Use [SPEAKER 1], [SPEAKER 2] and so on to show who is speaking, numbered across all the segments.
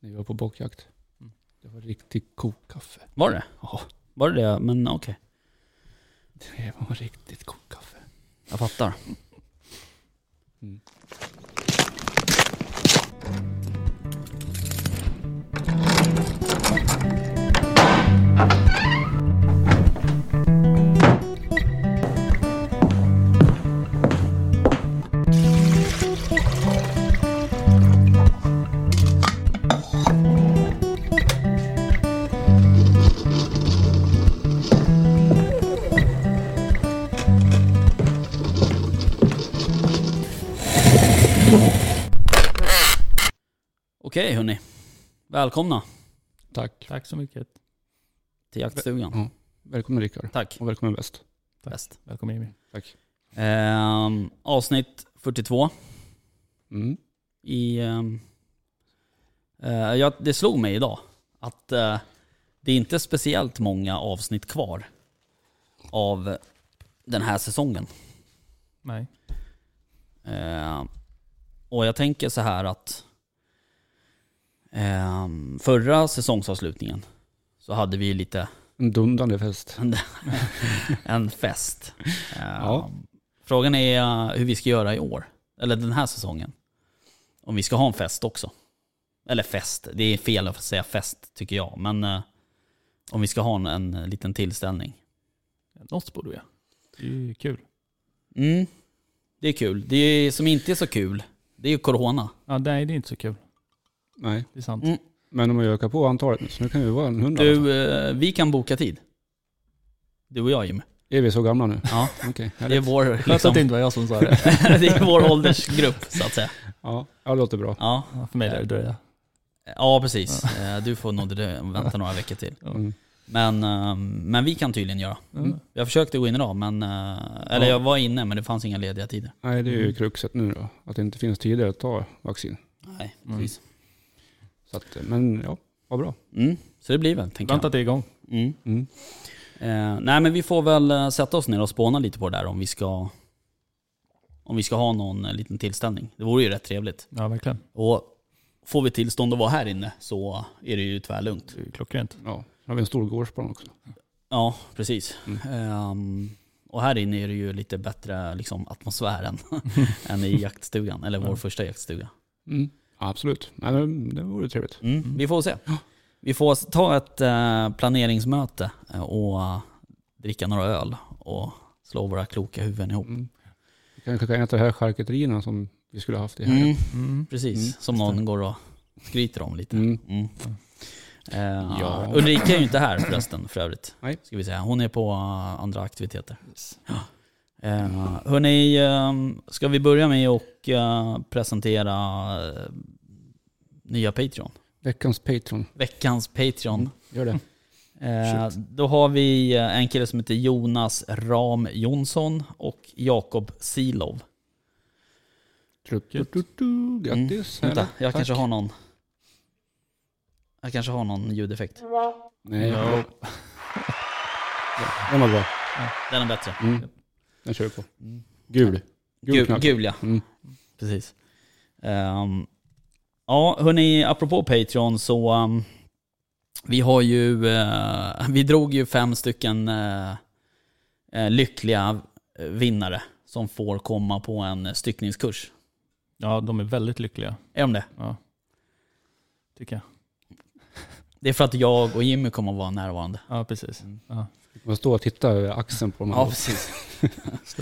[SPEAKER 1] när vi var på bockjakt.
[SPEAKER 2] Mm.
[SPEAKER 1] Det var riktigt kokkaffe.
[SPEAKER 2] Var det?
[SPEAKER 1] Ja,
[SPEAKER 2] Var det det? Men okej.
[SPEAKER 1] det var riktigt kokkaffe.
[SPEAKER 2] Jag fattar.
[SPEAKER 1] Mm.
[SPEAKER 2] Okej hörni. Välkomna
[SPEAKER 1] Tack.
[SPEAKER 3] Tack så mycket.
[SPEAKER 2] till jaktstugan.
[SPEAKER 1] Välkommen Rickard.
[SPEAKER 2] Tack.
[SPEAKER 1] Och välkommen väst.
[SPEAKER 3] Tack.
[SPEAKER 2] Bäst.
[SPEAKER 3] Välkommen Jimmy.
[SPEAKER 1] Tack.
[SPEAKER 2] Ehm, avsnitt 42
[SPEAKER 1] Mm.
[SPEAKER 2] i... ehm, eh, ja, det slog mig idag att eh, det är inte speciellt många avsnitt kvar av den här säsongen.
[SPEAKER 3] Nej.
[SPEAKER 2] Eh, och jag tänker så här att ehm, förra säsongsavslutningen så hade vi lite
[SPEAKER 1] En dundrande fest.
[SPEAKER 2] en fest. Eh,
[SPEAKER 1] Ja.
[SPEAKER 2] Frågan är eh, hur vi ska göra i år, eller den här säsongen. Om vi ska ha en fest också. Eller fest, det är fel att säga fest tycker jag, men eh, om vi ska ha en, en liten tillställning.
[SPEAKER 3] Något borde vi göra. Det är ju kul.
[SPEAKER 2] Mm. Det är kul. Det som inte är så kul, det är ju corona.
[SPEAKER 3] Ja, nej det är inte så kul.
[SPEAKER 1] Nej,
[SPEAKER 3] Det är sant.
[SPEAKER 2] Mm.
[SPEAKER 1] men om jag ökar på antalet nu så nu kan vi vara en hundra. alltså. i alla fall.
[SPEAKER 2] Du, eh, vi kan boka tid. Du och jag Jim.
[SPEAKER 1] Är vi så gamla nu?
[SPEAKER 2] Ja,
[SPEAKER 1] Okej,
[SPEAKER 2] det är
[SPEAKER 1] härligt.
[SPEAKER 2] vår,
[SPEAKER 3] Skönt att det
[SPEAKER 2] liksom,
[SPEAKER 3] inte var jag som sa det.
[SPEAKER 2] det är vår åldersgrupp så att säga.
[SPEAKER 1] ja, ja, det låter bra.
[SPEAKER 2] Ja,
[SPEAKER 3] Ja, för mig lär det dröja.
[SPEAKER 2] ja precis. Eh, Du får nog drö- vänta några veckor till.
[SPEAKER 1] Mm.
[SPEAKER 2] Men, eh, men vi kan tydligen göra.
[SPEAKER 3] Mm.
[SPEAKER 2] Jag försökte gå in idag, men, eh,
[SPEAKER 1] Ja.
[SPEAKER 2] eller jag var inne men det fanns inga lediga tider.
[SPEAKER 1] Nej, det är ju
[SPEAKER 3] Mm.
[SPEAKER 1] kruxet nu då. Att det inte finns tider att ta vaccin.
[SPEAKER 2] Nej,
[SPEAKER 3] Mm.
[SPEAKER 2] precis.
[SPEAKER 1] Så att, men ja, vad bra.
[SPEAKER 2] Mm. Så det blir väl, tänker
[SPEAKER 3] Vänta att det är igång.
[SPEAKER 2] jag. Mm.
[SPEAKER 1] Mm.
[SPEAKER 2] Eh, nej men vi får väl eh, sätta oss ner och spåna lite på det där om vi ska, om vi ska ha någon eh, liten tillställning. Det vore ju rätt trevligt.
[SPEAKER 3] Ja, verkligen.
[SPEAKER 2] Och får vi tillstånd att vara här inne så är det ju tvärlugnt.
[SPEAKER 3] Det är ju klockrent.
[SPEAKER 1] Ja, nu har vi en stor gårdsplan också.
[SPEAKER 2] Ja, precis.
[SPEAKER 1] Mm.
[SPEAKER 2] Ehm, och här inne är det ju lite bättre liksom, atmosfären än i jaktstugan, eller vår
[SPEAKER 3] Mm.
[SPEAKER 2] första jaktstuga.
[SPEAKER 1] Mm. Ja, absolut. Nej, men det vore trevligt.
[SPEAKER 2] Mm. Vi får se. Vi får ta ett eh, planeringsmöte eh, och eh, dricka några öl och slå våra kloka huvuden ihop.
[SPEAKER 1] Mm. Vi kanske kan äta de här charkuterierna som vi skulle ha haft i helgen.
[SPEAKER 2] Mm.
[SPEAKER 3] Mm.
[SPEAKER 2] Precis,
[SPEAKER 1] Mm.
[SPEAKER 2] som någon går och skryter om lite.
[SPEAKER 1] Mm.
[SPEAKER 2] Mm. Eh,
[SPEAKER 1] Ja.
[SPEAKER 2] Ulrika är ju inte här förresten för övrigt.
[SPEAKER 1] Nej.
[SPEAKER 2] Ska vi säga. Hon är på eh, andra aktiviteter.
[SPEAKER 3] Yes.
[SPEAKER 2] Eh, hörni, eh, ska vi börja med att eh, presentera eh, nya Patreon?
[SPEAKER 1] Veckans Patreon.
[SPEAKER 2] Veckans Patreon.
[SPEAKER 1] Mm, Gör det.
[SPEAKER 2] Eh, då har vi eh, en kille som heter Jonas Ram Jonsson och Jakob Silov.
[SPEAKER 1] Du, du, du. Grattis.
[SPEAKER 2] Mm, Vänta,
[SPEAKER 1] Härligt. Tack.
[SPEAKER 2] jag kanske har någon... Jag kanske har någon ljudeffekt.
[SPEAKER 1] Nej,
[SPEAKER 3] Ja.
[SPEAKER 1] den var bra.
[SPEAKER 2] Den är bättre.
[SPEAKER 1] Mm. Den kör vi på. Gul. Gul
[SPEAKER 2] Gul,
[SPEAKER 1] knapp.
[SPEAKER 2] gul ja.
[SPEAKER 1] Mm.
[SPEAKER 2] Precis. Ehm, ja, hörni, apropå Patreon så... ehm, vi har ju... eh, vi drog ju fem stycken eh, eh, lyckliga eh, vinnare som får komma på en styckningskurs.
[SPEAKER 3] Ja, de är väldigt lyckliga.
[SPEAKER 2] Är de det?
[SPEAKER 3] Ja. Tycker jag.
[SPEAKER 2] Det är för att jag och Jimmy kommer att vara närvarande.
[SPEAKER 3] Ja, precis.
[SPEAKER 2] Mm.
[SPEAKER 3] Ja.
[SPEAKER 1] Man står och tittar över axeln på de här.
[SPEAKER 2] Ja, precis.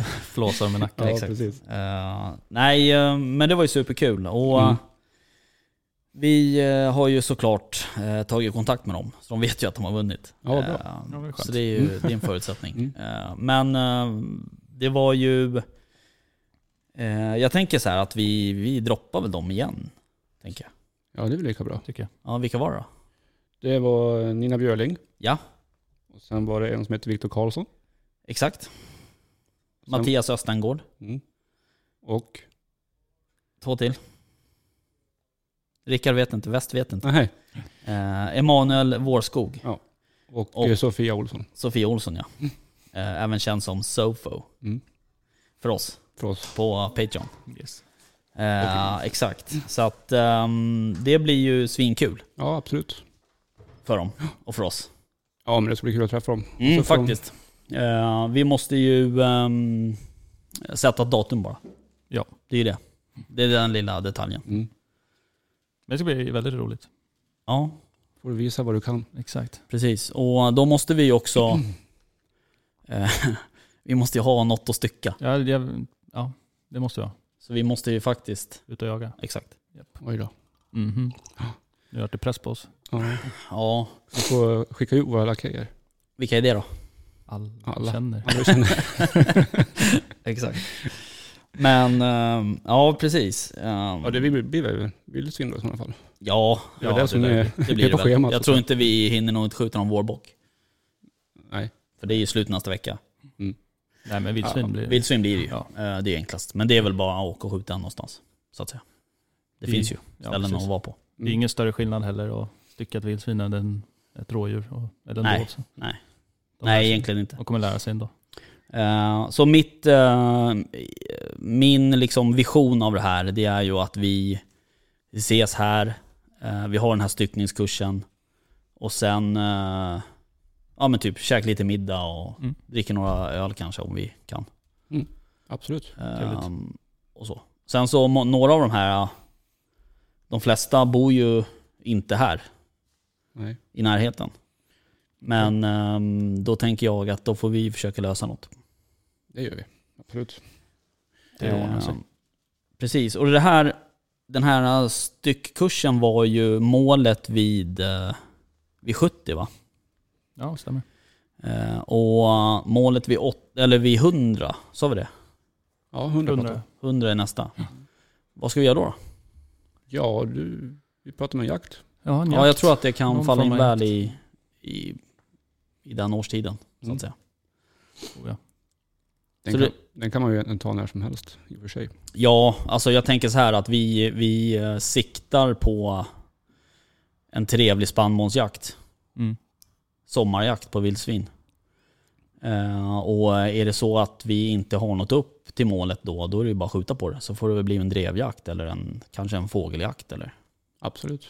[SPEAKER 3] Flåsar med nacken.
[SPEAKER 1] Ja,
[SPEAKER 2] exakt.
[SPEAKER 1] precis.
[SPEAKER 2] Eh, nej, eh, men det var ju superkul. Och, eh,
[SPEAKER 1] Mm.
[SPEAKER 2] Vi eh, har ju såklart eh, tagit kontakt med dem, så de vet ju att de har vunnit.
[SPEAKER 1] Ja, Mm. bra.
[SPEAKER 2] Eh,
[SPEAKER 3] Ja, det är skönt.
[SPEAKER 2] så det är ju det är en förutsättning. Eh, men eh, det var ju... Eh, jag tänker så här att vi, vi droppar väl dem igen. Tänker jag.
[SPEAKER 1] Ja, det är väl lika bra.
[SPEAKER 3] Tycker jag.
[SPEAKER 2] Ja, vilka var det då?
[SPEAKER 1] Det var Nina Björling.
[SPEAKER 2] Ja,
[SPEAKER 1] Och sen var det en som hette Viktor Karlsson.
[SPEAKER 2] exakt.
[SPEAKER 1] Sen-
[SPEAKER 2] Mattias Östengård.
[SPEAKER 1] Mm. Och,
[SPEAKER 2] Två till. Rickard vet inte, Väst vet inte.
[SPEAKER 1] nej,
[SPEAKER 2] Eh, Emanuel Vårskog,
[SPEAKER 1] och,
[SPEAKER 2] Och-
[SPEAKER 1] eh, Sofia Olsson
[SPEAKER 2] Sofia Olsson ja. Eh, även känd som Sofo
[SPEAKER 1] Mm.
[SPEAKER 2] för oss
[SPEAKER 1] för oss.
[SPEAKER 2] på Patreon.
[SPEAKER 3] Yes.
[SPEAKER 2] Eh, exakt. Så att ehm, det blir ju svinkul
[SPEAKER 1] Ja, absolut.
[SPEAKER 2] för dem och för oss.
[SPEAKER 1] Ja, men det ska bli kul att träffa dem.
[SPEAKER 2] Mm,
[SPEAKER 1] Så får de-
[SPEAKER 2] faktiskt. Eh, vi måste ju ehm, sätta ett datum bara.
[SPEAKER 3] Ja.
[SPEAKER 2] Det är ju det. Det är den lilla detaljen.
[SPEAKER 1] Mm.
[SPEAKER 3] Men det ska bli väldigt roligt.
[SPEAKER 2] Ja,
[SPEAKER 1] Får du visa vad du kan.
[SPEAKER 3] Exakt.
[SPEAKER 2] precis. Och då måste vi ju också... eh, vi måste ju ha något att stycka.
[SPEAKER 3] Ja, det, ja, det måste jag.
[SPEAKER 2] Så vi måste ju faktiskt...
[SPEAKER 3] Ut och jaga.
[SPEAKER 2] Exakt.
[SPEAKER 1] Oj då.
[SPEAKER 3] Mhm. Nu vart det press på oss.
[SPEAKER 1] Ja,
[SPEAKER 2] Ja,
[SPEAKER 1] vi får skicka ut våra lakejer.
[SPEAKER 2] vilka är det då?
[SPEAKER 3] Alla,
[SPEAKER 1] Alla.
[SPEAKER 3] känner.
[SPEAKER 1] Ja, det känner-
[SPEAKER 2] Exakt. Men, ehm, ja precis. Ehm,
[SPEAKER 1] Ja, det blir, blir väl vildsvin då i sådana fall.
[SPEAKER 2] ja,
[SPEAKER 1] Det är det som
[SPEAKER 2] där-
[SPEAKER 1] är-
[SPEAKER 2] det blir
[SPEAKER 1] på
[SPEAKER 2] det väl.
[SPEAKER 1] schemat,
[SPEAKER 2] Jag
[SPEAKER 1] så
[SPEAKER 2] tror
[SPEAKER 1] att-
[SPEAKER 2] inte vi hinner nog inte skjuta någon vårbock.
[SPEAKER 1] Nej.
[SPEAKER 2] För det är ju slut nästa vecka.
[SPEAKER 3] Nej men vildsvin
[SPEAKER 1] Ja,
[SPEAKER 3] blir det.
[SPEAKER 2] Vildsvin blir det ju.
[SPEAKER 3] Ja.
[SPEAKER 2] Eh, Det är enklast. Men det är väl bara att åka och skjuta någonstans. Så att säga. Det
[SPEAKER 3] I-
[SPEAKER 2] finns ju
[SPEAKER 3] Ja,
[SPEAKER 2] ställen
[SPEAKER 3] precis.
[SPEAKER 2] att vara på.
[SPEAKER 3] Det
[SPEAKER 1] Mm.
[SPEAKER 3] är ingen större skillnad heller att stycka ett vildsvin än en- ett rådjur. Och, eller
[SPEAKER 2] Nej,
[SPEAKER 3] en dovs.
[SPEAKER 2] nej.
[SPEAKER 3] De lär
[SPEAKER 2] Nej,
[SPEAKER 3] sig.
[SPEAKER 2] egentligen inte.
[SPEAKER 3] De kommer lära sig ändå.
[SPEAKER 2] Eh, Så mitt, eh, min liksom vision av det här, det är ju att vi ses här, eh, vi har den här styckningskursen och sen, eh, ja men typ käka lite middag och
[SPEAKER 3] Mm.
[SPEAKER 2] dricka några öl kanske om vi kan.
[SPEAKER 1] Absolut.
[SPEAKER 2] Eh,
[SPEAKER 3] Trevligt.
[SPEAKER 2] Och så. Sen så må- några av de här, eh, de flesta bor ju inte här
[SPEAKER 1] Nej.
[SPEAKER 2] i närheten. Men ehm, då tänker jag att då får vi försöka lösa något.
[SPEAKER 1] Det gör vi. Absolut.
[SPEAKER 3] Det ordnar sig.
[SPEAKER 2] Ehm, Precis, och det här, den här styckkursen var ju målet vid, eh, vid 70 va?
[SPEAKER 3] Ja, stämmer.
[SPEAKER 2] Eh, Och målet vid, åt, eller vid 100, sa vi det?
[SPEAKER 1] Ja, hundra pratar.
[SPEAKER 3] 100.
[SPEAKER 2] 100 är nästa. Vad ska vi göra då?
[SPEAKER 1] Ja, du, vi pratar med jakt.
[SPEAKER 3] Ja, en
[SPEAKER 2] Ja, jag
[SPEAKER 3] jakt.
[SPEAKER 2] tror att det kan
[SPEAKER 3] Mm. Någon
[SPEAKER 2] falla
[SPEAKER 3] form
[SPEAKER 2] in
[SPEAKER 3] av
[SPEAKER 2] väl i, i, i den årstiden. Så
[SPEAKER 1] Mm.
[SPEAKER 2] att säga.
[SPEAKER 3] tror jag.
[SPEAKER 1] Den,
[SPEAKER 2] Så
[SPEAKER 1] kan, den kan man ju egentligen ta när som helst i och för sig.
[SPEAKER 2] Ja, alltså jag tänker så här att vi, vi eh, siktar på en trevlig spannmålsjakt.
[SPEAKER 3] Mm.
[SPEAKER 2] sommarjakt på vildsvin. Eh, och är det så att vi inte har något upp till målet då, då är det ju bara att skjuta på det. Så får det väl bli en drevjakt eller en, kanske en fågeljakt eller,
[SPEAKER 1] Absolut.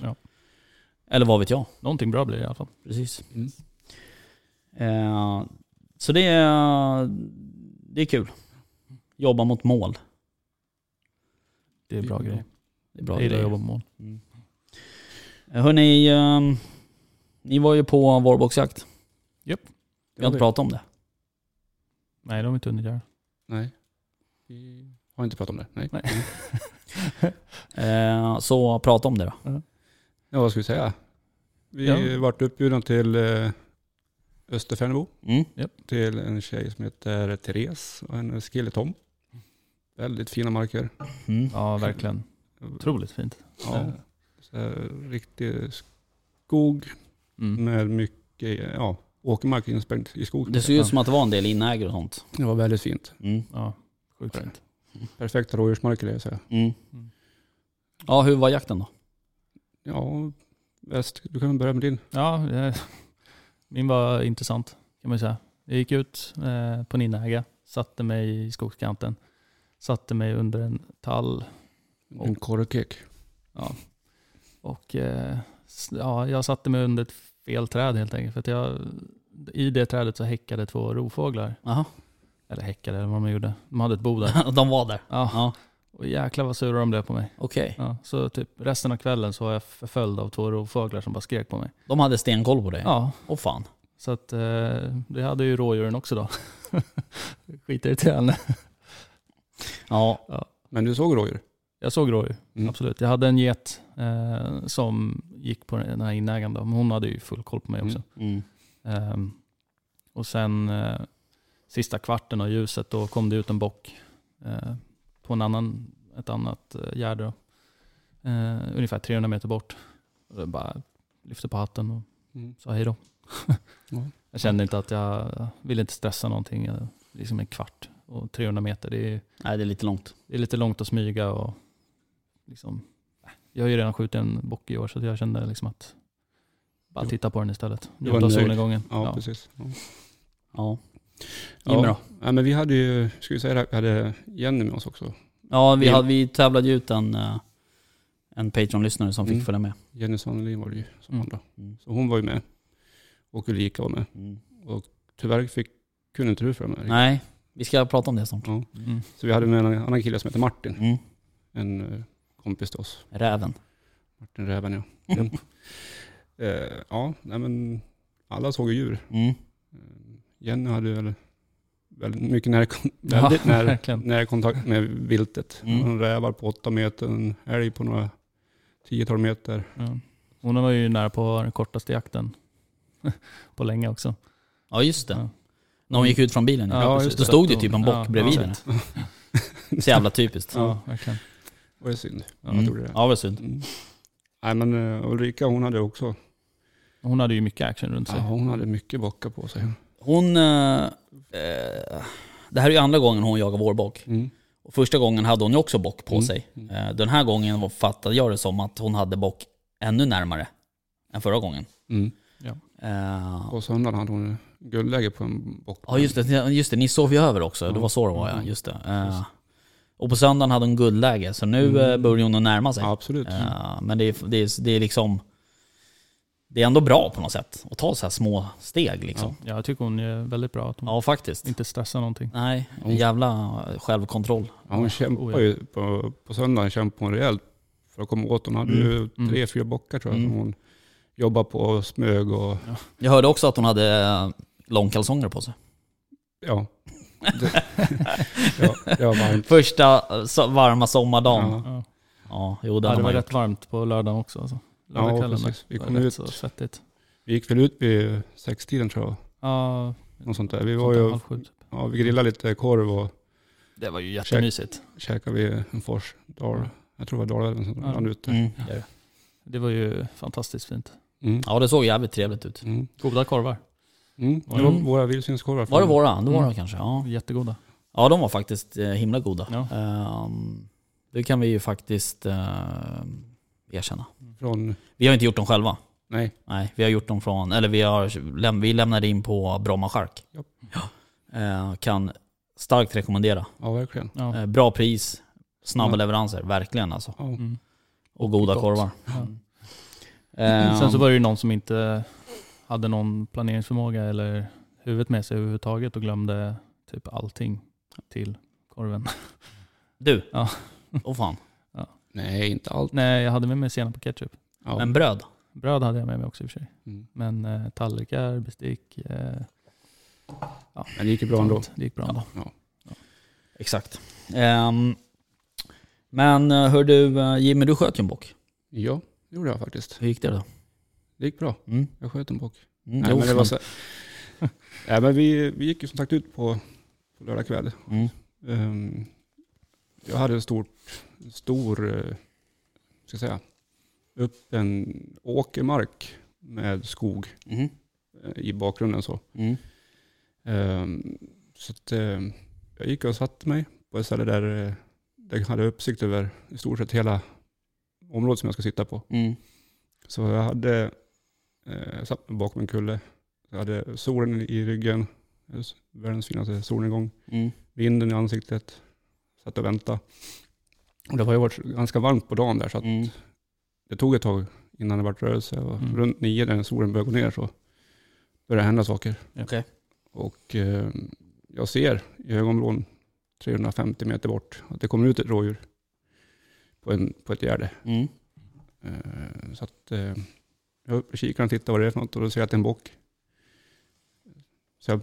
[SPEAKER 2] eller vad vet jag.
[SPEAKER 3] Någonting bra blir det i alla fall.
[SPEAKER 2] Precis.
[SPEAKER 1] Mm.
[SPEAKER 2] Eh, så det är, det är kul. Jobba mot mål.
[SPEAKER 3] Det är bra grejer.
[SPEAKER 2] Mm. Det är bra
[SPEAKER 3] jag gillar att
[SPEAKER 2] grejer.
[SPEAKER 3] jobba med mål.
[SPEAKER 2] Eh, Hörni, ehm, ni var ju på vårboxjakt. Vi har inte pratat om det.
[SPEAKER 3] Nej, de har vi inte hunnit göra.
[SPEAKER 1] Nej. Vi har inte pratat om det. Nej.
[SPEAKER 3] Nej.
[SPEAKER 2] Eh, så prata om det då.
[SPEAKER 1] Ja, vad ska vi säga? Vi
[SPEAKER 3] Ja.
[SPEAKER 1] vart uppbjudna till eh, Österfärnebo.
[SPEAKER 2] Mm.
[SPEAKER 1] Till en tjej som heter Therese och hennes kille Tom. Väldigt fina marker.
[SPEAKER 2] Mm.
[SPEAKER 3] Ja, verkligen. Otroligt fint.
[SPEAKER 1] Ja. Så här, riktig skog
[SPEAKER 3] Mm.
[SPEAKER 1] med mycket ja, åkermark inspängd i skogen.
[SPEAKER 2] Det ser ju ut som att det var en del inägor och sånt.
[SPEAKER 1] Det var väldigt fint.
[SPEAKER 2] Mm.
[SPEAKER 3] Ja, sjukt fint.
[SPEAKER 1] Perfekta rådjursmarker det vill säga.
[SPEAKER 2] Mm.
[SPEAKER 3] Mm.
[SPEAKER 2] Ja, hur var jakten då?
[SPEAKER 1] Ja, väst. Du kan börja med din.
[SPEAKER 3] Ja, det, min var intressant kan man ju säga. Jag gick ut eh, på en inäga, satte mig i skogskanten, satte mig under en tall
[SPEAKER 1] En korrkek.
[SPEAKER 3] och eh, s- ja, jag satte mig under ett fel träd helt enkelt. För att jag, I det trädet så häckade två rovfåglar.
[SPEAKER 2] Jaha,
[SPEAKER 3] Eller häckade eller vad de gjorde. De hade ett bo där.
[SPEAKER 2] de var där.
[SPEAKER 3] Ja,
[SPEAKER 2] Ja,
[SPEAKER 3] och jäklar vad sura de blev på mig.
[SPEAKER 2] okej.
[SPEAKER 3] Ja, så typ resten av kvällen så var jag förföljd av två rovfåglar som bara skrek på mig.
[SPEAKER 2] De hade stenkoll på dig. Åh
[SPEAKER 3] Ja,
[SPEAKER 2] fan.
[SPEAKER 3] så att eh, det hade ju rådjuren också då. Skitirriterande.
[SPEAKER 2] Ja,
[SPEAKER 1] Men du såg rådjur?
[SPEAKER 3] Jag såg rådjur,
[SPEAKER 1] Mm.
[SPEAKER 3] absolut. Jag hade en get eh, som gick på den här inägan då, men hon hade ju full koll på mig också.
[SPEAKER 2] mm.
[SPEAKER 3] Ehm, och sen eh, sista kvarten av ljuset då kom det ut en bock eh, på en annan, ett annat eh, gärde. då. Eh, ungefär 300 meter bort. Och jag bara lyfte på hatten och
[SPEAKER 1] Mm.
[SPEAKER 3] sa hej då.
[SPEAKER 1] Ja.
[SPEAKER 3] Jag kände inte att jag jag ville inte stressa någonting. Jag- Liksom en kvart och 300 meter, det är,
[SPEAKER 2] Nej, det är lite långt.
[SPEAKER 3] det är lite långt att smyga. Och liksom, äh, jag har ju redan skjutit en bock i år så jag kände liksom att bara
[SPEAKER 1] Jo.
[SPEAKER 3] titta på den istället.
[SPEAKER 1] Du var
[SPEAKER 3] Njuta av
[SPEAKER 1] nöjd.
[SPEAKER 3] solnedgången.
[SPEAKER 1] Ja,
[SPEAKER 3] Ja.
[SPEAKER 1] precis. Ja.
[SPEAKER 2] Ja.
[SPEAKER 1] Ja.
[SPEAKER 2] Jimmy då?
[SPEAKER 1] Ja, men vi hade ju, ska vi säga det, här, vi hade Jenny med oss också.
[SPEAKER 2] Ja, vi,
[SPEAKER 1] Vi-
[SPEAKER 2] hade, vi tävlade ju ut en, eh, en Patreon-lyssnare som fick
[SPEAKER 1] Mm.
[SPEAKER 2] följa med.
[SPEAKER 1] Jenny Sannelin var det ju som
[SPEAKER 3] Mm.
[SPEAKER 1] vann då.
[SPEAKER 2] Mm.
[SPEAKER 1] Så hon var ju med. Och Ulrika var med.
[SPEAKER 2] Mm.
[SPEAKER 1] Tyvärr fick, kunde inte du följa med.
[SPEAKER 2] Nej, vi ska prata om det snart.
[SPEAKER 1] Ja.
[SPEAKER 3] Mm.
[SPEAKER 1] Så vi hade med en annan kille som heter Martin.
[SPEAKER 2] Mm.
[SPEAKER 1] En eh, kompis till oss.
[SPEAKER 2] Räven.
[SPEAKER 1] Martin Räven ja. Eh, ja, nej men alla såg ju djur.
[SPEAKER 2] Mm.
[SPEAKER 1] Eh, Jenny hade väl väldigt mycket nära, kon-
[SPEAKER 3] Ja,
[SPEAKER 1] väldigt nära,
[SPEAKER 3] verkligen.
[SPEAKER 1] nära kontakt med viltet.
[SPEAKER 2] Mm.
[SPEAKER 1] Hon rävar på åtta meter, en älg på några tiotal meter.
[SPEAKER 3] Ja. Hon var ju nära på den kortaste jakten på länge också.
[SPEAKER 2] Ja, just det.
[SPEAKER 3] Ja.
[SPEAKER 2] När hon gick ut från bilen.
[SPEAKER 3] Ja,
[SPEAKER 2] Ja,
[SPEAKER 3] just
[SPEAKER 2] Då
[SPEAKER 3] det.
[SPEAKER 2] stod det ju typ en bock
[SPEAKER 3] Ja,
[SPEAKER 2] bredvid
[SPEAKER 3] ja.
[SPEAKER 2] henne. Så jävla typiskt.
[SPEAKER 3] Ja, verkligen.
[SPEAKER 1] Det var ju synd.
[SPEAKER 2] Mm.
[SPEAKER 1] Jag tror det.
[SPEAKER 2] Ja, vad synd.
[SPEAKER 1] Mm. Nej men eh, Ulrika hon hade också,
[SPEAKER 3] Hon hade ju mycket action runt
[SPEAKER 1] ja,
[SPEAKER 3] sig.
[SPEAKER 1] hon hade mycket bockar på sig.
[SPEAKER 2] Hon... eh, eh, det här är ju andra gången hon jagar vårbock.
[SPEAKER 1] Mm.
[SPEAKER 2] Och Första gången hade hon ju också bock på
[SPEAKER 1] Mm.
[SPEAKER 2] sig.
[SPEAKER 1] Mm.
[SPEAKER 2] Eh, den här gången var- fattade jag det som att hon hade bock ännu närmare än förra gången.
[SPEAKER 1] Mm.
[SPEAKER 2] Eh,
[SPEAKER 1] På söndagen hade hon guldläge på en bock.
[SPEAKER 2] Ja just det, just det, ni sov ju över också. Det var så det var ja, just det. Eh, och på söndagen hade hon guldläge, så nu eh, börjar hon att närma sig.
[SPEAKER 1] Ja, absolut.
[SPEAKER 2] Eh, men det är, det, är, det är liksom... Det är ändå bra på något sätt att ta så här små steg liksom.
[SPEAKER 3] Ja, jag tycker hon är väldigt bra att hon
[SPEAKER 2] Ja, Mm. faktiskt.
[SPEAKER 3] inte stressar någonting.
[SPEAKER 2] Nej, en jävla självkontroll.
[SPEAKER 1] Ja, hon kämpade
[SPEAKER 3] Oh, ja.
[SPEAKER 1] ju på, på söndagen kämpade hon rejält för att komma åt. Hon hade
[SPEAKER 2] Mm.
[SPEAKER 1] ju
[SPEAKER 3] Mm.
[SPEAKER 1] tre, fyra bockar tror jag
[SPEAKER 2] Mm.
[SPEAKER 1] som hon jobbade på och smög och
[SPEAKER 2] Jag hörde också att hon hade eh, långkalsonger på sig.
[SPEAKER 1] ja. Det, ja, det var varmt.
[SPEAKER 2] Första eh, so varma sommardagen. Ja,
[SPEAKER 1] Ja.
[SPEAKER 3] Ja.
[SPEAKER 2] jo det
[SPEAKER 3] Ja,
[SPEAKER 2] hade
[SPEAKER 3] det var
[SPEAKER 2] man
[SPEAKER 3] rätt
[SPEAKER 2] gjort.
[SPEAKER 3] varmt på lördagen också. Alltså.
[SPEAKER 1] Ja,
[SPEAKER 3] Lördagskvällen. där.
[SPEAKER 1] precis. Vi
[SPEAKER 3] Det var
[SPEAKER 1] kom
[SPEAKER 3] rätt
[SPEAKER 1] ut.
[SPEAKER 3] så svettigt.
[SPEAKER 1] Vi gick väl ut vid sextiden tror jag.
[SPEAKER 3] Ja,
[SPEAKER 1] Något sånt där. Vi, var
[SPEAKER 3] sånt där
[SPEAKER 1] ju,
[SPEAKER 3] halv sju typ.
[SPEAKER 1] ja, vi grillade lite korv och
[SPEAKER 3] Det var ju jättemysigt.
[SPEAKER 1] käkade vid en fors dal. Jag tror det var Dalarna som
[SPEAKER 3] Ja.
[SPEAKER 1] rann ut där.
[SPEAKER 2] Mm.
[SPEAKER 3] Det var ju fantastiskt fint.
[SPEAKER 1] Mm.
[SPEAKER 2] Ja det såg jävligt trevligt ut.
[SPEAKER 1] Mm.
[SPEAKER 3] Goda korvar.
[SPEAKER 1] Mm. Det
[SPEAKER 3] Mm.
[SPEAKER 1] var våra vildsvinskorvar.
[SPEAKER 2] Var det våra? Det var
[SPEAKER 3] Mm.
[SPEAKER 2] de kanske? Ja.
[SPEAKER 3] Jättegoda.
[SPEAKER 2] Ja, de var faktiskt eh, himla goda.
[SPEAKER 3] Ja.
[SPEAKER 2] Ehm, det kan vi ju faktiskt eh, erkänna.
[SPEAKER 1] Från,
[SPEAKER 2] Vi har inte gjort dem själva.
[SPEAKER 1] nej,
[SPEAKER 2] Nej, vi har gjort dem från, eller vi, har, läm- vi lämnade in på Bromma Shark.
[SPEAKER 1] Ja.
[SPEAKER 2] Eh, kan starkt rekommendera.
[SPEAKER 1] ja verkligen.
[SPEAKER 3] Ja.
[SPEAKER 2] Eh, bra pris, snabba
[SPEAKER 1] Ja.
[SPEAKER 2] leveranser, verkligen alltså.
[SPEAKER 1] Ja.
[SPEAKER 3] Mm.
[SPEAKER 2] Och goda
[SPEAKER 3] Gott.
[SPEAKER 2] korvar.
[SPEAKER 3] Ja.
[SPEAKER 1] Eh,
[SPEAKER 2] Ehm,
[SPEAKER 3] Sen så var det ju någon som inte hade någon planeringsförmåga eller huvudet med sig överhuvudtaget och glömde typ allting till korven.
[SPEAKER 2] du,
[SPEAKER 3] Ja.
[SPEAKER 2] åh fan.
[SPEAKER 1] Nej, inte allt.
[SPEAKER 3] Nej, jag hade med mig senap och ketchup.
[SPEAKER 1] Ja.
[SPEAKER 2] Men bröd?
[SPEAKER 3] Bröd hade jag med mig också i och för sig.
[SPEAKER 1] Mm.
[SPEAKER 3] Men eh, tallrikar, bestick. Eh,
[SPEAKER 1] Men det gick ju bra ändå.
[SPEAKER 3] sånt. Det gick bra ändå.
[SPEAKER 2] Exakt. Ehm, men eh, hör du eh, Jimmy, du sköt ju en bock.
[SPEAKER 1] Ja, det gjorde jag faktiskt.
[SPEAKER 2] Hur gick det då?
[SPEAKER 1] Det gick bra.
[SPEAKER 2] Mm.
[SPEAKER 1] Jag sköt en bock.
[SPEAKER 2] Mm,
[SPEAKER 1] Nej,
[SPEAKER 2] jo,
[SPEAKER 1] men det var
[SPEAKER 2] fan.
[SPEAKER 1] så... Nej, men vi, vi gick ju som sagt ut på, på lördag kväll.
[SPEAKER 2] Mm.
[SPEAKER 1] Ehm, jag hade en stor, stor eh, ska jag säga, upp en åkermark med skog
[SPEAKER 2] Mhm.
[SPEAKER 1] eh, i bakgrunden. så.
[SPEAKER 2] Mm.
[SPEAKER 1] Ehm, så att, eh, jag gick och satte mig på ett ställe där, eh, där jag hade uppsikt över i stort sett hela området som jag ska sitta på.
[SPEAKER 2] Mm.
[SPEAKER 1] Så jag hade eh, jag satt mig bakom en kulle. Jag hade solen i ryggen, eh, världens finaste solnedgång,
[SPEAKER 2] Mm.
[SPEAKER 1] vinden i ansiktet. Satt och väntade. Och det har ju varit ganska varmt på dagen där så att
[SPEAKER 2] Mm.
[SPEAKER 1] det tog ett tag innan det vart rörelse. Och
[SPEAKER 3] Mm.
[SPEAKER 1] Runt nio när solen började gå ner så började det hända saker.
[SPEAKER 2] Okej.
[SPEAKER 1] Och eh, jag ser i ögonvrån 350 meter bort att det kommer ut ett rådjur på, en, på ett gärde.
[SPEAKER 2] Mm.
[SPEAKER 1] Eh, Så att eh, jag är uppe i kikaren och tittar vad det är för något och då ser jag att det är en bock. Så jag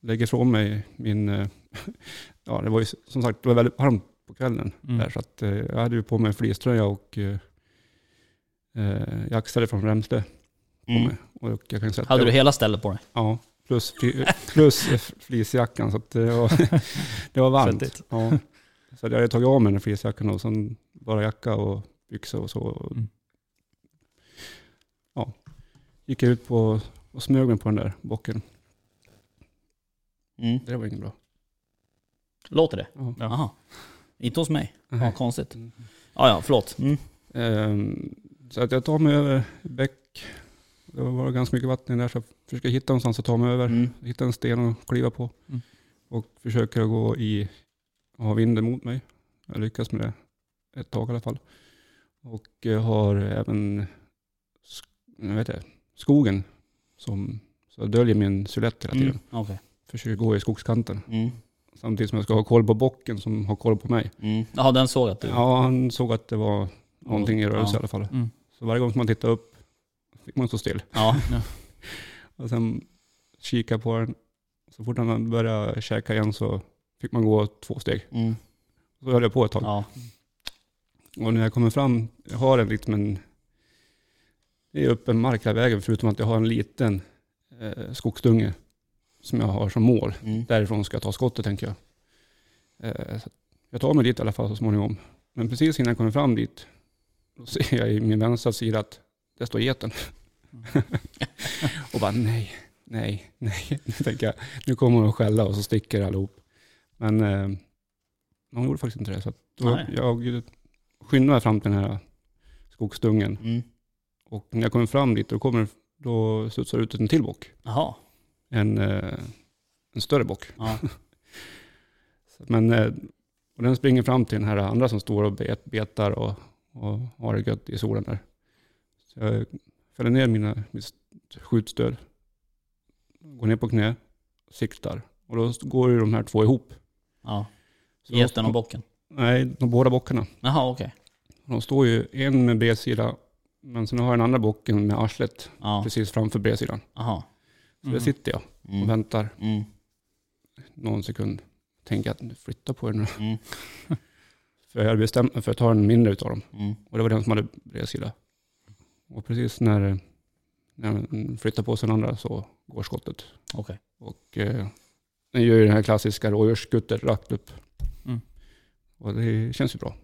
[SPEAKER 1] lägger ifrån mig min, eh, ja det var ju s- som sagt det var väldigt varmt på kvällen
[SPEAKER 3] Mm.
[SPEAKER 1] där så att eh, jag hade ju på mig en fleecetröja och eh, eh, jaktställe från Remsle på
[SPEAKER 2] Mm.
[SPEAKER 1] mig. Och jag kan säga att
[SPEAKER 2] Hade
[SPEAKER 1] det
[SPEAKER 2] du hela stället på dig?
[SPEAKER 1] Ja, plus, fri- plus fleecejackan. Så att det, var, det var varmt.
[SPEAKER 3] Svettigt.
[SPEAKER 1] Ja. Så att jag hade tagit av mig den fleecejackan och sen bara jacka och byxor och så.
[SPEAKER 3] Mm.
[SPEAKER 1] Ja. Gick jag ut på, och smög mig på den där bocken.
[SPEAKER 2] Mm.
[SPEAKER 1] Det var inget bra.
[SPEAKER 2] Låter det?
[SPEAKER 1] Ja.
[SPEAKER 3] Ja.
[SPEAKER 2] Aha. Inte hos mig? Ja,
[SPEAKER 1] Nej.
[SPEAKER 2] konstigt.
[SPEAKER 1] Mm.
[SPEAKER 2] Ja, ja, förlåt. Mm.
[SPEAKER 1] Ehm, Så att jag tar mig över bäck. Det var ganska mycket vatten där så jag försöker hitta någonstans att ta mig över.
[SPEAKER 2] Mm.
[SPEAKER 1] hitta en sten och kliva på.
[SPEAKER 3] Mm.
[SPEAKER 1] Och försöka gå i, ha vinden mot mig. Jag lyckas med det ett tag i alla fall. Och jag har även sk- vad heter det, skogen som så jag döljer min silhuett hela tiden.
[SPEAKER 2] Mm. Okej.
[SPEAKER 1] Försöker gå i skogskanten.
[SPEAKER 2] Mm.
[SPEAKER 1] Samtidigt som jag ska ha koll på bocken som har koll på mig.
[SPEAKER 2] Mm. Ja, den såg jag att du...
[SPEAKER 1] Ja, han såg att det var någonting i rörelse i alla fall.
[SPEAKER 3] Mm.
[SPEAKER 1] Så varje gång som man tittade upp fick man stå still.
[SPEAKER 2] Ja.
[SPEAKER 1] Och sen kika på den. Så fort han började käka igen så fick man gå två steg.
[SPEAKER 2] Mm.
[SPEAKER 1] Så höll jag på ett tag.
[SPEAKER 2] Ja.
[SPEAKER 1] Och när jag kommer fram, jag har en liksom en... Det är öppen mark hela vägen förutom att jag har en liten eh, skogsdunge som jag har som mål.
[SPEAKER 2] Mm.
[SPEAKER 1] Därifrån ska jag ta skottet tänker jag. Eh, så att jag tar mig dit i alla fall så småningom. Men precis innan jag kommer fram dit, då ser jag i min vänstra sida att där står geten. och bara nej, nej, nej. Nu tänker jag, nu kommer hon att skälla och så sticker allihop. Men eh, hon gjorde faktiskt inte det. Så att då
[SPEAKER 2] Nej.
[SPEAKER 1] jag skyndade mig fram till den här skogsdungen.
[SPEAKER 2] Mm.
[SPEAKER 1] Och när jag kommer fram dit, då, kommer, då studsar det ut en till bock.
[SPEAKER 2] Jaha.
[SPEAKER 1] En, eh, en större bock.
[SPEAKER 2] Ja.
[SPEAKER 1] Men eh, och den springer fram till den här andra som står och bet- betar och, och har det gött i solen där. Så jag fäller ner mina, mitt st- skjutstöd, går ner på knä, siktar. Och då st- går ju de här två ihop.
[SPEAKER 2] ja.
[SPEAKER 1] Så de
[SPEAKER 2] Geten
[SPEAKER 1] står-
[SPEAKER 2] och bocken.
[SPEAKER 1] Nej, de båda bockarna.
[SPEAKER 2] Jaha, okej.
[SPEAKER 1] De står ju en med bredsida, men sen har jag den andra bocken med arslet
[SPEAKER 2] Ja.
[SPEAKER 1] precis framför bredsidan.
[SPEAKER 2] Jaha.
[SPEAKER 1] Så där sitter jag och
[SPEAKER 2] Mm.
[SPEAKER 1] väntar
[SPEAKER 2] Mm.
[SPEAKER 1] någon sekund. Tänker att nu flytta på er nu.
[SPEAKER 2] Mm.
[SPEAKER 1] För jag hade bestämt mig för att ta den mindre utav dem.
[SPEAKER 2] Mm.
[SPEAKER 1] Och det var den som hade bredsida. Och precis när, när den flyttar på sig den andra så går skottet.
[SPEAKER 2] Okej.
[SPEAKER 1] Och eh, den gör ju den här klassiska rådjursskuttet rakt upp.
[SPEAKER 3] Mm.
[SPEAKER 1] Och det känns ju bra.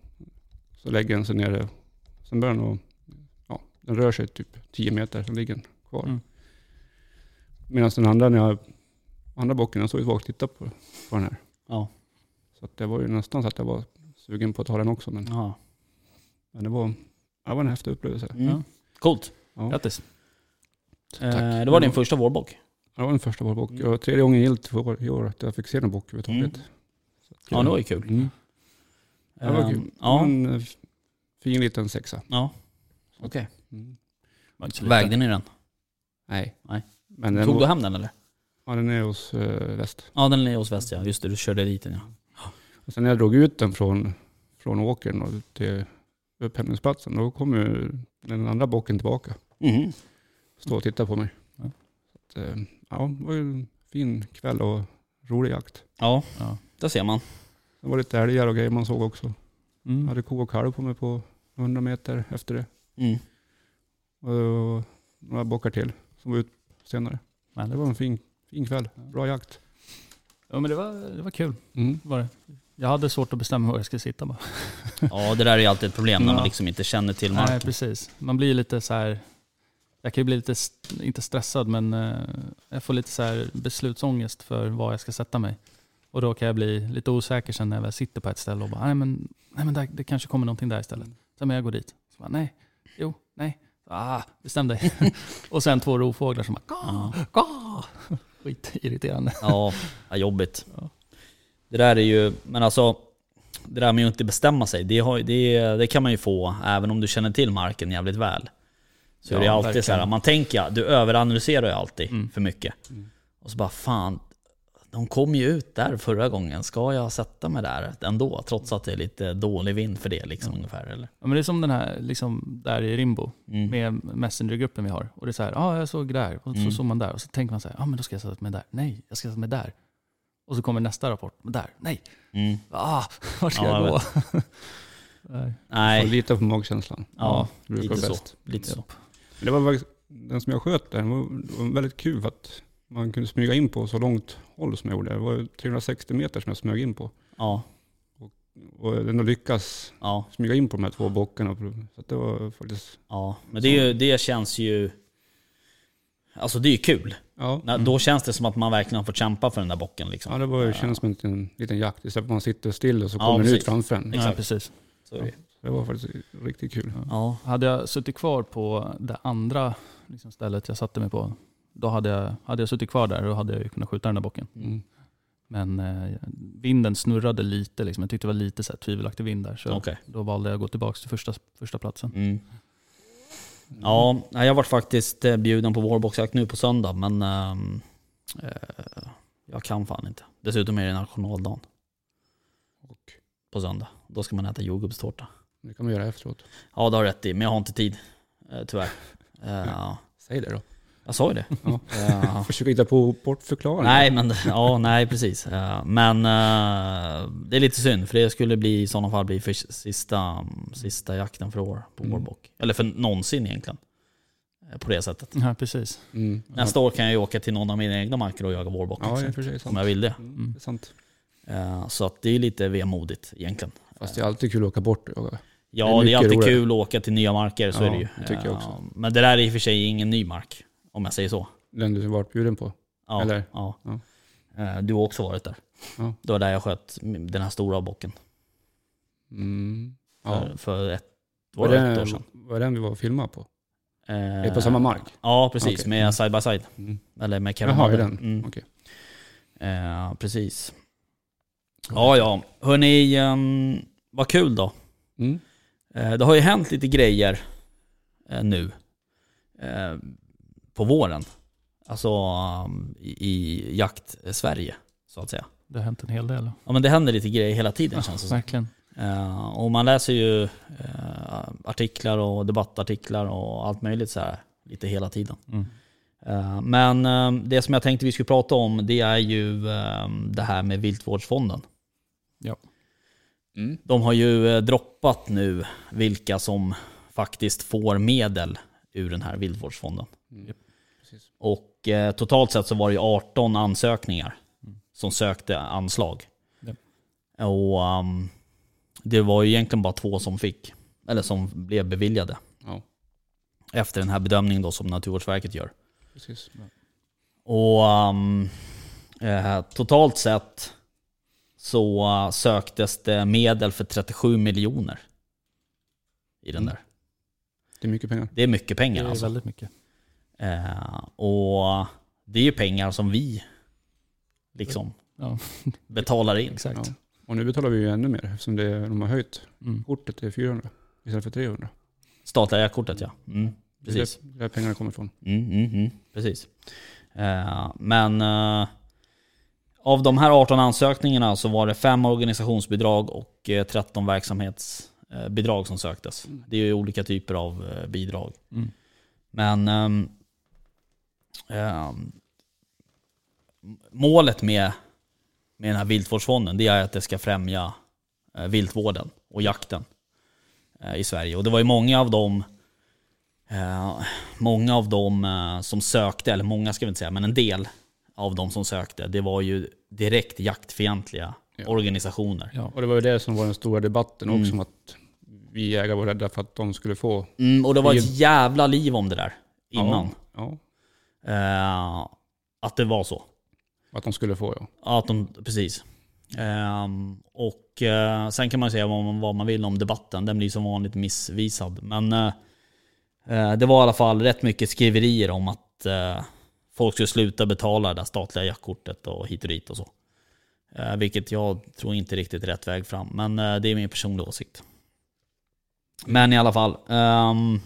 [SPEAKER 1] Så lägger den sig ner. Sen börjar den att, ja, den rör sig typ 10 meter, sen ligger den kvar.
[SPEAKER 3] Mm.
[SPEAKER 1] Medan den andra, när jag, andra bocken, jag såg ju svagt och tittade på, på den här.
[SPEAKER 2] Ja.
[SPEAKER 1] Så att det var ju nästan så att jag var sugen på att ta den också. Men,
[SPEAKER 2] Jaha.
[SPEAKER 1] men det, var, det var en häftig upplevelse.
[SPEAKER 2] Mm. Coolt.
[SPEAKER 1] Ja.
[SPEAKER 3] Grattis.
[SPEAKER 2] Eh, det var din första vårbock.
[SPEAKER 1] Ja, det var den första vårbock.
[SPEAKER 2] Mm.
[SPEAKER 1] Det var tredje gången gillt för år- i år att jag fick se en bock överhuvudtaget.
[SPEAKER 2] Mm.
[SPEAKER 1] Så att,
[SPEAKER 2] Ja, det var ju kul.
[SPEAKER 1] Mm. Ja, det var
[SPEAKER 2] Ehm,
[SPEAKER 1] kul.
[SPEAKER 2] Ja.
[SPEAKER 1] En eh, fin liten sexa.
[SPEAKER 2] ja. Okej.
[SPEAKER 1] Mm.
[SPEAKER 3] Var inte så lite.
[SPEAKER 2] Vägde ni den?
[SPEAKER 1] Nej.
[SPEAKER 2] Nej.
[SPEAKER 1] Men den,
[SPEAKER 2] Tog du
[SPEAKER 1] var,
[SPEAKER 2] hem den eller?
[SPEAKER 1] ja, den är hos eh, väst.
[SPEAKER 2] Ja, den är hos väst ja. Just det, du körde dit den ja.
[SPEAKER 1] Och sen när jag drog ut den från, från åkern och till upphämtningsplatsen, då kom ju den andra bocken tillbaka.
[SPEAKER 2] Mm.
[SPEAKER 1] Stå och titta på mig.
[SPEAKER 3] Ja.
[SPEAKER 1] Så att, eh, ja, det var ju en fin kväll och rolig jakt.
[SPEAKER 2] Ja,
[SPEAKER 3] Ja.
[SPEAKER 2] där ser man.
[SPEAKER 1] Det var lite älgar och grejer man såg också. Jag
[SPEAKER 3] Mm.
[SPEAKER 1] hade ko och kalv på mig på 100 meter efter det.
[SPEAKER 2] Mm.
[SPEAKER 1] och några bockar till som var ut senare.
[SPEAKER 3] Men
[SPEAKER 1] Det var en fin, fin kväll, bra jakt.
[SPEAKER 3] Ja, men det var, det var kul.
[SPEAKER 1] Mm.
[SPEAKER 3] Var det. Jag hade svårt att bestämma var jag skulle sitta bara.
[SPEAKER 2] Ja, det där är ju alltid ett problem när man
[SPEAKER 3] Ja.
[SPEAKER 2] liksom inte känner till
[SPEAKER 3] Nej,
[SPEAKER 2] marken.
[SPEAKER 3] precis. Man blir lite så här... Jag kan ju bli lite, st- inte stressad, men eh, jag får lite så här beslutsångest för var jag ska sätta mig. Och då kan jag bli lite osäker sen när jag väl sitter på ett ställe och bara, nej men, nej, men där, det kanske kommer någonting där istället.
[SPEAKER 2] Mm.
[SPEAKER 3] Sen men jag går dit. Så bara, nej, jo, nej, ah, bestäm dig. och sen två rovfåglar som bara,
[SPEAKER 2] Ja.
[SPEAKER 3] Gah! Skitirriterande.
[SPEAKER 2] Ja, ja jobbigt.
[SPEAKER 3] Ja.
[SPEAKER 2] Det där är ju, men alltså, det där med att inte bestämma sig, det, har, ju- det, det kan man ju få även om du känner till marken jävligt väl. Så
[SPEAKER 3] Ja,
[SPEAKER 2] det är alltid
[SPEAKER 3] verkligen.
[SPEAKER 2] så här, man tänker, ja, du överanalyserar ju alltid
[SPEAKER 3] Mm.
[SPEAKER 2] för mycket.
[SPEAKER 1] Mm.
[SPEAKER 2] Och så bara, fan, de kom ju ut där förra gången, ska jag sätta mig där ändå? Trots att det är lite dålig vind för det liksom ungefär, eller?
[SPEAKER 3] Ja, men det är som den här, liksom, där i Rimbo, med Messengergruppen vi har. Och det är så här, ja ah, jag såg där, och så
[SPEAKER 2] Mm.
[SPEAKER 3] såg man där. Och så tänker man så här, ja ah, men då ska jag sätta mig där. Nej, jag ska sätta mig där. Och så kommer nästa rapport, men där, nej,
[SPEAKER 2] Mm.
[SPEAKER 3] ah, vart ska
[SPEAKER 2] Ja,
[SPEAKER 3] jag
[SPEAKER 2] jag
[SPEAKER 3] gå? Nej.
[SPEAKER 1] Så
[SPEAKER 2] Nej,
[SPEAKER 1] lite på magkänslan.
[SPEAKER 2] ja,
[SPEAKER 1] det brukar
[SPEAKER 2] lite
[SPEAKER 1] vara
[SPEAKER 2] så.
[SPEAKER 1] bäst.
[SPEAKER 2] lite så.
[SPEAKER 1] Men det var faktiskt, den som jag sköt där, den var, det var väldigt kul för att man kunde smyga in på så långt håll som jag gjorde. Det var ju 360 meter som jag smög in på.
[SPEAKER 2] Ja,
[SPEAKER 1] Och jag ändå lyckas
[SPEAKER 2] ja.
[SPEAKER 1] smyga in på de här två bockarna. Så att det var faktiskt,
[SPEAKER 2] Ja, men det, är ju, det känns ju... Alltså det är ju kul.
[SPEAKER 1] ja.
[SPEAKER 2] När- Då känns det som att man verkligen har fått kämpa för den där bocken liksom.
[SPEAKER 1] Ja, det var ju, känns som en liten, liten jakt. Istället för att man sitter still och så
[SPEAKER 2] Ja,
[SPEAKER 1] kommer den ut
[SPEAKER 2] precis.
[SPEAKER 1] framför en.
[SPEAKER 2] Exakt.
[SPEAKER 3] Ja, precis.
[SPEAKER 2] Så är det.
[SPEAKER 1] Det var faktiskt riktigt kul.
[SPEAKER 2] Ja.
[SPEAKER 3] Hade jag suttit kvar på det andra liksom, stället jag satte mig på, då hade jag, hade jag suttit kvar där och hade jag ju kunnat skjuta den där bocken.
[SPEAKER 1] Mm.
[SPEAKER 3] Men eh, vinden snurrade lite, liksom. jag tyckte det var lite så här, tvivelaktig vind där. Så
[SPEAKER 2] Okej.
[SPEAKER 3] då valde jag att gå tillbaka till första, första platsen.
[SPEAKER 2] Mm. Ja, nej, jag vart faktiskt eh, bjuden på vårboxjakt nu på söndag, men ehm, eh, jag kan fan inte. Dessutom är det nationaldagen.
[SPEAKER 1] Och?
[SPEAKER 2] På söndag. Då ska man äta jordgubbstårta.
[SPEAKER 1] Det kan man göra efteråt.
[SPEAKER 2] Ja, det har du rätt i, men jag har inte tid. Eh, tyvärr. Eh,
[SPEAKER 1] Säg det då.
[SPEAKER 2] jag sa ju det.
[SPEAKER 1] Mm. Ja.
[SPEAKER 2] Eh,
[SPEAKER 1] Försök hitta på bortförklaringar.
[SPEAKER 2] nej, men ja, nej, precis. Eh, men eh, det är lite synd, för det skulle bli, i sådana fall bli för sista, sista jakten för år på
[SPEAKER 1] Mm.
[SPEAKER 2] vårbock. Eller för någonsin egentligen. Eh, På det sättet.
[SPEAKER 3] Ja, precis.
[SPEAKER 1] Mm.
[SPEAKER 2] Nästa år kan jag ju åka till någon av mina egna marker och jaga vårbock.
[SPEAKER 1] Ja, i och
[SPEAKER 2] liksom,
[SPEAKER 1] för sig.
[SPEAKER 2] om
[SPEAKER 1] Sant.
[SPEAKER 2] jag vill det.
[SPEAKER 1] Mm, det är sant.
[SPEAKER 2] Eh, Så att det är lite vemodigt egentligen.
[SPEAKER 1] Fast det är alltid kul att åka bort. och jaga.
[SPEAKER 2] Ja,
[SPEAKER 1] Det är
[SPEAKER 2] det är,
[SPEAKER 1] mycket
[SPEAKER 2] alltid
[SPEAKER 1] roligare.
[SPEAKER 2] kul att åka till nya marker, så
[SPEAKER 1] Ja,
[SPEAKER 2] är det ju.
[SPEAKER 1] det tycker jag
[SPEAKER 2] Eh,
[SPEAKER 1] också.
[SPEAKER 2] Men det där är i och för sig ingen ny mark, om jag säger så.
[SPEAKER 1] Den du varit bjuden på.
[SPEAKER 2] Ja,
[SPEAKER 1] Eller?
[SPEAKER 2] Ja.
[SPEAKER 1] Ja.
[SPEAKER 2] Eh, Du har också varit där.
[SPEAKER 1] Ja.
[SPEAKER 2] Det var där jag sköt den här stora bocken
[SPEAKER 1] Mm. Ja.
[SPEAKER 2] för, för ett, var
[SPEAKER 1] Var
[SPEAKER 2] det ett år
[SPEAKER 1] det,
[SPEAKER 2] sedan.
[SPEAKER 1] var det den vi var och filmade på?
[SPEAKER 2] Eh,
[SPEAKER 1] Är det på samma mark?
[SPEAKER 2] Ja, precis.
[SPEAKER 1] Okej.
[SPEAKER 2] Med side by side.
[SPEAKER 1] Mm.
[SPEAKER 2] Eller med Kevin
[SPEAKER 1] Jaha, är
[SPEAKER 2] Mulder.
[SPEAKER 1] den?
[SPEAKER 2] Mm.
[SPEAKER 1] Okej.
[SPEAKER 2] Eh, precis. Ja, ja. Hörni, um, vad kul då.
[SPEAKER 1] Mm.
[SPEAKER 2] Eh, Det har ju hänt lite grejer eh, nu eh, på våren. Alltså um, i, i jakt-Sverige, så att säga.
[SPEAKER 3] Det har hänt en hel del.
[SPEAKER 2] Ja, men det händer lite grejer hela tiden
[SPEAKER 3] Ja,
[SPEAKER 2] känns det som.
[SPEAKER 3] verkligen.
[SPEAKER 2] Eh, Och man läser ju eh, artiklar och debattartiklar och allt möjligt så här lite hela tiden.
[SPEAKER 3] Mm.
[SPEAKER 2] Eh, Men eh, det som jag tänkte vi skulle prata om det är ju eh, det här med Viltvårdsfonden.
[SPEAKER 3] Ja.
[SPEAKER 1] Mm.
[SPEAKER 2] De har ju eh, droppat nu vilka som faktiskt får medel ur den här viltvårdsfonden.
[SPEAKER 1] Mm. Precis.
[SPEAKER 2] Och eh, totalt sett så var det ju 18 ansökningar som sökte anslag.
[SPEAKER 3] Ja.
[SPEAKER 2] Och ehm, det var ju egentligen bara två som fick, eller som blev beviljade.
[SPEAKER 1] Ja,
[SPEAKER 2] Efter den här bedömningen då som Naturvårdsverket gör.
[SPEAKER 1] precis.
[SPEAKER 2] Och ehm, eh, totalt sett så eh, söktes det medel för 37 miljoner i den
[SPEAKER 1] Mm.
[SPEAKER 2] där.
[SPEAKER 1] Det är mycket pengar.
[SPEAKER 2] Det är mycket
[SPEAKER 3] Det
[SPEAKER 2] pengar
[SPEAKER 3] är
[SPEAKER 2] alltså.
[SPEAKER 3] väldigt mycket.
[SPEAKER 2] Eh, och det är ju pengar som vi liksom
[SPEAKER 3] Ja.
[SPEAKER 2] betalar in.
[SPEAKER 3] Exakt.
[SPEAKER 1] Ja. Och nu betalar vi ju ännu mer eftersom det, de har höjt
[SPEAKER 3] Mm.
[SPEAKER 1] kortet till 400 istället för 300.
[SPEAKER 2] Statliga jaktkortet ja. Mm, precis.
[SPEAKER 1] Det är där- där pengarna kommer ifrån.
[SPEAKER 2] Mm, mm, mm, precis. Eh, men eh, av de här 18 ansökningarna så var det fem organisationsbidrag och eh, 13 verksamhetsbidrag som söktes. Det är ju olika typer av eh, bidrag.
[SPEAKER 3] Mm.
[SPEAKER 2] Men ehm, ehm, målet med, med den här viltvårdsfonden det är att det ska främja eh, viltvården och jakten eh, i Sverige. Och det var ju många av dem eh, många av dem eh, som sökte, eller många ska vi inte säga, men en del av de som sökte, det var ju direkt jaktfientliga
[SPEAKER 1] Ja.
[SPEAKER 2] organisationer.
[SPEAKER 3] Ja.
[SPEAKER 1] Och det var ju det som var den stora debatten
[SPEAKER 2] Mm.
[SPEAKER 1] också om att vi jägare var rädda för att de skulle få.
[SPEAKER 2] Mm, och det var
[SPEAKER 1] Det är
[SPEAKER 2] ett jävla liv om det där innan.
[SPEAKER 1] Ja,
[SPEAKER 2] Eh, att det var så.
[SPEAKER 1] att de skulle få ja.
[SPEAKER 2] Ja, att de, precis. Ehm, och eh, sen kan man ju säga vad man, vad man vill om debatten. Den blir som vanligt missvisad. Men eh, eh, det var i alla fall rätt mycket skriverier om att eh, folk skulle sluta betala det där statliga jaktkortet och hit och dit och så. Eh, vilket jag tror inte riktigt är rätt väg fram. Men eh, det är min personliga åsikt. Men i alla fall. ehm,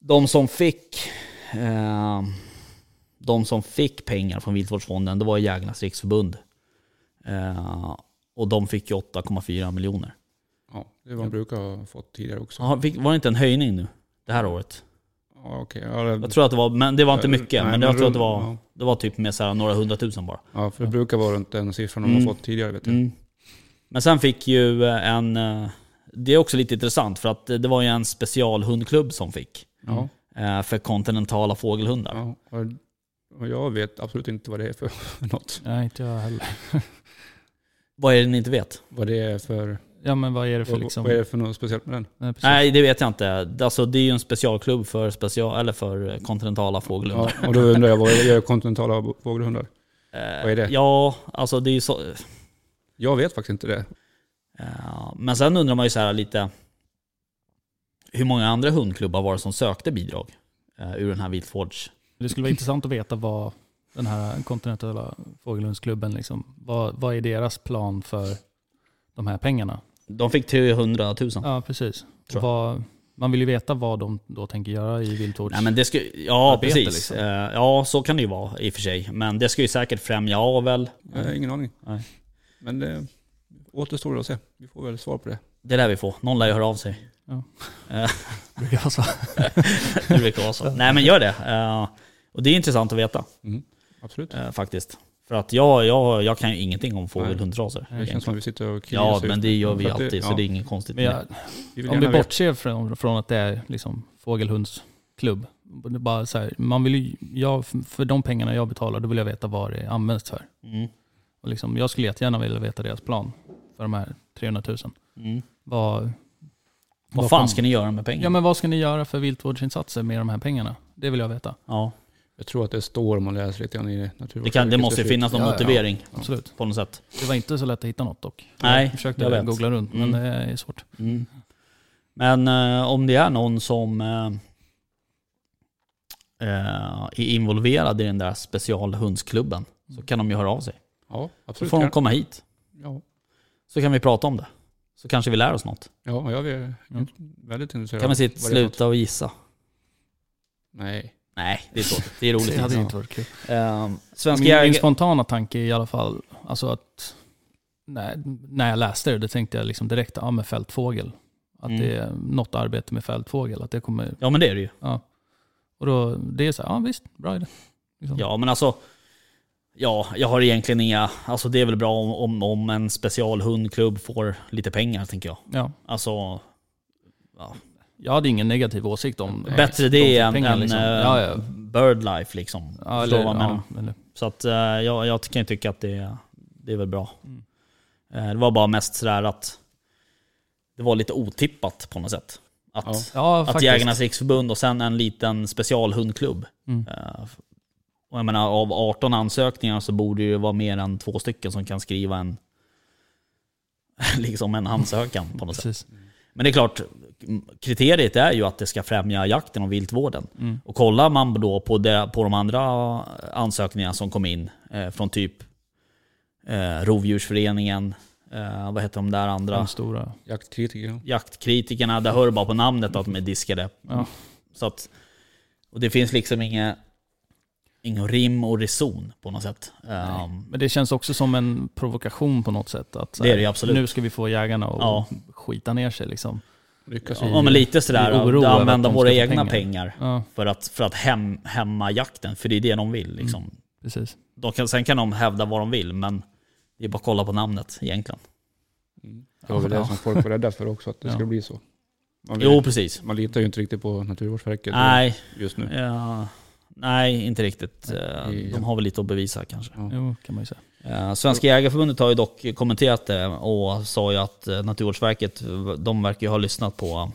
[SPEAKER 2] de som fick ehm, de som fick pengar från Viltvårdsfonden, det var Jägarnas Riksförbund. Eh, och de fick ju 8,4 miljoner.
[SPEAKER 1] ja. Det är vad man brukar ha fått tidigare också.
[SPEAKER 2] Ja, fick- Var det inte en höjning nu? Det här året?
[SPEAKER 1] Ja, okej. Ja, det-
[SPEAKER 2] Jag tror att det var, men det var inte mycket.
[SPEAKER 1] Nej,
[SPEAKER 2] men jag tror att det
[SPEAKER 1] runt-
[SPEAKER 2] var, det var typ med så här några hundratusen bara.
[SPEAKER 1] Ja, för det brukar vara runt den siffran de
[SPEAKER 2] Mm.
[SPEAKER 1] har fått tidigare. Vet jag.
[SPEAKER 2] Mm. Men sen fick ju en... eh, Det är också lite intressant för att det var ju en specialhundklubb som fick.
[SPEAKER 1] Ja,
[SPEAKER 2] eh, För kontinentala fågelhundar.
[SPEAKER 1] ja. Och- Och jag vet absolut inte vad det är för något.
[SPEAKER 3] Nej, inte jag heller.
[SPEAKER 2] Vad är det ni inte vet?
[SPEAKER 1] Vad det är för,
[SPEAKER 3] Ja, men vad är det för
[SPEAKER 1] vad,
[SPEAKER 3] liksom...
[SPEAKER 1] vad är det för något speciellt med den?
[SPEAKER 3] Nej, precis.
[SPEAKER 2] Nej, det vet jag inte. Alltså, det är ju en specialklubb för, special, eller för kontinentala fågelhundar.
[SPEAKER 1] Ja, och då undrar jag, vad gör kontinentala fågelhundar?
[SPEAKER 2] Eh,
[SPEAKER 1] Vad är det?
[SPEAKER 2] Ja, alltså det är ju så.
[SPEAKER 1] Jag vet faktiskt inte det.
[SPEAKER 2] Eh, men sen undrar man ju så här lite. Hur många andra hundklubbar var det som sökte bidrag eh, ur den här viltvårds?
[SPEAKER 3] Det skulle vara intressant att veta vad den här kontinentala fågelundsklubben, liksom, vad, vad är deras plan för de här pengarna?
[SPEAKER 2] De fick 300 000.
[SPEAKER 3] Ja, precis.
[SPEAKER 2] Tror jag.
[SPEAKER 3] Vad, man vill ju veta vad de då tänker göra i viltvårds...
[SPEAKER 2] Nej, men det skulle, ja,
[SPEAKER 3] Arbete,
[SPEAKER 2] precis.
[SPEAKER 3] liksom.
[SPEAKER 2] Eh, Ja, så kan det ju vara i och för sig. Men det ska ju säkert främja avel.
[SPEAKER 1] Jag har ingen aning.
[SPEAKER 2] Nej.
[SPEAKER 1] Men det återstår att se. Vi får väl svar på det.
[SPEAKER 2] Det lär vi få. Någon lär ju höra av sig.
[SPEAKER 3] Ja.
[SPEAKER 2] Eh,
[SPEAKER 3] brukar vara så.
[SPEAKER 2] det brukar vara så. Nej, men gör det. Eh, Och det är intressant att veta
[SPEAKER 1] Mm. Absolut.
[SPEAKER 2] eh, faktiskt. För att jag, jag, jag kan ju ingenting om fågelhundraser.
[SPEAKER 1] Det känns som att vi sitter och kliar
[SPEAKER 2] Ja,
[SPEAKER 1] oss
[SPEAKER 2] men
[SPEAKER 1] just
[SPEAKER 2] det
[SPEAKER 1] nu.
[SPEAKER 2] gör vi
[SPEAKER 1] För att
[SPEAKER 2] alltid, så
[SPEAKER 1] ja,
[SPEAKER 2] det är inget konstigt
[SPEAKER 3] Men
[SPEAKER 2] med det.
[SPEAKER 3] jag,
[SPEAKER 1] vi vill
[SPEAKER 3] om vi
[SPEAKER 1] gärna veta.
[SPEAKER 3] bortser från, från att det är liksom fågelhundsklubb. Det är bara så här, man vill ju, jag, för de pengarna jag betalar, då vill jag veta vad det används för.
[SPEAKER 2] Mm.
[SPEAKER 3] Och liksom, jag skulle jättegärna vilja veta deras plan för de här 300 000.
[SPEAKER 2] Mm.
[SPEAKER 3] Vad,
[SPEAKER 2] Vad fan
[SPEAKER 3] kom-
[SPEAKER 2] ska ni göra med pengarna?
[SPEAKER 3] Ja, men vad ska ni göra för viltvårdsinsatser med de här pengarna? Det vill jag veta.
[SPEAKER 2] Ja,
[SPEAKER 1] Jag tror att det står om man läser lite grann i
[SPEAKER 2] det, kan, det måste ju finnas någon
[SPEAKER 3] Ja, ja, ja.
[SPEAKER 2] motivering
[SPEAKER 3] Absolut.
[SPEAKER 2] på något sätt.
[SPEAKER 3] Det var inte så lätt att hitta något dock.
[SPEAKER 2] Nej,
[SPEAKER 3] jag försökte
[SPEAKER 2] jag vet.
[SPEAKER 3] googla runt, men
[SPEAKER 2] Mm.
[SPEAKER 3] det är svårt.
[SPEAKER 2] Men eh, om det är någon som eh, eh, är involverad i den där specialhundsklubben så kan de ju höra av sig.
[SPEAKER 1] Ja,
[SPEAKER 2] Så
[SPEAKER 1] absolut.
[SPEAKER 2] får de
[SPEAKER 1] Kan-
[SPEAKER 2] komma hit,
[SPEAKER 1] Ja,
[SPEAKER 2] så kan vi prata om det. Så kanske vi lär oss något.
[SPEAKER 1] ja jag är
[SPEAKER 3] Ja.
[SPEAKER 1] väldigt intresserad.
[SPEAKER 2] Kan vi
[SPEAKER 1] av
[SPEAKER 2] sitta
[SPEAKER 1] vad det är för något.
[SPEAKER 2] sluta och gissa?
[SPEAKER 1] Nej.
[SPEAKER 2] Nej, det är tråkigt. Det är roligt.
[SPEAKER 3] Det hade ju
[SPEAKER 2] Ja.
[SPEAKER 3] inte varit kul.
[SPEAKER 2] Ehm,
[SPEAKER 3] Min,
[SPEAKER 2] Svenska
[SPEAKER 3] min
[SPEAKER 2] jägare...
[SPEAKER 3] spontana tanke är i alla fall, alltså att när, när jag läste det, då tänkte jag liksom direkt, ja men fältfågel. Att
[SPEAKER 2] Mm.
[SPEAKER 3] det är något arbete med fältfågel, att det kommer,
[SPEAKER 2] Ja men det är det ju.
[SPEAKER 3] ja. Och då, det är så här, ja visst, bra idé. Liksom.
[SPEAKER 2] Ja men alltså, ja jag har egentligen inga, alltså det är väl bra om, om, om en specialhundklubb får lite pengar tänker jag.
[SPEAKER 3] ja.
[SPEAKER 2] Alltså
[SPEAKER 3] Jag hade ingen negativ åsikt om
[SPEAKER 2] bättre
[SPEAKER 3] de fick
[SPEAKER 2] det än,
[SPEAKER 3] pengar,
[SPEAKER 2] än
[SPEAKER 3] liksom.
[SPEAKER 2] eh,
[SPEAKER 3] ja, ja.
[SPEAKER 2] Birdlife liksom.
[SPEAKER 3] Ja,
[SPEAKER 2] Förstår
[SPEAKER 3] eller,
[SPEAKER 2] du vad jag menar?
[SPEAKER 3] ja, eller,
[SPEAKER 2] Så att, eh, jag, jag kan ju tycka att det, det är väl bra.
[SPEAKER 3] Mm.
[SPEAKER 2] Eh, det var bara mest sådär att det var lite otippat på något sätt. Att,
[SPEAKER 1] Ja.
[SPEAKER 3] ja,
[SPEAKER 2] att
[SPEAKER 3] faktiskt.
[SPEAKER 2] Jägarnas Riksförbund och sen en liten specialhundklubb.
[SPEAKER 3] Mm.
[SPEAKER 2] Eh, och jag menar, av 18 ansökningar så borde det ju vara mer än två stycken som kan skriva en, liksom en ansökan på något sätt.
[SPEAKER 3] Precis.
[SPEAKER 2] Men det är klart, m- kriteriet är ju att det ska främja jakten och viltvården.
[SPEAKER 3] Mm.
[SPEAKER 2] Och kollar man då på, det, på de andra eh, ansökningarna som kom in eh, från typ eh, Rovdjursföreningen, eh, vad heter de där andra?
[SPEAKER 3] De stora.
[SPEAKER 1] Jaktkritiker. ja.
[SPEAKER 2] Jaktkritikerna, där hör du bara på namnet att de är diskade.
[SPEAKER 3] Ja.
[SPEAKER 2] Så att, och det finns liksom inget ingen rim och reson på något sätt. Ehm,
[SPEAKER 3] Men det känns också som en provokation på något sätt. Att, så
[SPEAKER 2] Det är
[SPEAKER 3] här,
[SPEAKER 2] det ju absolut.
[SPEAKER 3] Nu ska vi få jägarna att
[SPEAKER 2] Ja.
[SPEAKER 3] skita ner sig. Liksom.
[SPEAKER 1] Lyckas
[SPEAKER 3] Ja,
[SPEAKER 1] vi.
[SPEAKER 2] ja men lite sådär,
[SPEAKER 3] i oro
[SPEAKER 2] att
[SPEAKER 3] över
[SPEAKER 2] använda
[SPEAKER 3] att de
[SPEAKER 2] våra
[SPEAKER 3] ska få
[SPEAKER 2] egna
[SPEAKER 3] pengar.
[SPEAKER 2] pengar,
[SPEAKER 3] Ja,
[SPEAKER 2] för att, för att hem, hämma jakten, för det är det de vill. Liksom.
[SPEAKER 3] precis.
[SPEAKER 2] De kan, sen kan de hävda vad de vill, men det är bara att kolla på namnet egentligen.
[SPEAKER 1] Mm. Det var väl
[SPEAKER 3] Ja.
[SPEAKER 1] det som folk var rädda för också, att det
[SPEAKER 3] Ja.
[SPEAKER 1] skulle bli så. Man,
[SPEAKER 2] Jo, precis.
[SPEAKER 1] man litar ju inte riktigt på Naturvårdsverket
[SPEAKER 2] Nej,
[SPEAKER 1] just nu.
[SPEAKER 2] ja, nej, inte riktigt. Eh,
[SPEAKER 1] det är-
[SPEAKER 2] De har väl lite att bevisa kanske.
[SPEAKER 3] Jo, kan man ju säga.
[SPEAKER 2] Eh, Svenska Jägareförbundet har ju dock kommenterat det och sa ju att eh, Naturvårdsverket, de verkar ju ha lyssnat på,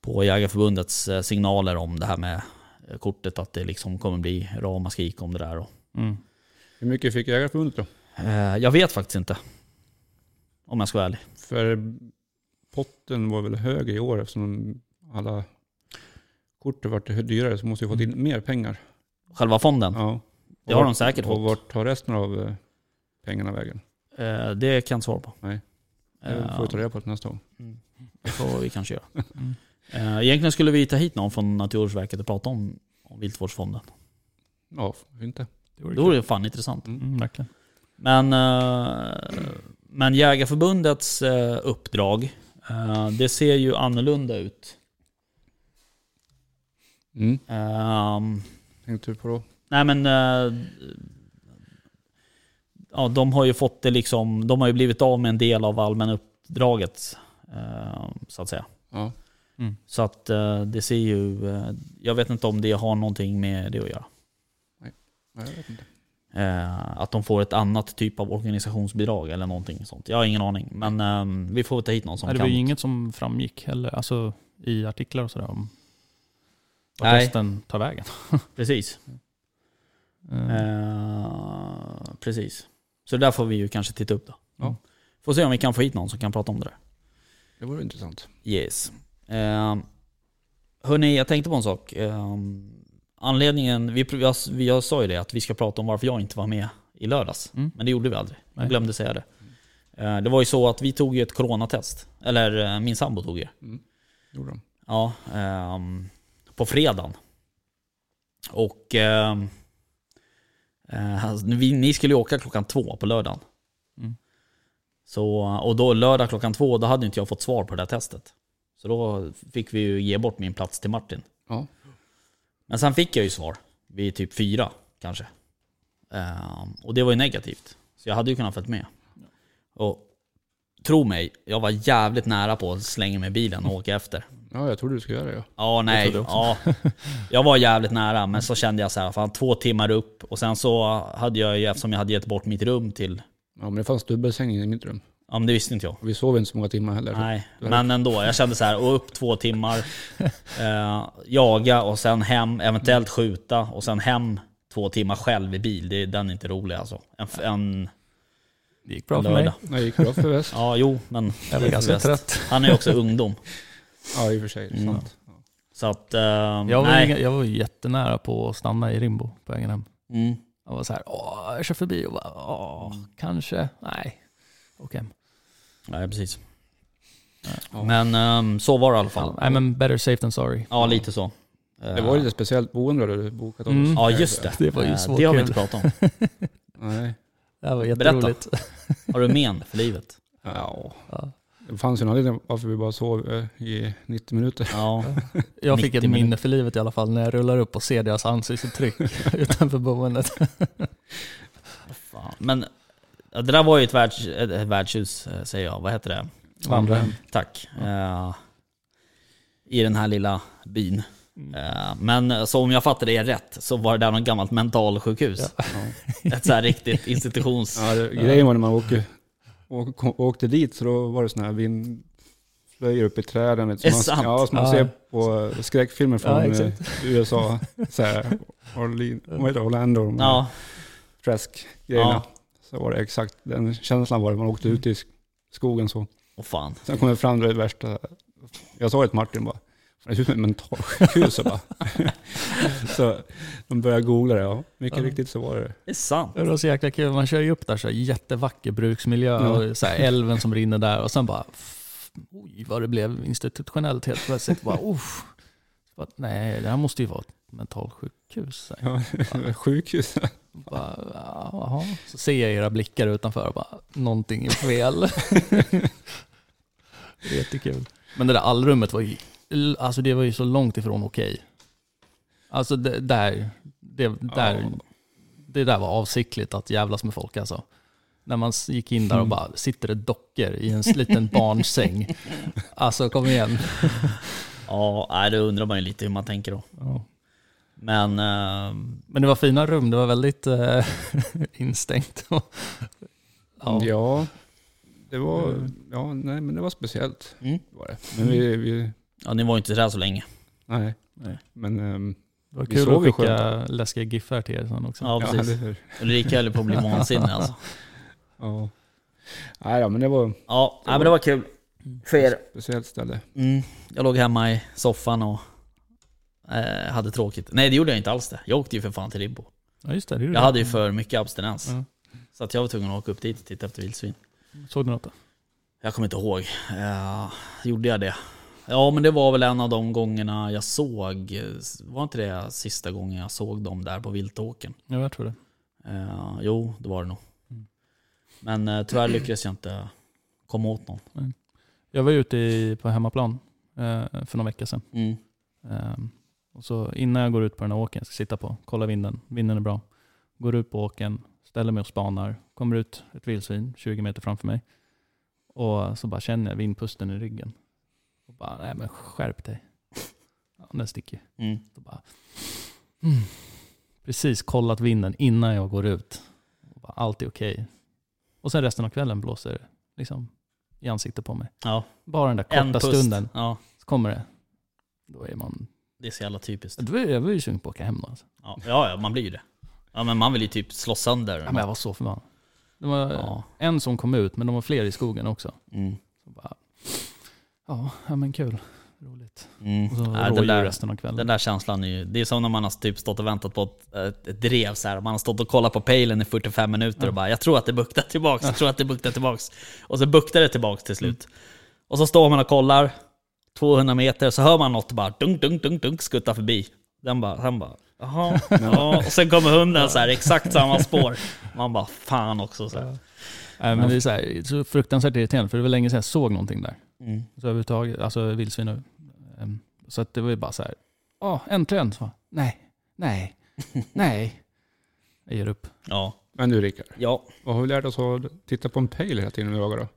[SPEAKER 2] på Jägareförbundets eh, signaler om det här med eh, kortet, att det liksom kommer bli ramaskrik om det där. Och,
[SPEAKER 3] Mm.
[SPEAKER 1] Hur mycket fick Jägareförbundet då?
[SPEAKER 2] eh, jag vet faktiskt inte. Om jag ska vara ärlig.
[SPEAKER 1] För potten var väl högre i år eftersom alla kort har varit dyrare så måste vi fått in mer pengar.
[SPEAKER 2] Själva fonden,
[SPEAKER 1] Ja.
[SPEAKER 2] Mm. det har
[SPEAKER 1] Och
[SPEAKER 2] de säkert
[SPEAKER 1] Och
[SPEAKER 2] fått.
[SPEAKER 1] vart tar resten av eh, pengarna vägen?
[SPEAKER 2] Eh, det kan jag inte svara på.
[SPEAKER 1] Nej. Det
[SPEAKER 2] Eh,
[SPEAKER 1] får vi ta reda på till nästa gång.
[SPEAKER 2] det får vi kanske göra.
[SPEAKER 3] Mm.
[SPEAKER 2] Eh, egentligen skulle vi ta hit någon från Naturvårdsverket och prata om, om Viltvårdsfonden.
[SPEAKER 1] Ja, varför inte.
[SPEAKER 3] Det vore
[SPEAKER 2] Det
[SPEAKER 3] kul.
[SPEAKER 2] vore ju fan intressant.
[SPEAKER 3] Mm, verkligen.
[SPEAKER 2] Men, eh, men Jägarförbundets eh, uppdrag, eh, det ser ju annorlunda ut.
[SPEAKER 1] Mm.
[SPEAKER 2] Ehm,
[SPEAKER 1] Tänkte du på då?
[SPEAKER 2] nej men... eh, ja, de har ju fått det liksom... De har ju blivit av med en del av allmänna uppdraget, eh, så att säga.
[SPEAKER 1] Ja.
[SPEAKER 2] Så att eh, det ser ju... eh, jag vet inte om det har någonting med det att göra.
[SPEAKER 1] Nej, jag vet inte.
[SPEAKER 2] Eh, att de får ett annat typ av organisationsbidrag eller någonting sånt. Jag har ingen aning. Men eh, vi får ta hit någon som
[SPEAKER 3] Nej, det var
[SPEAKER 2] kan.
[SPEAKER 3] ju inget som framgick heller, alltså, i artiklar och sådär om vart
[SPEAKER 2] Nej.
[SPEAKER 3] resten tar vägen.
[SPEAKER 2] Precis.
[SPEAKER 3] Mm.
[SPEAKER 2] Eh, precis. Så där får vi ju kanske titta upp då.
[SPEAKER 1] Ja.
[SPEAKER 2] Får se om vi kan få hit någon som kan prata om det där.
[SPEAKER 1] Det vore intressant.
[SPEAKER 2] Ehm, Yes. Eh, hörni, jag tänkte på en sak. Eh, anledningen, vi, vi, jag, vi- jag sa ju det att vi ska prata om varför jag inte var med i lördags.
[SPEAKER 3] Mm.
[SPEAKER 2] Men det gjorde vi aldrig. Jag
[SPEAKER 3] Nej.
[SPEAKER 2] glömde säga det. Eh, Det var ju så att vi tog ju ett coronatest. Eller eh, min sambo tog ju.
[SPEAKER 1] Mm. Gjorde de.
[SPEAKER 2] Ja, ehm, på fredagen. Och ehm, eh, alltså, vi, ni skulle ju åka klockan två på lördagen.
[SPEAKER 3] Mm.
[SPEAKER 2] Så, och då lördag klockan två, då hade inte jag fått svar på det där testet. Så då fick vi ju ge bort min plats till Martin.
[SPEAKER 1] Ja.
[SPEAKER 2] Men sen fick jag ju svar vid typ fyra kanske. Ehm, och det var ju negativt. Så jag hade ju kunnat följt med. Och tro mig, jag var jävligt nära på att slänga mig i bilen och åka efter.
[SPEAKER 1] ja, jag trodde du skulle göra det. Ja.
[SPEAKER 2] Ja, nej.
[SPEAKER 3] trodde
[SPEAKER 2] Ja. Jag var jävligt nära, men så kände jag så här, fan två timmar upp. Och sen så hade jag ju, eftersom jag hade gett bort mitt rum till,
[SPEAKER 1] ja, men det fanns dubbelsäng i mitt rum.
[SPEAKER 2] ja men det visste inte jag.
[SPEAKER 1] Och vi sov inte så många timmar heller.
[SPEAKER 2] Nej, men ändå. Jag kände så här, och upp två timmar, eh, jaga och sen hem, eventuellt skjuta och sen hem två timmar själv i bil. Det, den är inte rolig alltså. En, en
[SPEAKER 3] Det gick bra för mig.
[SPEAKER 2] lördag.
[SPEAKER 1] Nej, det gick bra för väst.
[SPEAKER 2] Ja, jo, men
[SPEAKER 3] Jag var ganska
[SPEAKER 2] Väst.
[SPEAKER 3] trött.
[SPEAKER 2] han är ju också ungdom.
[SPEAKER 1] Ja, i och för sig.
[SPEAKER 2] Mm.
[SPEAKER 1] det är Sant. Ja.
[SPEAKER 2] Så att, eh,
[SPEAKER 3] Jag var,
[SPEAKER 2] nej.
[SPEAKER 3] ju, jag var ju jättenära på att stanna i Rimbo på egen hem.
[SPEAKER 2] Mm.
[SPEAKER 3] Jag var så här, åh, jag kör förbi och bara, åh, kanske, nej. Okej.
[SPEAKER 2] Nej, precis.
[SPEAKER 1] Ja.
[SPEAKER 2] Men ehm, så var det i alla fall.
[SPEAKER 3] Nej men better safe than sorry.
[SPEAKER 2] Ja, lite så.
[SPEAKER 1] Det var ju lite speciellt boende du hade bokat
[SPEAKER 3] Mm.
[SPEAKER 2] Ja, just det.
[SPEAKER 3] Det var ju
[SPEAKER 2] Eh,
[SPEAKER 3] så
[SPEAKER 2] Det har vi
[SPEAKER 3] kul.
[SPEAKER 2] inte pratat om.
[SPEAKER 1] Nej.
[SPEAKER 3] Det här var
[SPEAKER 2] Berätta.
[SPEAKER 3] jätteroligt.
[SPEAKER 2] Har du men för livet?
[SPEAKER 1] Ja.
[SPEAKER 3] Ja.
[SPEAKER 1] Det fanns ju en anledning varför vi bara sov eh, i 90 minuter.
[SPEAKER 2] Ja.
[SPEAKER 3] Jag fick ett
[SPEAKER 2] 90
[SPEAKER 3] minne
[SPEAKER 2] minuter.
[SPEAKER 3] för livet i alla fall när jag rullar upp och ser deras ansiktsuttryck utanför boendet.
[SPEAKER 2] Fan. Men ja, det där var ju ett, världs, ett ett värdshus, eh, säger jag. Vad heter det?
[SPEAKER 3] Vandrarhem.
[SPEAKER 2] Tack. Eh, I den här lilla byn. Eh, men eh, så om jag fattade er rätt så var det där något gammalt mentalsjukhus. Ett så här riktigt institutions...
[SPEAKER 1] Ja, det, grejen var när man åker, åk, kom- åkte dit så då var det sådana här vindflöjor uppe i träden. vet du,
[SPEAKER 2] Är
[SPEAKER 1] som
[SPEAKER 2] sant?
[SPEAKER 1] man, ja, som man
[SPEAKER 3] Ja.
[SPEAKER 1] ser på eh, skräckfilmer
[SPEAKER 3] Ja,
[SPEAKER 1] från eh,
[SPEAKER 3] exakt.
[SPEAKER 1] USA. Så här, Orlin, vad heter det, Orlando, de här
[SPEAKER 2] Ja,
[SPEAKER 1] Trask-grejerna.
[SPEAKER 2] Ja.
[SPEAKER 1] Så var det exakt den känslan var det. Man åkte ut i sk- skogen så.
[SPEAKER 2] och fan.
[SPEAKER 1] Sen kom jag fram till det värsta. Jag sa det till Martin bara, "Fan, det ser ut som ett mentalsjukhus. bara. så de började googla det. Ja. Mycket
[SPEAKER 3] Ja.
[SPEAKER 1] riktigt så var det.
[SPEAKER 2] Det är sant.
[SPEAKER 3] Det var så jäkla kul, man kör ju upp där så här, jättevacker bruksmiljö och så här, älven som rinner där och sen bara, f- oj vad det blev institutionellt helt plötsligt. Bara, uff. Så bara, Nej, det här måste ju vara ett mentalsjukhus. Så här.
[SPEAKER 1] Ja, sjukhus.
[SPEAKER 3] Bara, ja, jaha. Så ser jag era blickar utanför och bara, någonting är fel. Det är Jättekul. Men det där allrummet var ju, alltså det var ju så långt ifrån okej. Alltså det där, det där,
[SPEAKER 1] Ja.
[SPEAKER 3] det där var avsiktligt att jävlas med folk alltså. När man s- gick in där
[SPEAKER 1] Mm.
[SPEAKER 3] och bara, sitter det dockor i en s- liten barnsäng? Alltså kom igen.
[SPEAKER 2] Ja, nej, det undrar man ju lite hur man tänker då.
[SPEAKER 3] Ja.
[SPEAKER 2] Men ehm,
[SPEAKER 3] Men det var fina rum, det var väldigt eh, instängt. Ja.
[SPEAKER 1] Ja. det var, ja, nej, men det var speciellt.
[SPEAKER 2] Mm.
[SPEAKER 1] Det Var det. Men vi, vi
[SPEAKER 2] ja, ni var ju inte där så länge.
[SPEAKER 1] nej.
[SPEAKER 3] Nej.
[SPEAKER 1] Men ehm,
[SPEAKER 3] Det var
[SPEAKER 1] Vi
[SPEAKER 3] kul
[SPEAKER 1] sov
[SPEAKER 3] att
[SPEAKER 1] ju
[SPEAKER 3] skicka läskiga giffar till er sen också.
[SPEAKER 2] Ja,
[SPEAKER 1] ja,
[SPEAKER 2] precis.
[SPEAKER 1] det,
[SPEAKER 2] Ulrika höll på att bli vansinnig alltså.
[SPEAKER 1] ja. Nej, ja, men det var ett
[SPEAKER 2] Ja, nej, men det var kul. För er.
[SPEAKER 1] speciellt ställe.
[SPEAKER 2] Mm, jag låg hemma i soffan och eh, hade tråkigt. Nej, det gjorde jag inte alls det. Jag åkte ju för fan till Ribbo.
[SPEAKER 3] Ja, just det. det gjorde
[SPEAKER 2] Jag hade ju för mycket abstinens.
[SPEAKER 3] Ja.
[SPEAKER 2] Så att jag var tvungen att åka upp dit och titta efter vildsvin.
[SPEAKER 3] Såg du något då?
[SPEAKER 2] Jag kommer inte ihåg. Eh, gjorde jag det? Ja, men det var väl en av de gångerna jag såg. Var inte det sista gången jag såg dem där på viltåken?
[SPEAKER 3] Ja, jag tror det.
[SPEAKER 2] Eh, jo, det var det nog.
[SPEAKER 3] Mm.
[SPEAKER 2] Men eh, tyvärr lyckades jag inte komma åt någon.
[SPEAKER 3] Jag var ute i, på hemmaplan eh, för någon vecka sedan.
[SPEAKER 2] Mm.
[SPEAKER 3] Ehm, och så innan jag går ut på den här åken, jag ska sitta på, kolla vinden, vinden är bra. Går ut på åken, ställer mig och spanar, kommer ut ett vildsvin 20 meter framför mig. Och så bara känner jag vindpusten i ryggen. Och bara, nej men skärp dig. Ja, den sticker.
[SPEAKER 2] Mm.
[SPEAKER 3] Då bara, mm. Precis kollat vinden innan jag går ut. Och bara, Allt är okej. Och sen resten av kvällen blåser det liksom, i ansiktet på mig.
[SPEAKER 2] Ja,
[SPEAKER 3] Bara den där
[SPEAKER 2] en
[SPEAKER 3] korta
[SPEAKER 2] pust.
[SPEAKER 3] stunden
[SPEAKER 2] Ja,
[SPEAKER 3] så kommer det. Då är man...
[SPEAKER 2] det är så jävla typiskt.
[SPEAKER 3] Då är jag var ju sugen på att åka hem då. Alltså.
[SPEAKER 2] Ja, ja, ja, man blir ju det. Ja, men man vill ju typ slå sönder.
[SPEAKER 3] Ja, men jag var så förbannad. Det var
[SPEAKER 2] Ja.
[SPEAKER 3] en som kom ut, men de var fler i skogen också.
[SPEAKER 2] Mm.
[SPEAKER 3] Så bara, ja, ja, men kul. roligt.
[SPEAKER 2] Mm.
[SPEAKER 3] Och så
[SPEAKER 2] Nej,
[SPEAKER 3] rådjur
[SPEAKER 2] den, där,
[SPEAKER 3] resten av kvällen.
[SPEAKER 2] den där känslan är ju, det är som när man har typ stått och väntat på ett, ett, ett drev så här. Man har stått och kollat på pejlen i 45 minuter och bara jag tror att det buktar tillbaks, jag tror att det buktar tillbaks. Och så buktar det tillbaks till slut. Och så står man och kollar 200 meter så hör man något bara dunk, dunk, dunk, dunk skutta förbi. Den bara, han bara jaha, ja. Och sen kommer hunden så här exakt samma spår. Man bara fan också så här.
[SPEAKER 3] Nej, men det är så, här, det är så fruktansvärt irriterande, för det var länge sedan jag såg någonting där.
[SPEAKER 2] Mm.
[SPEAKER 3] Så överhuvudtaget, alltså vildsvin. och, ehm, Så att det var ju bara så här, ja äntligen. Så, nej, nej, nej. Jag ger upp.
[SPEAKER 2] Ja,
[SPEAKER 1] Men du Rickard,
[SPEAKER 2] ja.
[SPEAKER 1] vad har vi lärt oss att titta på en pejl hela tiden med ögat då?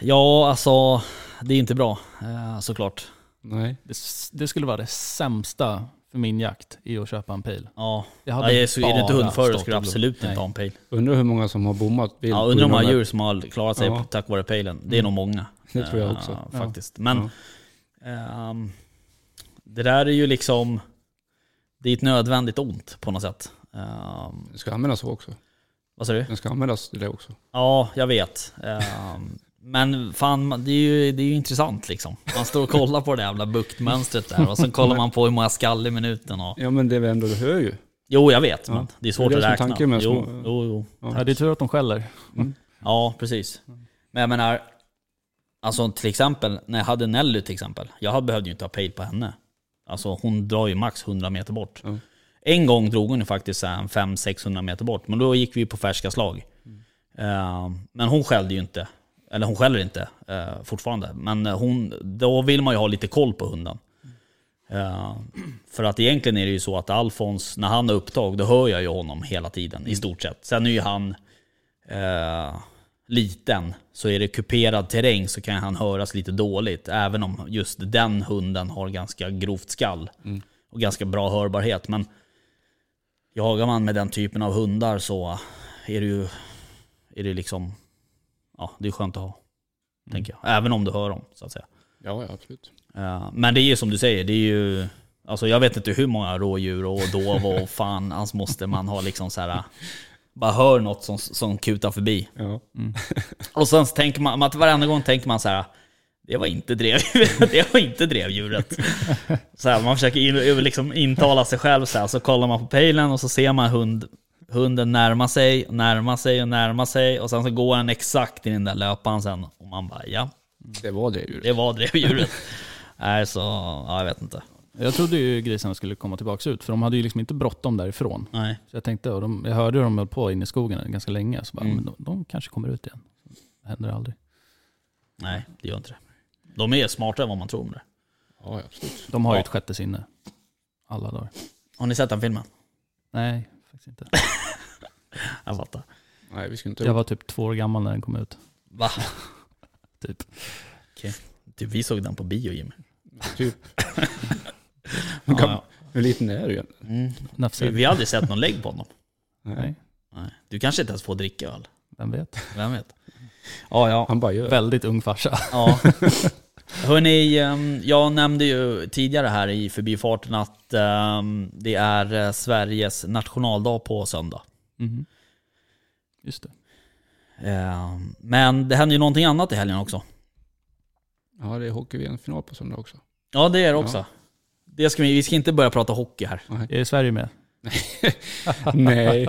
[SPEAKER 2] Ja, alltså det är inte bra eh, såklart.
[SPEAKER 1] Nej.
[SPEAKER 3] Det, s- det skulle vara det sämsta för min jakt, i att köpa en pil.
[SPEAKER 2] Ja.
[SPEAKER 3] Jag
[SPEAKER 2] Ja, jag är, så, är du inte
[SPEAKER 3] bara
[SPEAKER 2] hundförare skulle
[SPEAKER 3] stått och
[SPEAKER 2] jag
[SPEAKER 3] glott.
[SPEAKER 2] absolut
[SPEAKER 3] Nej.
[SPEAKER 2] inte ha en pejl.
[SPEAKER 1] Undrar hur många som har bommat vilt
[SPEAKER 2] Ja,
[SPEAKER 1] på
[SPEAKER 2] undrar hur
[SPEAKER 1] grund av
[SPEAKER 2] många
[SPEAKER 1] det.
[SPEAKER 2] djur som har klarat sig
[SPEAKER 1] Ja. Mm.
[SPEAKER 2] tack vare pejlen. Det är nog många.
[SPEAKER 1] Det tror jag
[SPEAKER 2] eh,
[SPEAKER 1] också.
[SPEAKER 3] Ja.
[SPEAKER 2] Faktiskt. Men
[SPEAKER 1] Ja.
[SPEAKER 2] ehm, det där är ju liksom, det är ett nödvändigt ont på något sätt. Ehm,
[SPEAKER 1] Den ska användas så också.
[SPEAKER 2] vad sa du?
[SPEAKER 1] Den ska användas till det också.
[SPEAKER 2] Ja, jag vet. Ehm, men fan, man- det är, ju, det är ju intressant liksom. Man står och kollar på det jävla buktmönstret där och sen kollar man på hur många skall i minuten. Och,
[SPEAKER 1] Ja men det är väl ändå, du hör ju.
[SPEAKER 2] jo, jag vet, men
[SPEAKER 1] Ja.
[SPEAKER 2] det är svårt
[SPEAKER 1] Det är det som är
[SPEAKER 2] att räkna.
[SPEAKER 1] tanken med
[SPEAKER 2] jo,
[SPEAKER 1] små-
[SPEAKER 2] jo, jo.
[SPEAKER 3] Ja, det är tur att de skäller.
[SPEAKER 2] Ja, precis. Men jag menar, alltså till exempel när jag hade Nelly till exempel. Jag hade- behövde ju inte ha pejl på henne. Alltså hon drar ju max 100 meter bort.
[SPEAKER 1] Mm.
[SPEAKER 2] En gång drog hon ju faktiskt så här en 500-600 meter bort, men då gick vi ju på färska slag. Eh, men hon skällde ju inte. Eller hon skäller inte eh, fortfarande. Men eh, hon, då vill man ju ha lite koll på hunden. Eh, för att egentligen är det ju så att Alfons, när han har upptag, då hör jag ju honom hela tiden i stort sett. Sen är ju han eh, liten, så är det kuperad terräng så kan han höras lite dåligt. Även om just den hunden har ganska grovt skall och ganska bra hörbarhet. Men jagar man med den typen av hundar så är det ju är det liksom, ja det är skönt att ha. Tänker jag. Även om du hör dem så att säga.
[SPEAKER 1] Ja, ja absolut.
[SPEAKER 2] Eh, Men det är ju som du säger, det är ju... Alltså jag vet inte hur många rådjur och dov och fan, alltså måste man ha liksom så här... Bara hör något som, som kutar förbi.
[SPEAKER 1] Ja.
[SPEAKER 2] Och sen så tänker man, att varenda gång tänker man så här... Det var inte, drev, det var inte drevdjuret. Så här, man försöker in, liksom intala sig själv så här, så kollar man på pejlen och så ser man hund, hunden närma sig, närma sig och närma sig. Och sen så går den exakt i den där löpan sen. Och man bara, ja,
[SPEAKER 1] Det var det djuret.
[SPEAKER 2] det var drevdjuret. Nej, så, ja jag vet inte.
[SPEAKER 3] Jag trodde ju grisarna skulle komma tillbaka ut, för de hade ju liksom inte bråttom därifrån.
[SPEAKER 2] Nej.
[SPEAKER 3] Så jag tänkte, och de, jag hörde hur de höll på inne i skogen ganska länge, så bara,
[SPEAKER 2] Mm.
[SPEAKER 3] men de, de kanske kommer ut igen. Det händer aldrig.
[SPEAKER 2] Nej, det gör inte det. De är smartare än vad man tror om det.
[SPEAKER 1] Ja, ja, absolut.
[SPEAKER 3] De har ju
[SPEAKER 2] Ja.
[SPEAKER 3] ett sjätte sinne. Alla dagar.
[SPEAKER 2] Har ni sett den filmen?
[SPEAKER 3] Nej, faktiskt inte.
[SPEAKER 2] Jag fattar.
[SPEAKER 1] Nej, vi skulle inte...
[SPEAKER 3] Jag var typ två år gammal när den kom ut.
[SPEAKER 2] Va?
[SPEAKER 3] Typ.
[SPEAKER 2] Typ vi såg den på bio Jimmy.
[SPEAKER 1] Typ.
[SPEAKER 2] Ja,
[SPEAKER 1] Gam-
[SPEAKER 2] ja.
[SPEAKER 1] Hur liten är du egentligen?
[SPEAKER 2] Mm. Vi,
[SPEAKER 3] Nafsig.
[SPEAKER 2] vi har aldrig sett någon lägg på honom.
[SPEAKER 3] Nej,
[SPEAKER 2] Nej. Du kanske inte ens får dricka öl.
[SPEAKER 3] vem vet.
[SPEAKER 2] Vem vet? Ja, ja.
[SPEAKER 1] Han bara gör.
[SPEAKER 3] Väldigt ung farsa.
[SPEAKER 2] ja. Hörrni, ehm, jag nämnde ju tidigare här i förbifarten att ehm, det är eh, Sveriges nationaldag på söndag.
[SPEAKER 3] Mhm. Just det.
[SPEAKER 2] Ehm, Men det händer ju någonting annat i helgen också.
[SPEAKER 1] Ja, det är hockey-VM-final på söndag också.
[SPEAKER 2] Ja, det är det också.
[SPEAKER 1] Ja.
[SPEAKER 2] Det ska vi, vi ska inte börja prata hockey här.
[SPEAKER 3] Är Sverige med?
[SPEAKER 1] Nej.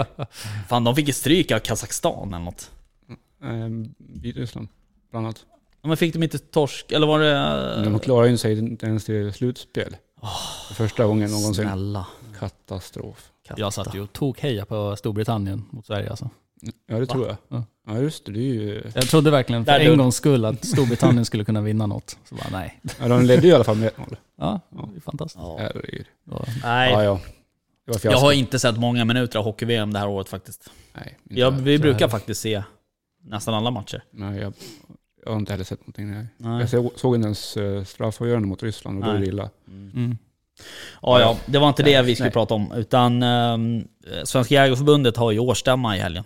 [SPEAKER 2] Fan, de fick ju stryk av Kazakstan eller något.
[SPEAKER 1] Ehm, Vitryssland, bland annat.
[SPEAKER 2] Ja, Men fick de inte torsk, eller var det...
[SPEAKER 1] Men de klarar ju sig inte ens till slutspel. För Första gången någonsin.
[SPEAKER 2] Snälla.
[SPEAKER 1] Katastrof.
[SPEAKER 2] Katta.
[SPEAKER 3] Jag satt ju och tog heja på Storbritannien mot Sverige alltså.
[SPEAKER 1] Ja, det tror jag.
[SPEAKER 3] Ja.
[SPEAKER 1] Ja, just det. Det är ju...
[SPEAKER 3] Jag trodde verkligen för
[SPEAKER 2] Där dör-
[SPEAKER 3] en gångs skull att Storbritannien skulle kunna vinna något. Så bara, nej.
[SPEAKER 1] Ja, de ledde ju i alla fall med 1-0.
[SPEAKER 3] Ja, det är fantastiskt.
[SPEAKER 2] Ja.
[SPEAKER 1] Herregud.
[SPEAKER 3] Ja.
[SPEAKER 2] Nej,
[SPEAKER 1] Ja, ja. Det var
[SPEAKER 2] jag
[SPEAKER 1] fiasko.
[SPEAKER 2] har inte sett många minuter av hockey-VM det här året faktiskt.
[SPEAKER 1] Nej, inte
[SPEAKER 2] Jag,
[SPEAKER 1] jag...
[SPEAKER 2] vi brukar
[SPEAKER 3] heller.
[SPEAKER 2] faktiskt se nästan alla matcher.
[SPEAKER 1] Nej, jag, jag har inte heller sett någonting. Nej.
[SPEAKER 2] Nej.
[SPEAKER 1] Jag såg, såg inte ens eh, straffavgörande mot Ryssland och då är
[SPEAKER 2] Nej.
[SPEAKER 1] det illa.
[SPEAKER 3] Mm.
[SPEAKER 2] Ja, ja, det var inte det vi skulle
[SPEAKER 1] Nej.
[SPEAKER 2] prata om, utan ehm, Svenska Jägareförbundet har ju årsstämma i helgen.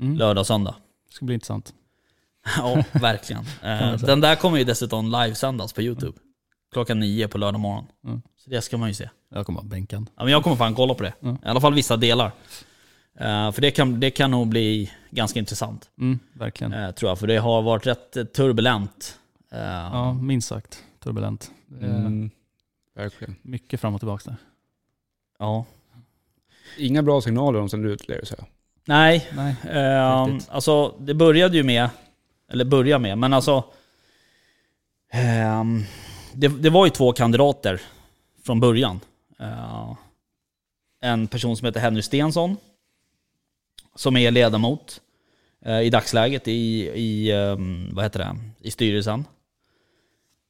[SPEAKER 3] Mm.
[SPEAKER 2] Lördag och söndag.
[SPEAKER 3] Det ska bli intressant.
[SPEAKER 2] Ja, verkligen. Eh, Den där kommer ju dessutom livesändas på YouTube. Klockan nio på lördag morgon.
[SPEAKER 3] Mm.
[SPEAKER 2] Så det ska man ju se.
[SPEAKER 3] Jag kommer vara bänkad.
[SPEAKER 2] Ja, men jag kommer fan kolla på det.
[SPEAKER 3] Mm.
[SPEAKER 2] I alla fall vissa delar. Eh, för det kan, det kan nog bli ganska intressant,
[SPEAKER 3] Mm, verkligen.
[SPEAKER 2] eh, tror jag. För det har varit rätt eh, turbulent. Eh,
[SPEAKER 3] Ja, minst sagt. turbulent. Det är
[SPEAKER 1] Mm, verkligen.
[SPEAKER 3] Mycket fram och tillbaka där.
[SPEAKER 2] Ja.
[SPEAKER 1] Inga bra signaler om sin utlevelse.
[SPEAKER 2] Nej,
[SPEAKER 3] Nej.
[SPEAKER 2] Ehm,
[SPEAKER 3] Riktigt.
[SPEAKER 2] alltså det började ju med, eller börja med, men alltså... ehm, det, det var ju två kandidater från början. Eh, en person som heter Henry Stensson, som är ledamot eh, i dagsläget i, i, ehm, vad heter det, i styrelsen.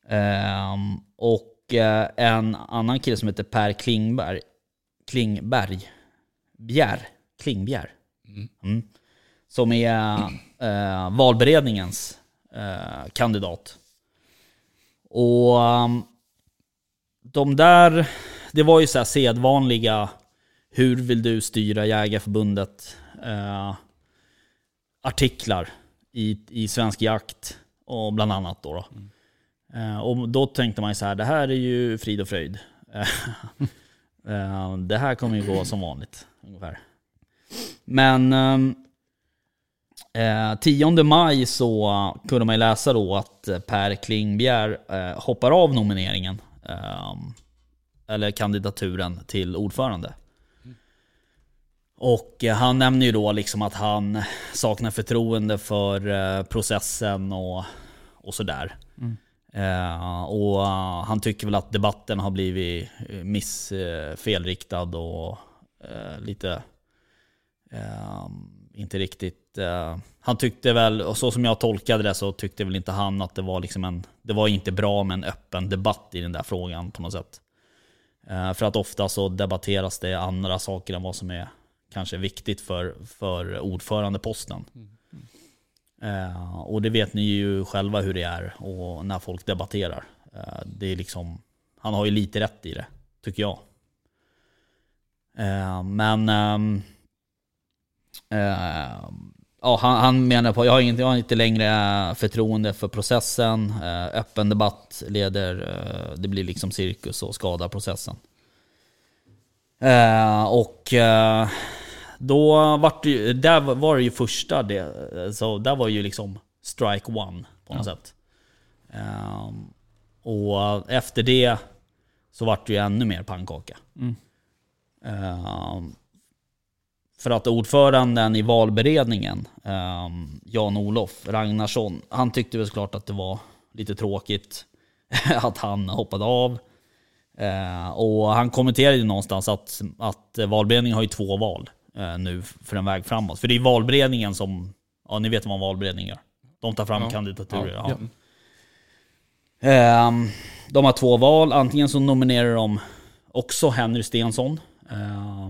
[SPEAKER 2] Ehm, och eh, en annan kille som heter Per Klingberg, Klingberg, Bjär, Klingbjär. Mm. Som är eh, valberedningens eh, kandidat. Och um, de där, det var ju så här sedvanliga, hur vill du styra Jägarförbundet? Eh, artiklar i, i Svensk Jakt och bland annat då. då. Eh, och då tänkte man ju så här, det här är ju frid och fröjd. Eh, det här kommer ju gå som vanligt ungefär. Men ehm, eh, 10 maj så kunde man ju läsa då att eh, Per Klingbjer eh, hoppar av nomineringen. ehm, eller kandidaturen till ordförande. Och eh, han nämner ju då liksom att han saknar förtroende för eh, processen och, och sådär. Eh, och eh, han tycker väl att debatten har blivit eh, miss, eh, felriktad och eh, lite eh, inte riktigt... Eh, han tyckte väl, och så som jag tolkade det så tyckte väl inte han att det var liksom en... Det var inte bra med en öppen debatt i den där frågan på något sätt. Eh, för att ofta så debatteras det andra saker än vad som är kanske viktigt för, för ordförandeposten. Eh, och det vet ni ju själva hur det är och när folk debatterar. Eh, det är liksom, han har ju lite rätt i det, tycker jag. Eh, men ehm, eh, ja, han, han menar på jag har, inte, jag har inte längre eh, förtroende för processen. Eh, öppen debatt leder, eh, det blir liksom cirkus och skadar processen. Eh, och eh, då vart det ju, där var det ju första det, eh, så där var ju liksom strike one på något sätt. Ehm, och efter det så vart det ju ännu mer pannkaka. Ehm, för att ordföranden i valberedningen, ehm, Jan-Olof Ragnarsson, han tyckte väl såklart att det var lite tråkigt att han hoppade av. Eh, och han kommenterade ju någonstans att, att valberedningen har ju två val eh, nu för en väg framåt. För det är valberedningen som, ja ni vet vad en valberedning gör. De tar fram kandidaturer. Ja. Ehm, de har två val, antingen så nominerar de också Henry Stensson. eh,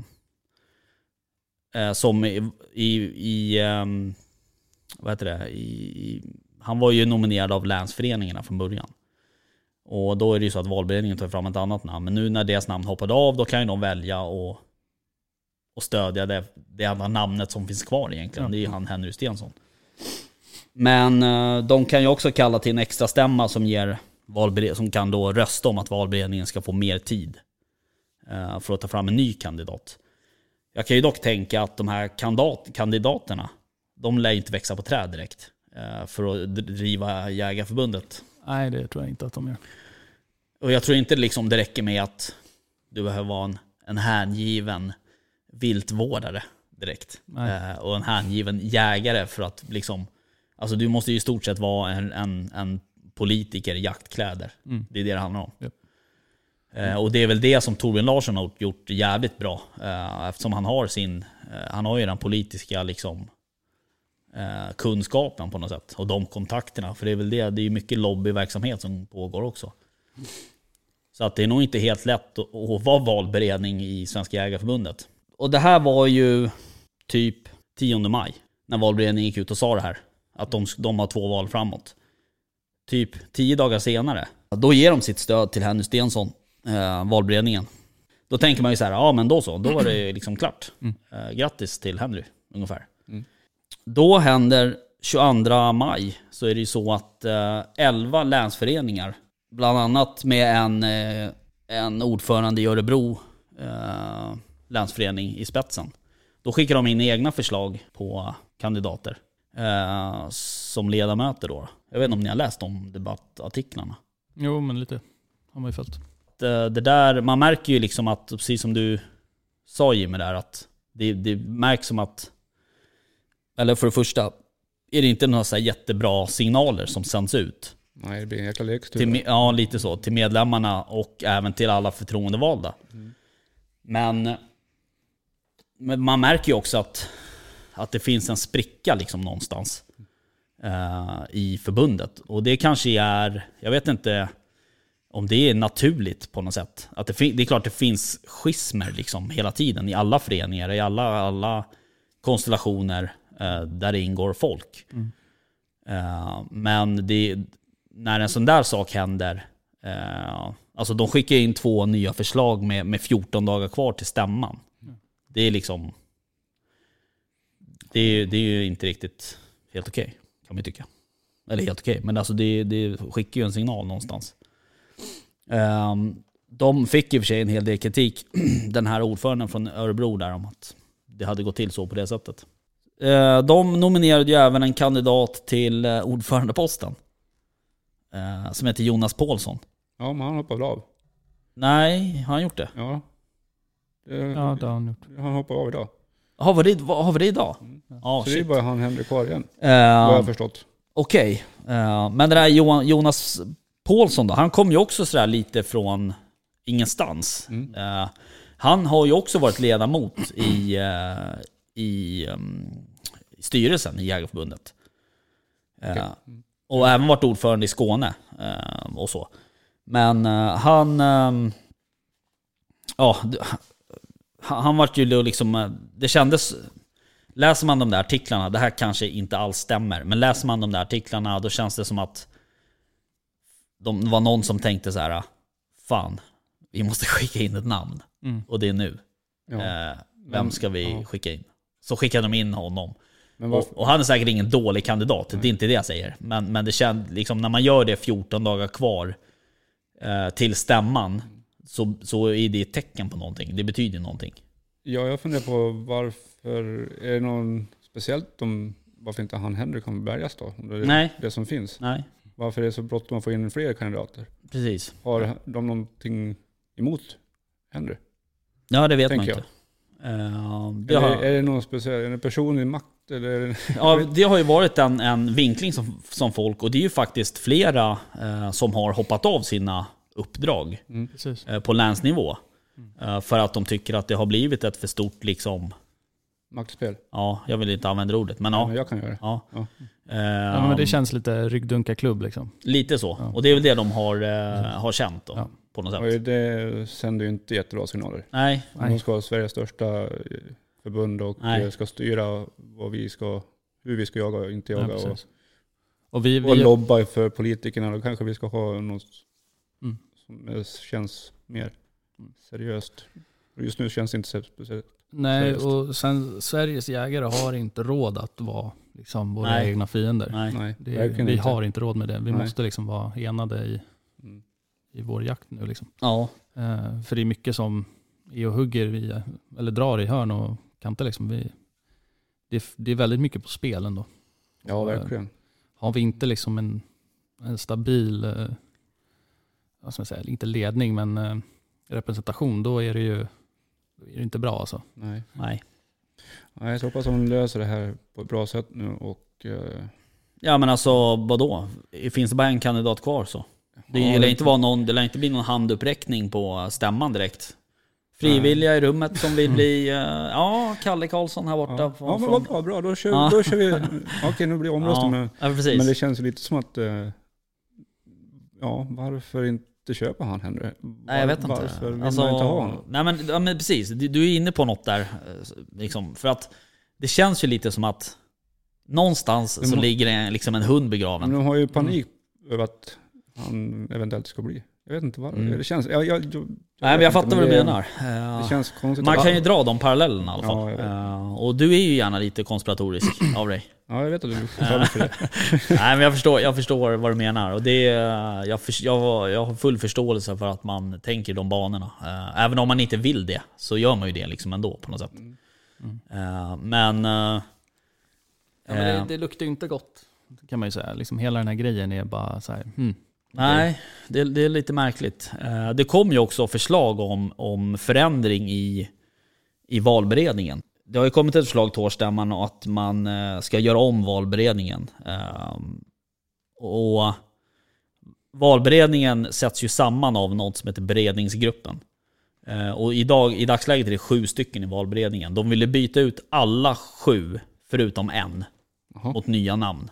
[SPEAKER 2] eh, som i, i, i ehm, vad heter det, I, i, han var ju nominerad av länsföreningarna från början. Och då är det ju så att valberedningen tar fram ett annat namn. Men nu när deras namn hoppade av, då kan ju de välja och, och stödja det, det enda namnet som finns kvar egentligen. Det är ju han Henry Stensson. Men eh, de kan ju också kalla till en extra stämma som, ger valbered- som kan då rösta om att valberedningen ska få mer tid eh, för att ta fram en ny kandidat. Jag kan ju dock tänka att de här kandidat, kandidaterna, de lär ju inte växa på träd direkt eh, för att driva Jägarförbundet.
[SPEAKER 3] Nej, det tror jag inte att de gör.
[SPEAKER 2] Och jag tror inte liksom det räcker med att du behöver vara en, en hängiven viltvårdare direkt. Eh, och en hängiven jägare för att liksom, alltså du måste ju i stort sett vara en, en, en politiker i jaktkläder. Det är det det handlar om.
[SPEAKER 3] Japp.
[SPEAKER 2] Eh, och det är väl det som Torbjörn Larsson har gjort jävligt bra. Eh, eftersom han har sin, eh, han har ju den politiska liksom, eh, kunskapen på något sätt. Och de kontakterna. För det är väl det, det är ju mycket lobbyverksamhet som pågår också. Så att det är nog inte helt lätt att, att vara valberedning i Svenska Jägareförbundet. Och det här var ju typ 10 maj när valberedningen gick ut och sa det här. Att de, de har två val framåt. Typ 10 dagar senare, då ger de sitt stöd till Henry Stensson, eh, valberedningen. Då tänker man ju så här, ja men då så, då var det ju liksom klart. Eh, grattis till Henry, ungefär. Då händer 22 maj så är det ju så att eh, 11 länsföreningar, bland annat med en, eh, en ordförande i Örebro eh, länsförening i spetsen. Då skickar de in egna förslag på kandidater eh, som ledamöter då. Jag vet inte om ni har läst de debattartiklarna.
[SPEAKER 3] Jo, men lite har man ju följt.
[SPEAKER 2] eh, det, det där, man märker ju liksom att, precis som du sa Jimmy där, att det, det märks som att... Eller för det första, är det inte några så här jättebra signaler som sänds ut?
[SPEAKER 1] Nej, det blir en jäkla
[SPEAKER 2] Till,
[SPEAKER 1] lekstuga.
[SPEAKER 2] me- ja, lite så. Till medlemmarna och även till alla förtroendevalda. Men, men man märker ju också att, att det finns en spricka liksom någonstans eh, i förbundet. Och det kanske är, jag vet inte om det är naturligt på något sätt. Att det, fin- det är klart det finns schismer liksom hela tiden i alla föreningar, i alla, alla konstellationer eh, där det ingår folk. Eh, men det, när en sån där sak händer, eh, alltså de skickar in två nya förslag med, med 14 dagar kvar till stämman. Det är liksom, det är, det är ju inte riktigt helt okej kan man ju tycka. Eller helt okej, men alltså det, det skickar ju en signal någonstans. Eh, de fick i och för sig en hel del kritik, den här ordföranden från Örebro där om att det hade gått till så på det sättet. Eh, De nominerade ju även en kandidat till eh, ordförandeposten. eh, Som heter Jonas Paulsson.
[SPEAKER 1] Ja, men han hoppar väl av.
[SPEAKER 2] Nej, har han gjort det?
[SPEAKER 1] Ja. Det,
[SPEAKER 3] Ja, det har han gjort.
[SPEAKER 1] Han hoppar av idag.
[SPEAKER 2] Har vi det, vad- har vi det idag? Ja,
[SPEAKER 1] Mm. så det är
[SPEAKER 2] shit.
[SPEAKER 1] bara han Henrik kvar igen, vad jag
[SPEAKER 2] Eh,
[SPEAKER 1] har förstått.
[SPEAKER 2] Okej, Eh, men den här Johan, Jonas Paulsson då, han kom ju också sådär lite från ingenstans. Eh, han har ju också varit ledamot i, eh, i um, styrelsen i Jägareförbundet. Eh, Och även varit ordförande i Skåne eh, och så. Men eh, han... ehm, ja, d- han, han vart ju då liksom... eh, Det kändes... Läser man de där artiklarna, det här kanske inte alls stämmer, men läser man de där artiklarna då känns det som att de, det var någon som tänkte så här, fan, vi måste skicka in ett namn. Och det är nu.
[SPEAKER 1] Mm. Ja.
[SPEAKER 2] Eh, vem ska vi skicka in? Så skickade de in honom.
[SPEAKER 1] Men
[SPEAKER 2] Och,
[SPEAKER 1] varför?
[SPEAKER 2] och han är säkert ingen dålig kandidat, det är inte det jag säger. Men, men det känd, liksom, när man gör det 14 dagar kvar eh, till stämman så, så är det ett tecken på någonting. Det betyder någonting.
[SPEAKER 1] Ja, jag funderar på varför, är det någon speciellt om varför inte han Henrik kommer bärgas då? Om det är
[SPEAKER 2] Nej.
[SPEAKER 1] det som finns.
[SPEAKER 2] Nej,
[SPEAKER 1] Varför är det så bråttom att få in fler kandidater?
[SPEAKER 2] precis.
[SPEAKER 1] Har de någonting emot Henry?
[SPEAKER 2] Ja, det vet
[SPEAKER 1] Tänker
[SPEAKER 2] man inte. Eh, det,
[SPEAKER 1] Eller
[SPEAKER 2] har,
[SPEAKER 1] är det någon speciell, är det en person i makt eller? är det-
[SPEAKER 2] ja, det har ju varit en, en vinkling som, som folk, och det är ju faktiskt flera eh, som har hoppat av sina uppdrag.
[SPEAKER 3] Precis.
[SPEAKER 2] eh, på länsnivå. Eh, För att de tycker att det har blivit ett för stort, liksom,
[SPEAKER 1] Maktspel?
[SPEAKER 2] ja, jag vill inte använda ordet, men
[SPEAKER 1] Ja.
[SPEAKER 2] ja.
[SPEAKER 1] men jag kan göra det.
[SPEAKER 2] ja.
[SPEAKER 1] Ja.
[SPEAKER 3] Ja, men
[SPEAKER 2] Ehm,
[SPEAKER 3] det känns lite ryggdunkarklubb liksom.
[SPEAKER 2] Lite så. Och det är väl det de har, eh, har känt då,
[SPEAKER 3] Ja.
[SPEAKER 2] på något sätt.
[SPEAKER 1] Och det sänder ju inte jättebra signaler.
[SPEAKER 2] Nej,
[SPEAKER 1] Om de ska vara Sveriges största eh, förbund och
[SPEAKER 2] Nej.
[SPEAKER 1] eh, ska styra vad vi ska, hur vi ska jaga och inte
[SPEAKER 3] Ja,
[SPEAKER 1] jaga. och,
[SPEAKER 3] precis. Och vi,
[SPEAKER 1] och
[SPEAKER 3] vi,
[SPEAKER 1] lobba för politikerna. Då kanske vi ska ha något
[SPEAKER 3] Mm.
[SPEAKER 1] som eh, känns mer seriöst. Och just nu känns det inte så speciellt.
[SPEAKER 4] Nej,
[SPEAKER 1] Seriöst.
[SPEAKER 4] och sen Sveriges jägare har inte råd att vara liksom, våra
[SPEAKER 2] Nej.
[SPEAKER 4] egna fiender.
[SPEAKER 2] nej.
[SPEAKER 1] Nej,
[SPEAKER 3] det,
[SPEAKER 1] verkligen
[SPEAKER 3] vi
[SPEAKER 1] inte.
[SPEAKER 3] har inte råd med det. Vi
[SPEAKER 1] Nej.
[SPEAKER 3] måste liksom vara enade i,
[SPEAKER 1] Mm.
[SPEAKER 3] i vår jakt nu. Liksom.
[SPEAKER 2] Ja,
[SPEAKER 3] Eh, för det är mycket som är och hugger i, eller drar i hörn och kanter. Liksom. Vi, det, är- det är väldigt mycket på spel ändå.
[SPEAKER 1] Ja, verkligen.
[SPEAKER 3] Har vi inte liksom en, en stabil, eh, vad ska man säga, inte ledning men eh, representation, då är det ju då är det inte bra alltså.
[SPEAKER 1] Nej.
[SPEAKER 2] nej.
[SPEAKER 1] Nej, så hoppas att de löser det här på ett bra sätt nu. Och, eh,
[SPEAKER 2] Ja men alltså vadå? Finns det bara en kandidat kvar så? Det
[SPEAKER 1] Ja,
[SPEAKER 2] lär
[SPEAKER 1] det-
[SPEAKER 2] inte, vara någon, det lär inte bli någon handuppräckning på stämman direkt. Frivilliga i rummet som vill bli... eh, Ja, Kalle Karlsson här borta.
[SPEAKER 1] Mm. ja.
[SPEAKER 2] från-
[SPEAKER 1] ja, men vad bra, bra. Då kör,
[SPEAKER 2] Ja.
[SPEAKER 1] då kör vi. Okej, nu blir det omröstning.
[SPEAKER 2] ja,
[SPEAKER 1] Men,
[SPEAKER 2] ja, precis.
[SPEAKER 1] men det känns ju lite som att, eh, ja, varför inte köpa han Henry?
[SPEAKER 2] Nej, jag vet inte. Alltså,
[SPEAKER 1] Varför vill man inte ha honom?
[SPEAKER 2] Nej men, ja, men precis, du, du är inne på något där. eh, Liksom, för att det känns ju lite som att någonstans
[SPEAKER 1] Men
[SPEAKER 2] så
[SPEAKER 1] må-
[SPEAKER 2] ligger det en- liksom en hund
[SPEAKER 1] Men
[SPEAKER 2] begraven.
[SPEAKER 1] de har ju panik över att han eventuellt ska bli. Jag vet inte varför.
[SPEAKER 2] Mm.
[SPEAKER 1] Det känns... Jag, jag, jag, jag
[SPEAKER 2] Nej men
[SPEAKER 1] vet
[SPEAKER 2] jag
[SPEAKER 1] inte,
[SPEAKER 2] fattar vad du
[SPEAKER 1] det-
[SPEAKER 2] menar.
[SPEAKER 1] Det
[SPEAKER 2] Eh,
[SPEAKER 1] känns konstigt.
[SPEAKER 2] Man
[SPEAKER 1] att-
[SPEAKER 2] kan ju dra de parallellerna i alla
[SPEAKER 1] Ja,
[SPEAKER 2] fall.
[SPEAKER 1] jag vet.
[SPEAKER 2] Eh, Och du är ju gärna lite konspiratorisk av dig.
[SPEAKER 1] Ja, jag vet att du faller för det.
[SPEAKER 2] Nej men jag förstår, jag förstår vad du menar. Och det, är, eh, jag, förs- jag, jag har full förståelse för att man tänker de banorna. Eh, Även om man inte vill det så gör man ju det liksom ändå på något sätt. Eh, Men... eh,
[SPEAKER 3] Ja, men
[SPEAKER 2] eh,
[SPEAKER 3] det, det luktar ju inte gott. Kan man ju säga. Liksom hela den här grejen är bara så här, hmm,
[SPEAKER 2] Nej, det, det är lite märkligt. Eh, Det kom ju också förslag om, om förändring i, i valberedningen. Det har ju kommit ett förslag till årsstämman att man eh, ska göra om valberedningen. Eh, Och valberedningen sätts ju samman av något som heter beredningsgruppen. Eh, Och idag, i dagsläget är det sju stycken i valberedningen. De ville byta ut alla sju, förutom en,
[SPEAKER 1] Jaha.
[SPEAKER 2] mot nya namn.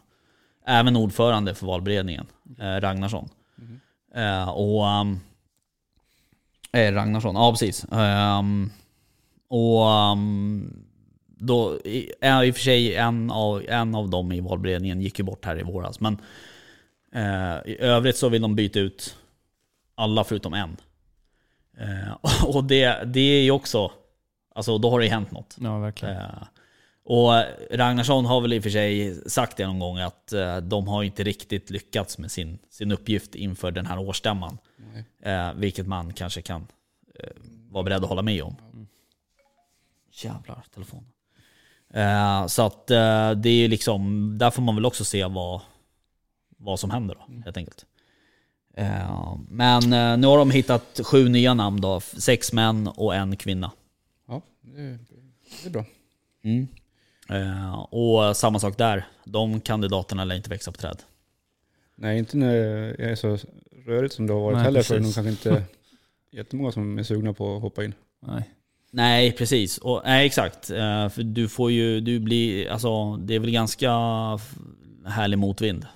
[SPEAKER 2] Även ordförande för valberedningen, eh, Ragnarsson. Eh, och... ehm, eh, Ragnarsson, ja precis. Ehm, och... ehm, då, i, ja, I och för sig, en av, en av dem i valberedningen gick ju bort här i våras. Men eh, i övrigt så vill de byta ut alla förutom en. Eh, och det, det är ju också... Alltså då har det ju hänt något.
[SPEAKER 3] Ja, verkligen.
[SPEAKER 2] Eh, Och Ragnarsson har väl i och för sig sagt det någon gång att eh, de har inte riktigt lyckats med sin, sin uppgift inför den här årsstämman. Eh, vilket man kanske kan eh, vara beredd att hålla med om. Jävlar, telefonen. Eh, så att eh, det är ju liksom, där får man väl också se vad, vad som händer då, helt enkelt. Eh, men eh, nu har de hittat sju nya namn då, f- sex män och en kvinna.
[SPEAKER 1] Ja, det är, det är bra. Mm.
[SPEAKER 2] Eh, och samma sak där. De kandidaterna lär inte växa på träd.
[SPEAKER 1] Nej, inte när det är så rörigt som det har varit
[SPEAKER 3] Nej,
[SPEAKER 1] heller. För de
[SPEAKER 3] precis.
[SPEAKER 1] kanske inte jättemånga som är sugna på att hoppa in.
[SPEAKER 3] Nej.
[SPEAKER 2] Nej, precis. Och, nej, exakt. Eh, för du får ju, du blir, alltså det är väl ganska f- härlig motvind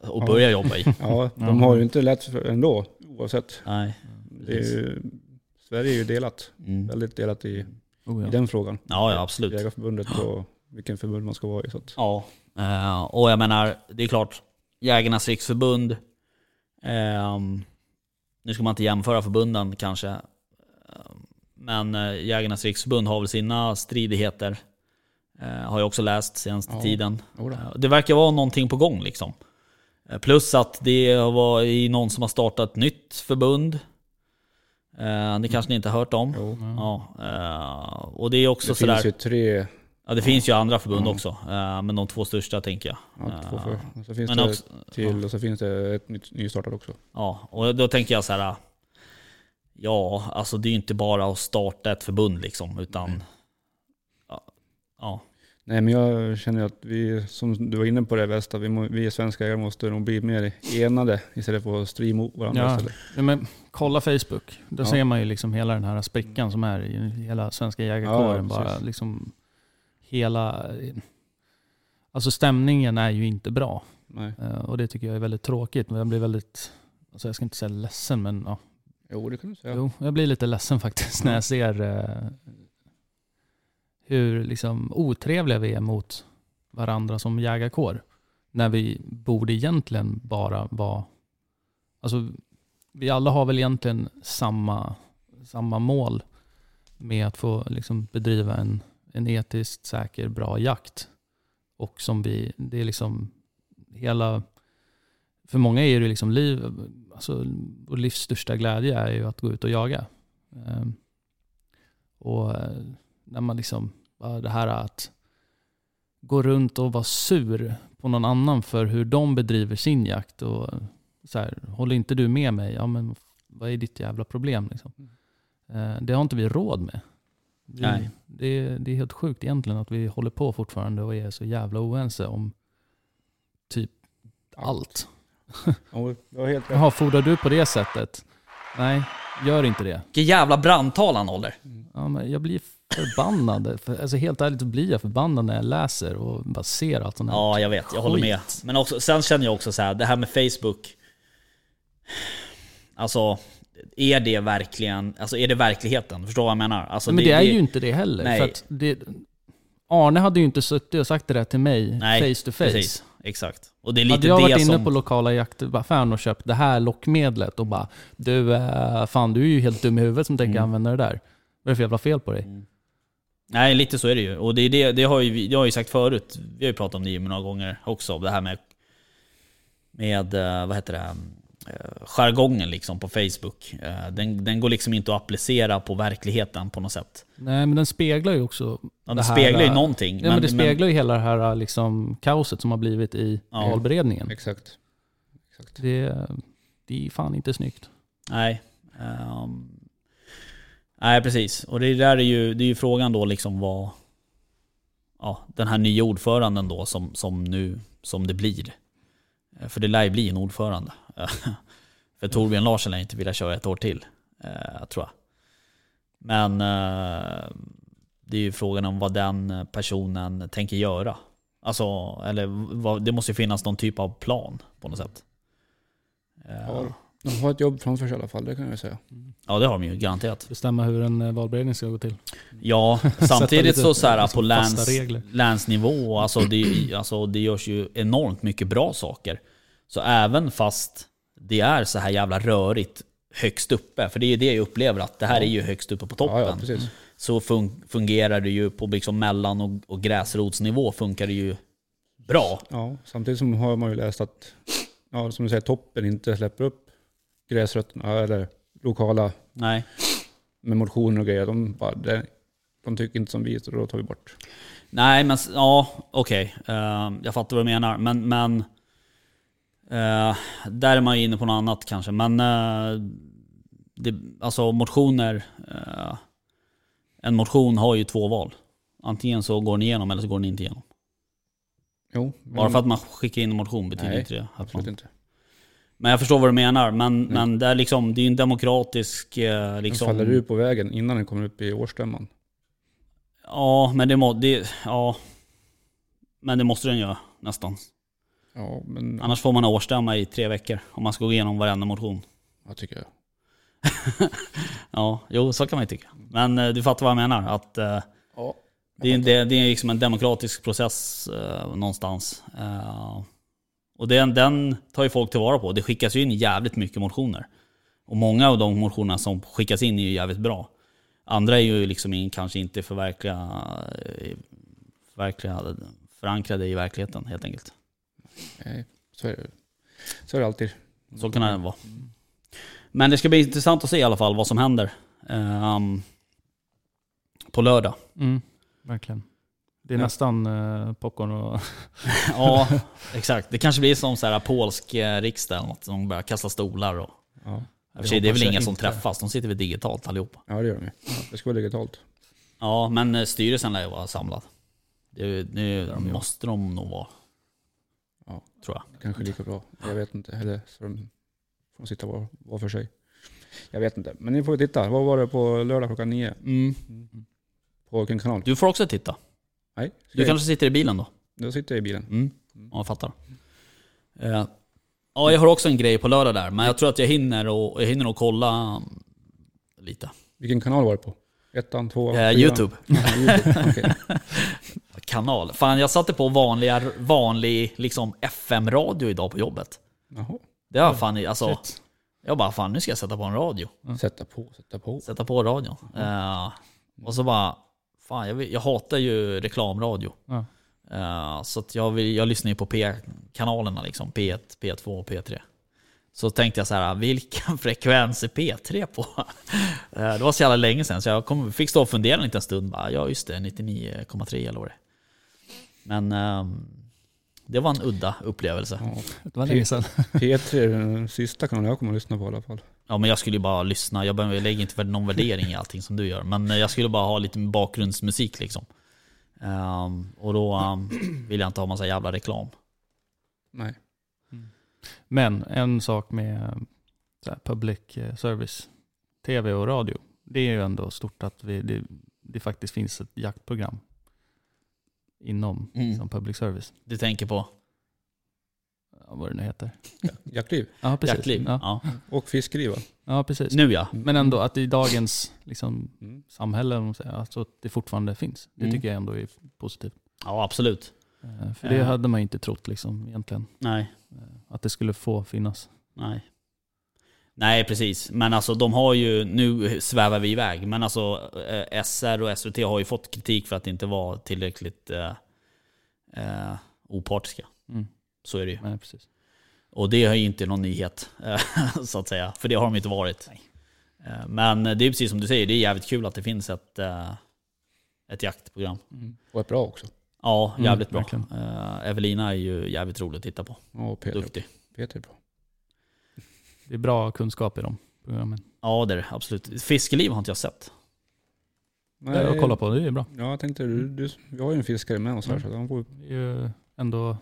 [SPEAKER 2] att börja jobba i.
[SPEAKER 1] Ja, de
[SPEAKER 3] Ja.
[SPEAKER 1] har ju inte lätt för ändå, oavsett.
[SPEAKER 2] Nej.
[SPEAKER 1] Det är ju, Sverige är ju delat,
[SPEAKER 2] Mm.
[SPEAKER 1] väldigt delat i,
[SPEAKER 3] Oh,
[SPEAKER 1] i
[SPEAKER 3] ja.
[SPEAKER 1] den frågan.
[SPEAKER 2] Ja, ja, absolut.
[SPEAKER 1] Jägarförbundet och vilken förbund man ska vara i. Så att,
[SPEAKER 2] Ja, eh, och jag menar, det är klart, Jägarnas riksförbund, ehm, nu ska man inte jämföra förbunden kanske, ehm, men eh, Jägarnas riksförbund har väl sina stridigheter, eh, har jag också läst senaste
[SPEAKER 1] Ja,
[SPEAKER 2] tiden.
[SPEAKER 1] jodå.
[SPEAKER 2] Eh, Det verkar vara någonting på gång liksom. Eh, Plus att det var i någon som har startat ett nytt förbund. Eh, Det kanske ni inte har hört om.
[SPEAKER 1] jo.
[SPEAKER 2] Ja, eh, och det är också
[SPEAKER 1] Det
[SPEAKER 2] sådär.
[SPEAKER 1] finns ju tre,
[SPEAKER 2] Ja, det finns ju andra förbund också, eh, men de två största tänker jag.
[SPEAKER 1] ja, två
[SPEAKER 2] Eh,
[SPEAKER 1] för, och så finns
[SPEAKER 2] men
[SPEAKER 1] det
[SPEAKER 2] också-
[SPEAKER 1] till och så finns det ett nytt, nystartat också.
[SPEAKER 2] Ja, och då tänker jag så här. eh, Ja, alltså det är ju inte bara att starta ett förbund liksom, utan... Ja, ja,
[SPEAKER 1] Nej, men jag känner att vi, som du var inne på det Västa, vi, må, vi svenska jägare måste nog bli mer enade istället för att strida mot varandra.
[SPEAKER 3] Ja.
[SPEAKER 1] istället.
[SPEAKER 3] Ja, Men, kolla Facebook. Där
[SPEAKER 1] Ja.
[SPEAKER 3] ser man ju liksom hela den här sprickan som är i hela svenska
[SPEAKER 1] Ja,
[SPEAKER 3] jägarkåren.
[SPEAKER 1] ja,
[SPEAKER 3] bara
[SPEAKER 1] precis.
[SPEAKER 3] liksom hela... Alltså stämningen är ju inte bra.
[SPEAKER 1] Nej.
[SPEAKER 3] Eh, Och det tycker jag är väldigt tråkigt. Men jag blir väldigt, alltså jag ska inte säga ledsen, men ja.
[SPEAKER 1] Jo, det kan du säga.
[SPEAKER 3] Jo, jag blir lite ledsen faktiskt när jag ser eh, hur liksom otrevliga vi är mot varandra som jägarkår. När vi borde egentligen bara vara, alltså vi alla har väl egentligen samma, samma mål med att få liksom bedriva en, en etiskt säker, bra jakt. Och som vi, det är liksom hela, för många är det liksom liv, alltså vår livs största glädje är ju att gå ut och jaga. Ehm, Och eh, när man liksom, bara det här att gå runt och vara sur på någon annan för hur de bedriver sin jakt och så här, håller inte du med mig? Ja men vad är ditt jävla problem liksom? Eh, Det har inte vi råd med. Det,
[SPEAKER 2] Nej.
[SPEAKER 3] Det, är- det är helt sjukt egentligen att vi håller på fortfarande och är så jävla oense om typ allt.
[SPEAKER 1] Jo, det var helt rätt.
[SPEAKER 3] Jaha, fodrar du på det sättet? Nej, gör inte det.
[SPEAKER 2] vilken jävla brandtal han håller.
[SPEAKER 3] Ja, men jag blir förbannad. För, alltså, helt ärligt så blir jag förbannad när jag läser och bara ser allt sånt här.
[SPEAKER 2] Ja, alltså, jag vet. Jag håller med. Men också, sen känner jag också så här, det här med Facebook. Alltså, är det verkligen, alltså är det verkligheten? Förstår du vad jag menar? Alltså,
[SPEAKER 3] men det, är ju inte det heller.
[SPEAKER 2] Nej.
[SPEAKER 3] För att det, Arne hade ju inte suttit och sagt det där till mig
[SPEAKER 2] nej,
[SPEAKER 3] face to face.
[SPEAKER 2] Precis, exakt. Och det är lite
[SPEAKER 3] Hade jag
[SPEAKER 2] det
[SPEAKER 3] varit inne
[SPEAKER 2] som...
[SPEAKER 3] på lokala jaktaffären och köpt det här lockmedlet och bara du, eh, fan du är ju helt dum i huvudet som tänker
[SPEAKER 2] Mm.
[SPEAKER 3] använda det där. Vad är det för jävla fel på dig?
[SPEAKER 2] Nej, lite så är det ju. Och det, är det, det, har ju, vi- det har jag ju sagt förut. Vi har ju pratat om det Jimmy några gånger också. om Det här med, med eh, vad heter det, eh, jargongen liksom på Facebook. Eh, Den, den går liksom inte att applicera på verkligheten på något sätt.
[SPEAKER 3] Nej, men den speglar ju också...
[SPEAKER 2] Ja, Den
[SPEAKER 3] det här,
[SPEAKER 2] speglar ju
[SPEAKER 3] eh,
[SPEAKER 2] någonting.
[SPEAKER 3] Ja, men det speglar ju hela det här liksom, kaoset som har blivit i valberedningen.
[SPEAKER 1] Exakt.
[SPEAKER 3] Det, det är fan inte snyggt.
[SPEAKER 2] Nej. ehm, nej, precis. Och det där är ju, det är ju frågan då liksom vad... Ja, den här nya ordföranden då som, som nu, som det blir. Eh, För det lär ju bli en ordförande. För Torbjörn Larsen lär ju inte vilja köra ett år till, eh, tror jag. Men eh, det är ju frågan om vad den personen tänker göra. Alltså, eller vad, det måste ju finnas någon typ av plan på något sätt. Eh,
[SPEAKER 1] Ja, de har ett jobb framför sig i alla fall, det kan jag ju säga.
[SPEAKER 2] Ja det har de ju garanterat.
[SPEAKER 3] Bestämma hur en eh, valberedning ska gå till.
[SPEAKER 2] Ja, samtidigt
[SPEAKER 3] lite,
[SPEAKER 2] så, så här,
[SPEAKER 3] liksom,
[SPEAKER 2] på läns,
[SPEAKER 3] fasta regler.
[SPEAKER 2] länsnivå, alltså det, alltså det görs ju enormt mycket bra saker. Så även fast det är så här jävla rörigt högst uppe, för det är ju det jag upplever att det här är ju högst uppe på toppen.
[SPEAKER 1] Ja, ja, precis.
[SPEAKER 2] så fun- fungerar det ju på liksom mellan och, och gräsrotsnivå funkar det ju bra.
[SPEAKER 1] Ja, samtidigt som har man ju läst att, ja, som du säger, toppen inte släpper upp gräsrötterna eller lokala
[SPEAKER 2] Nej.
[SPEAKER 1] med motioner och grejer. De, bara, det, de tycker inte som vi, så då tar vi bort.
[SPEAKER 2] Nej, men s- ja, okej. Eh, jag fattar vad du menar. Men, men eh, där är man ju inne på något annat kanske. Men eh, det, alltså motioner, eh, en motion har ju två val. Antingen så går den igenom eller så går den inte igenom.
[SPEAKER 1] Jo,
[SPEAKER 2] Bara för att man skickar in en motion betyder
[SPEAKER 1] Mm. Nej,
[SPEAKER 2] inte det. Att
[SPEAKER 1] absolut
[SPEAKER 2] man,
[SPEAKER 1] inte. Mm.
[SPEAKER 2] men jag förstår vad du menar. Men, men det, är liksom, det är ju en demokratisk... eh,
[SPEAKER 1] Den
[SPEAKER 2] Liksom,
[SPEAKER 1] faller ur på vägen innan den kommer upp i årsstämman.
[SPEAKER 2] Ja, men det, må, det, ja, men det måste den göra nästan.
[SPEAKER 1] Ja, men
[SPEAKER 2] Annars får man ha årsstämma i tre veckor om man ska gå igenom varenda motion.
[SPEAKER 1] jag tycker jag.
[SPEAKER 2] Ja, jo så kan man ju tycka. Men eh, du fattar vad jag menar. Att, eh,
[SPEAKER 1] Ja.
[SPEAKER 2] det, är, det, det är liksom en demokratisk process eh, någonstans. Eh, och den, den tar ju folk tillvara på. Det skickas ju in jävligt mycket motioner. Och många av de motionerna som skickas in är ju jävligt bra. Andra är ju liksom in, kanske inte förverkliga, eh, förverkliga, förankrade i verkligheten helt enkelt.
[SPEAKER 1] Nej, så är det, så är det alltid.
[SPEAKER 2] Så kan det vara. Men det ska bli intressant att se i alla fall vad som händer ehm, på lördag.
[SPEAKER 3] Mm, verkligen. Det är
[SPEAKER 1] Ja.
[SPEAKER 3] nästan eh, popcorn och...
[SPEAKER 2] Ja, exakt. Det kanske blir som så här polsk eh, riksdag eller något. De börjar kasta stolar och...
[SPEAKER 1] Ja,
[SPEAKER 2] i och för sig, det är
[SPEAKER 3] hoppas
[SPEAKER 2] väl
[SPEAKER 3] jag
[SPEAKER 2] inga som
[SPEAKER 3] inte.
[SPEAKER 2] träffas, de sitter väl digitalt allihopa.
[SPEAKER 1] ja det gör de ju. Det ska vara digitalt.
[SPEAKER 2] Ja, men eh, styrelsen lär ju vara samlad. Det, är ju- det måste de nog vara.
[SPEAKER 1] Ja.
[SPEAKER 2] Tror jag.
[SPEAKER 1] Kanske lika bra. Jag vet inte. Eller så de får de sitta var, var för sig. Jag vet inte. Men ni får ju titta. Vad var det på lördag klockan nio? På vilken kanal?
[SPEAKER 2] Du får också titta.
[SPEAKER 1] Nej, ska
[SPEAKER 2] Du
[SPEAKER 1] jag-
[SPEAKER 2] kanske sitter i bilen då?
[SPEAKER 1] Då sitter jag i bilen.
[SPEAKER 2] Mm. Ja, jag fattar. Eh, Ja, jag har också en grej på lördag där, men jag tror att jag hinner och jag hinner nog kolla mm, lite.
[SPEAKER 1] Vilken kanal var det på? Ettan, tvåan,
[SPEAKER 2] Eh,
[SPEAKER 1] fyran?
[SPEAKER 2] Youtube.
[SPEAKER 1] Ja, YouTube. Okej.
[SPEAKER 2] Kanal. Fan, jag satte på vanliga, vanlig liksom FM-radio idag på jobbet.
[SPEAKER 1] Jaha.
[SPEAKER 2] Det var fan, i- alltså. Jag bara, fan nu ska jag sätta på en radio.
[SPEAKER 1] Sätta på, sätta på.
[SPEAKER 2] Sätta på radion. Eh, och så bara, fan jag, vill, jag hatar ju reklamradio.
[SPEAKER 3] Ja.
[SPEAKER 2] Eh, så att jag, vill, jag lyssnar ju på P-kanalerna liksom, P1, P2 och P3. Så tänkte jag så här, vilken frekvens är P3 på? Eh, det var så jävla länge sedan så jag kom, fick stå och fundera en liten stund. Bara, ja just det, 99,3 eller vad det är. Men ehm, det var en udda upplevelse.
[SPEAKER 1] Ja.
[SPEAKER 3] Det var länge sedan.
[SPEAKER 1] P3 är den sista kanalen jag kommer att lyssna på i alla fall.
[SPEAKER 2] Ja men jag skulle ju bara lyssna, jag behöver- jag lägger inte någon värdering i allting som du gör. Men eh, jag skulle bara ha lite bakgrundsmusik liksom. Ehm, och då ehm, vill jag inte ha massa jävla reklam.
[SPEAKER 1] Nej.
[SPEAKER 3] Men en sak med eh, så här, public eh, service, tv och radio. Det är ju ändå stort att vi, det, det faktiskt finns ett jaktprogram inom
[SPEAKER 2] Mm.
[SPEAKER 3] liksom, public service.
[SPEAKER 2] Du tänker på
[SPEAKER 3] Ja, vad det nu heter.
[SPEAKER 1] Jaktliv
[SPEAKER 3] Ja, precis.
[SPEAKER 2] jaktliv?
[SPEAKER 3] Ja,
[SPEAKER 2] Ja.
[SPEAKER 1] och fiskeliv va?
[SPEAKER 3] ja, precis.
[SPEAKER 2] Nu ja.
[SPEAKER 3] Men ändå att i dagens liksom,
[SPEAKER 1] Mm.
[SPEAKER 3] samhälle, om man säger, alltså, att det fortfarande finns. Det
[SPEAKER 2] Mm.
[SPEAKER 3] tycker jag ändå är positivt.
[SPEAKER 2] Ja absolut.
[SPEAKER 3] Eh, För det
[SPEAKER 2] Ja.
[SPEAKER 3] hade man ju inte trott liksom, egentligen,
[SPEAKER 2] Nej,
[SPEAKER 3] att det skulle få finnas.
[SPEAKER 2] nej. Nej precis, men alltså de har ju, nu svävar vi iväg, men alltså eh, SR och SVT har ju fått kritik för att inte vara tillräckligt eh, eh, opartiska.
[SPEAKER 3] Mm.
[SPEAKER 2] Så är det ju.
[SPEAKER 3] Nej, precis.
[SPEAKER 2] Och det är ju inte någon nyhet, eh, så att säga. För det har de inte varit. Eh, Men det är precis som du säger, det är jävligt kul att det finns ett, eh, ett jaktprogram.
[SPEAKER 1] Och är bra också.
[SPEAKER 2] Ja,
[SPEAKER 3] Mm,
[SPEAKER 2] jävligt bra.
[SPEAKER 3] verkligen.
[SPEAKER 2] Eh, Evelina är ju jävligt rolig att titta på.
[SPEAKER 1] Ja, och P3.
[SPEAKER 2] Duktig.
[SPEAKER 1] P3 är bra.
[SPEAKER 3] det är bra kunskap i de programmen.
[SPEAKER 2] Ja, det är det absolut. Fiskeliv har inte jag sett.
[SPEAKER 3] Det har jag kollat Eh, på, det är bra.
[SPEAKER 1] Ja, jag tänkte, du,
[SPEAKER 2] Mm.
[SPEAKER 1] du, vi har ju en fiskare med oss här, så han får
[SPEAKER 3] Det är ju ändå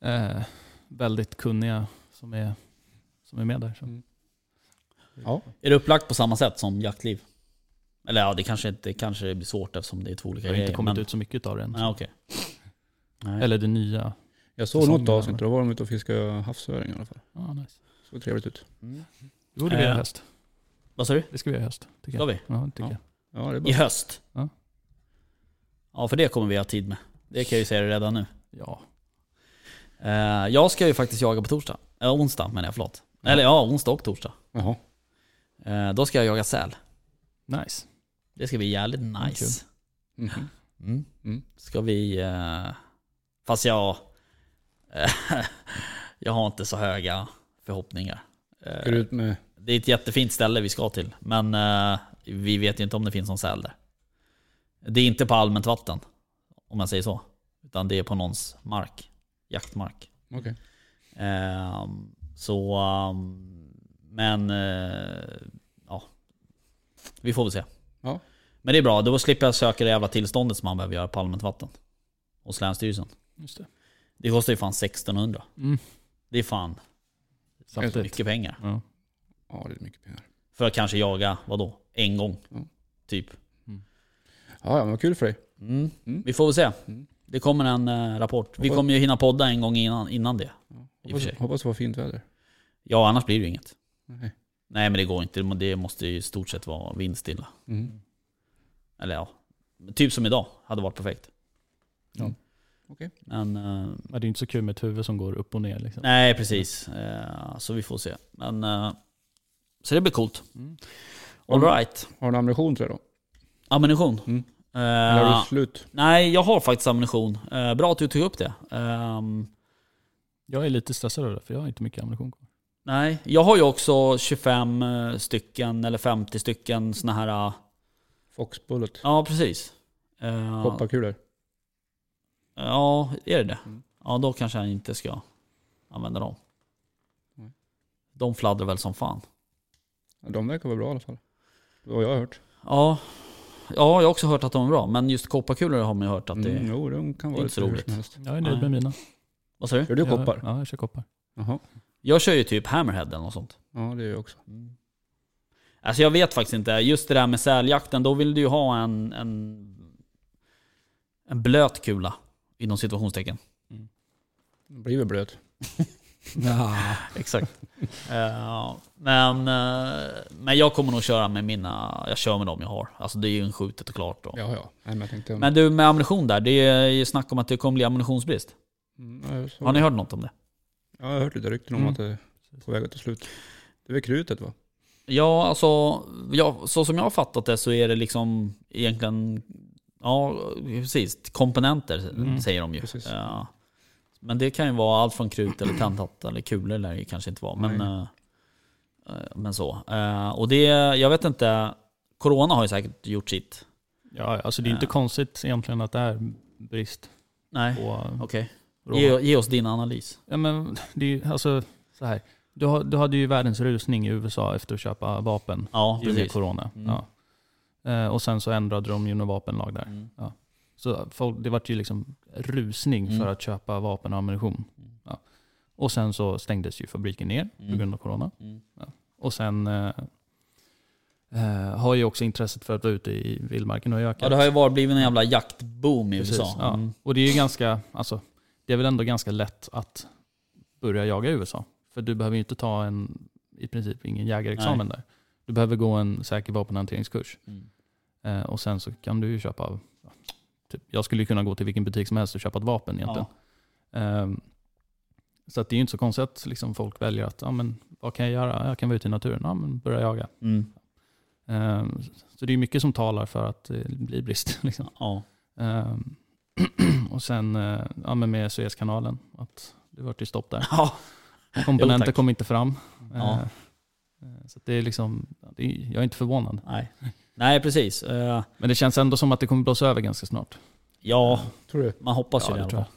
[SPEAKER 3] eh, väldigt kunniga som är, som är med där. Så.
[SPEAKER 1] Mm. Ja.
[SPEAKER 2] Är det upplagt på samma sätt som jaktliv? Eller ja, det kanske, inte, det kanske blir svårt eftersom det är två olika
[SPEAKER 3] Det har
[SPEAKER 2] grejer.
[SPEAKER 3] inte kommit
[SPEAKER 2] men-
[SPEAKER 3] ut så mycket av det än.
[SPEAKER 2] Nej, okej. Nej.
[SPEAKER 3] Eller det nya.
[SPEAKER 1] Jag såg
[SPEAKER 3] Säsongen,
[SPEAKER 1] något avsnitt, då var de ute och fiskade havsöring i alla fall.
[SPEAKER 3] Ah, nice.
[SPEAKER 1] Såg trevligt ut.
[SPEAKER 3] Det borde vi
[SPEAKER 2] Eh.
[SPEAKER 3] göra i höst.
[SPEAKER 2] Vad sa du?
[SPEAKER 3] Det ska vi göra i höst.
[SPEAKER 2] Ska
[SPEAKER 3] Tycker jag.
[SPEAKER 2] vi?
[SPEAKER 3] Ja, det tycker jag.
[SPEAKER 1] Ja, det är
[SPEAKER 2] I
[SPEAKER 1] bra.
[SPEAKER 2] höst?
[SPEAKER 3] Ja.
[SPEAKER 2] Ja, för det kommer vi ha tid med. Det kan jag ju säga redan nu.
[SPEAKER 3] Ja.
[SPEAKER 2] Eh, jag ska ju faktiskt jaga på torsdag. Äh, onsdag menar jag, förlåt. Eller ja, onsdag och torsdag.
[SPEAKER 1] Jaha.
[SPEAKER 2] Eh, då ska jag jaga säl.
[SPEAKER 3] Nice.
[SPEAKER 2] Det ska bli jävligt nice.
[SPEAKER 3] kul.
[SPEAKER 1] Mhm.
[SPEAKER 2] Mm.
[SPEAKER 1] Mm.
[SPEAKER 2] Ska vi... eh, fast jag... eh, jag har inte så höga förhoppningar. Eh,
[SPEAKER 1] Ska du ut med...
[SPEAKER 2] det är ett jättefint ställe vi ska till, men eh, vi vet ju inte om det finns någon säl där. Det är inte på allmänt vatten, om man säger så. Utan det är på någons mark, jaktmark.
[SPEAKER 1] Okej.
[SPEAKER 2] Ehm, så, ehm, men eh, ja, vi får väl se.
[SPEAKER 1] Ja.
[SPEAKER 2] Men det är bra, då slipper jag söka det jävla tillståndet som man behöver göra på allmänt vatten. Hos Länsstyrelsen.
[SPEAKER 3] Just det.
[SPEAKER 2] Det kostar ju fan 1600.
[SPEAKER 3] Mm.
[SPEAKER 2] Det är fan
[SPEAKER 3] Saftigt.
[SPEAKER 2] mycket pengar.
[SPEAKER 3] Ja.
[SPEAKER 1] Ja, det är mycket pengar.
[SPEAKER 2] För att kanske jaga, vadå, en gång?
[SPEAKER 1] Mm.
[SPEAKER 2] Typ.
[SPEAKER 1] Ja, ja, men vad kul för dig.
[SPEAKER 2] Mm.
[SPEAKER 1] Mm.
[SPEAKER 2] Vi får väl se.
[SPEAKER 1] Mm.
[SPEAKER 2] Det kommer en eh, rapport. Vi
[SPEAKER 1] Hoppas-
[SPEAKER 2] kommer ju hinna podda en gång innan, innan det. och för
[SPEAKER 1] Hoppas,
[SPEAKER 2] sig.
[SPEAKER 1] hoppas det var fint väder.
[SPEAKER 2] Ja, annars blir det ju inget.
[SPEAKER 1] Nej.
[SPEAKER 2] Nej, men det går inte. Det måste ju i stort sett vara vindstilla.
[SPEAKER 1] Mm.
[SPEAKER 2] Eller ja, typ som idag. Hade varit perfekt.
[SPEAKER 1] Ja. Okej.
[SPEAKER 2] Men, eh,
[SPEAKER 3] Men det är inte så kul med ett huvud som går upp och ner. Liksom.
[SPEAKER 2] nej precis. Eh, så vi får se. Men, eh, så det blir coolt.
[SPEAKER 3] Mm.
[SPEAKER 2] All right.
[SPEAKER 1] Har du en ammunition till det då?
[SPEAKER 2] Ammunition.
[SPEAKER 1] Mm.
[SPEAKER 2] Eh,
[SPEAKER 1] Eller har du slut?
[SPEAKER 2] nej, jag har faktiskt ammunition. Eh, bra att du tog upp det. Ehm,
[SPEAKER 3] Jag är lite stressad över det, för jag har inte mycket ammunition kvar.
[SPEAKER 2] Nej, jag har ju också 25 eh, stycken eller 50 stycken såna här... eh,
[SPEAKER 1] Fox Bullet?
[SPEAKER 2] Ja, precis. Eh,
[SPEAKER 1] Kopparkulor?
[SPEAKER 2] Ja, är det det?
[SPEAKER 1] Mm.
[SPEAKER 2] Ja, då kanske jag inte ska använda dem.
[SPEAKER 1] Nej.
[SPEAKER 2] De fladdrar väl som fan.
[SPEAKER 1] Ja, De verkar vara bra i alla fall. Det har jag hört.
[SPEAKER 2] Ja, ja jag har också hört att de är bra, men just kopparkulor har man ju hört att det är...
[SPEAKER 1] Mm, jo, de kan vara
[SPEAKER 2] inte så
[SPEAKER 1] lite hur
[SPEAKER 2] roligt.
[SPEAKER 1] som helst.
[SPEAKER 3] Jag är nöjd
[SPEAKER 2] Nej.
[SPEAKER 3] med mina.
[SPEAKER 2] Vad sa du?
[SPEAKER 1] Gör du
[SPEAKER 3] Jag-
[SPEAKER 1] koppar?
[SPEAKER 3] Ja, jag kör koppar.
[SPEAKER 1] Jaha.
[SPEAKER 2] Jag kör ju typ hammerhead eller något sånt.
[SPEAKER 1] Ja, det är jag också.
[SPEAKER 2] Alltså jag vet faktiskt inte. Just det där med säljakten, då vill du ju ha en, en, en blöt kula. Inom situationstecken.
[SPEAKER 1] Den blir väl blöt.
[SPEAKER 4] Ja.
[SPEAKER 2] Exakt. Eh, men, eh, men jag kommer nog köra med mina, jag kör med dem jag har. Alltså det är ju en skjutet och klart då.
[SPEAKER 1] Ja, ja. Nej, men jag tänkte...
[SPEAKER 2] Men du med ammunition där, det är ju snack om att det kommer bli ammunitionsbrist.
[SPEAKER 1] Mm, ja, jag såg
[SPEAKER 2] Har ni
[SPEAKER 1] det.
[SPEAKER 2] hört något om det?
[SPEAKER 1] Ja, jag har hört lite rykten om
[SPEAKER 3] Mm.
[SPEAKER 1] att det är på väg att ta slut. Det är väl krutet va?
[SPEAKER 2] Ja, alltså ja, så som jag har fattat det så är det liksom egentligen, ja precis, komponenter
[SPEAKER 3] Mm,
[SPEAKER 2] säger de ju.
[SPEAKER 1] precis.
[SPEAKER 2] Ja. Men det kan ju vara allt från krut eller tändhatt eller kulor lär det ju kanske inte vara. Men, eh, eh, men så. Eh, och det, jag vet inte, Corona har ju säkert gjort sitt.
[SPEAKER 3] Ja, alltså det är inte
[SPEAKER 2] Ja.
[SPEAKER 3] konstigt egentligen att det är brist
[SPEAKER 2] Nej,
[SPEAKER 3] på eh,
[SPEAKER 2] okej.
[SPEAKER 3] råvaror.
[SPEAKER 2] Ge, ge oss din analys.
[SPEAKER 3] Ja, men det är ju, alltså så här. Du, har, du hade ju världens rusning i USA efter att köpa vapen
[SPEAKER 2] Ja,
[SPEAKER 3] i och med
[SPEAKER 2] precis.
[SPEAKER 3] corona.
[SPEAKER 2] Mm.
[SPEAKER 3] Ja. Eh, och sen så ändrade de ju någon vapenlag där.
[SPEAKER 2] Mm.
[SPEAKER 3] Så folk, det vart ju liksom rusning
[SPEAKER 2] Mm.
[SPEAKER 3] för att köpa vapen och ammunition.
[SPEAKER 2] Mm.
[SPEAKER 3] Ja. Och sen så stängdes ju fabriken ner
[SPEAKER 2] Mm.
[SPEAKER 3] på grund av corona.
[SPEAKER 2] Mm.
[SPEAKER 3] Och sen eh, eh, har ju också intresset för att vara ute i vildmarken och ökat.
[SPEAKER 2] Ja, det har ju varit blivit en jävla jaktboom i
[SPEAKER 3] Precis,
[SPEAKER 2] USA.
[SPEAKER 3] ja.
[SPEAKER 2] Mm.
[SPEAKER 3] Och det är ju ganska, alltså, det är väl ändå ganska lätt att börja jaga i USA. För du behöver ju inte ta en, i princip ingen jägarexamen där. Du behöver gå en säker vapenhanteringskurs.
[SPEAKER 2] Mm.
[SPEAKER 3] Eh, och sen så kan du ju köpa, ja, typ, jag skulle ju kunna gå till vilken butik som helst och köpa ett vapen egentligen.
[SPEAKER 2] Ja.
[SPEAKER 3] Ehm, så att det är ju inte så konstigt att liksom folk väljer att, ja, men, vad kan jag göra? Jag kan vara ute i naturen, ja, men börja jaga.
[SPEAKER 2] Mm.
[SPEAKER 3] Ehm, så det är ju mycket som talar för att det blir brist. Liksom.
[SPEAKER 2] Ja.
[SPEAKER 3] Ehm, och sen eh, ja, men med Suezkanalen, att det vart ju stopp där.
[SPEAKER 2] Ja.
[SPEAKER 3] Komponenter
[SPEAKER 2] tack.
[SPEAKER 3] kom inte fram.
[SPEAKER 2] Ja.
[SPEAKER 3] Eh, eh, så att det är liksom, det är, jag är inte förvånad.
[SPEAKER 2] Nej. Nej, precis. Eh,
[SPEAKER 3] Men det känns ändå som att det kommer blåsa över ganska snart.
[SPEAKER 2] Ja,
[SPEAKER 1] Tror du?
[SPEAKER 2] man hoppas ju
[SPEAKER 3] Ja,
[SPEAKER 2] det.
[SPEAKER 3] det
[SPEAKER 2] i alla
[SPEAKER 3] tror jag.
[SPEAKER 2] fall.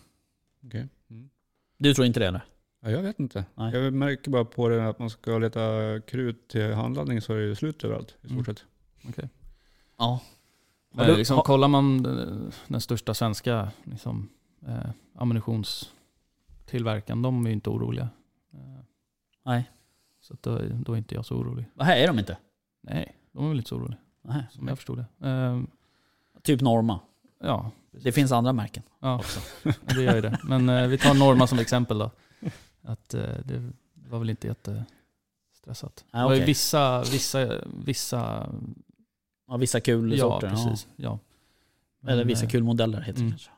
[SPEAKER 1] Okej. Mm.
[SPEAKER 2] Du tror inte det eller?
[SPEAKER 1] Ja, jag vet inte.
[SPEAKER 2] Nej.
[SPEAKER 1] Jag märker bara på det att man ska leta krut till handladdning så är det slut överallt i
[SPEAKER 3] Mm.
[SPEAKER 1] stort sett.
[SPEAKER 2] Ja.
[SPEAKER 3] Ja,
[SPEAKER 2] Eh,
[SPEAKER 3] du, liksom,
[SPEAKER 2] ha-
[SPEAKER 3] kollar man eh, den största svenska liksom, eh, ammunitionstillverkaren, de är ju inte oroliga. Eh,
[SPEAKER 2] Nej.
[SPEAKER 3] Så att då, är- då är inte jag så orolig.
[SPEAKER 2] Vad här är de inte?
[SPEAKER 3] Nej, de är väl inte så oroliga,
[SPEAKER 2] Nej.
[SPEAKER 3] som jag förstod det. Eh,
[SPEAKER 2] Typ Norma.
[SPEAKER 3] ja,
[SPEAKER 2] Det finns andra märken.
[SPEAKER 3] ja det gör ju det. Men eh, vi tar Norma som exempel då. Att, eh, det var väl inte jättestressat.
[SPEAKER 2] Ja,
[SPEAKER 3] Det var ju
[SPEAKER 2] okej.
[SPEAKER 3] vissa, vissa, vissa
[SPEAKER 2] Ja, vissa kulsorter.
[SPEAKER 3] Ja, precis. Ja.
[SPEAKER 2] Ja. Eller
[SPEAKER 3] Men,
[SPEAKER 2] vissa
[SPEAKER 3] eh,
[SPEAKER 2] kulmodeller heter det
[SPEAKER 3] Mm.
[SPEAKER 2] kanske.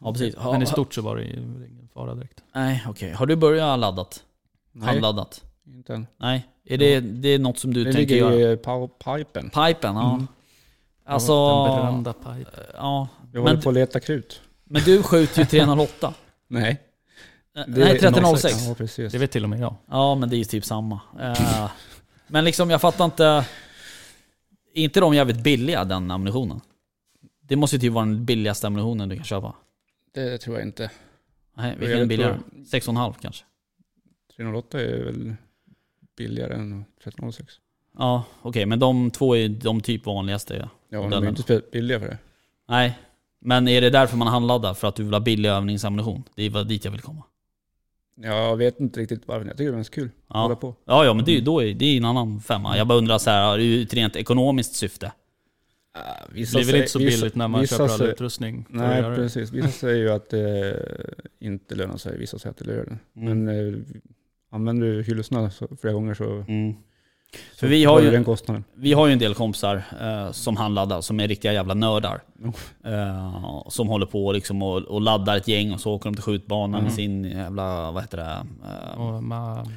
[SPEAKER 2] Ja, precis. Ha,
[SPEAKER 3] Men i
[SPEAKER 2] ha-
[SPEAKER 3] stort så var det ju ingen fara direkt.
[SPEAKER 2] Nej, okej. Har du börjat laddat?
[SPEAKER 1] Nej,
[SPEAKER 2] Handladdat?
[SPEAKER 1] inte än.
[SPEAKER 2] Nej. Är det, det är något som du
[SPEAKER 1] Det
[SPEAKER 2] tänker
[SPEAKER 1] ligger
[SPEAKER 2] göra?
[SPEAKER 1] i pow- pipen.
[SPEAKER 2] Pipen, ja.
[SPEAKER 1] Mm.
[SPEAKER 2] Alltså...
[SPEAKER 3] Den berömda pipe.
[SPEAKER 2] Ja.
[SPEAKER 1] Jag
[SPEAKER 2] Men-
[SPEAKER 1] håller på att leta krut.
[SPEAKER 2] Men du skjuter ju 308.
[SPEAKER 1] Nej.
[SPEAKER 2] Eh,
[SPEAKER 1] det är
[SPEAKER 2] Nej, 1306.
[SPEAKER 1] Ja, precis.
[SPEAKER 3] Det vet till och med jag.
[SPEAKER 2] Ja, men det är ju typ samma. Eh, men liksom, jag fattar inte... Är inte de jävligt billiga, den ammunitionen? Det måste ju typ vara den billigaste ammunitionen du kan köpa.
[SPEAKER 1] Det tror jag inte.
[SPEAKER 2] Nej,
[SPEAKER 1] Jag
[SPEAKER 2] vilken
[SPEAKER 1] vet
[SPEAKER 2] är billigare?
[SPEAKER 1] inte.
[SPEAKER 2] 6,5 kanske?
[SPEAKER 1] 308 är väl billigare än 1306.
[SPEAKER 2] Ja, okej, men de två är ju de typ vanligaste. Ja.
[SPEAKER 1] Ja,
[SPEAKER 2] Den
[SPEAKER 1] de
[SPEAKER 2] är-
[SPEAKER 1] är inte spe- billiga för det.
[SPEAKER 2] Nej, men är det därför man handladdar? För att du vill ha billig övningsammunition? Det var dit jag vill komma.
[SPEAKER 1] Jag vet inte riktigt varför. Jag tycker det är ganska kul att hålla
[SPEAKER 2] Ja,
[SPEAKER 1] på.
[SPEAKER 2] ja, ja men det är ju då är, det är ju en annan femma. Jag bara undrar så här, ur ett rent ekonomiskt syfte. Ah,
[SPEAKER 3] Det blir väl inte så billigt när man
[SPEAKER 1] vissa
[SPEAKER 3] köper all
[SPEAKER 1] sig-
[SPEAKER 3] utrustning. för att
[SPEAKER 1] Nej,
[SPEAKER 3] göra det.
[SPEAKER 1] precis. Vissa säger ju att det inte lönar sig. Vissa säger att det gör det.
[SPEAKER 2] Mm.
[SPEAKER 1] Men eh, använder du hyllorna så- flera gånger så,
[SPEAKER 2] Mm.
[SPEAKER 1] så
[SPEAKER 2] För vi har
[SPEAKER 1] tar
[SPEAKER 2] ju-
[SPEAKER 1] den kostnaden.
[SPEAKER 2] Vi har ju en del kompisar eh, som handladdar, som är riktiga jävla nördar.
[SPEAKER 1] Jo.
[SPEAKER 2] Eh, som håller på liksom och, och laddar ett gäng och så åker de till skjutbanan med sin jävla, vad heter det? Eh,
[SPEAKER 3] Och man,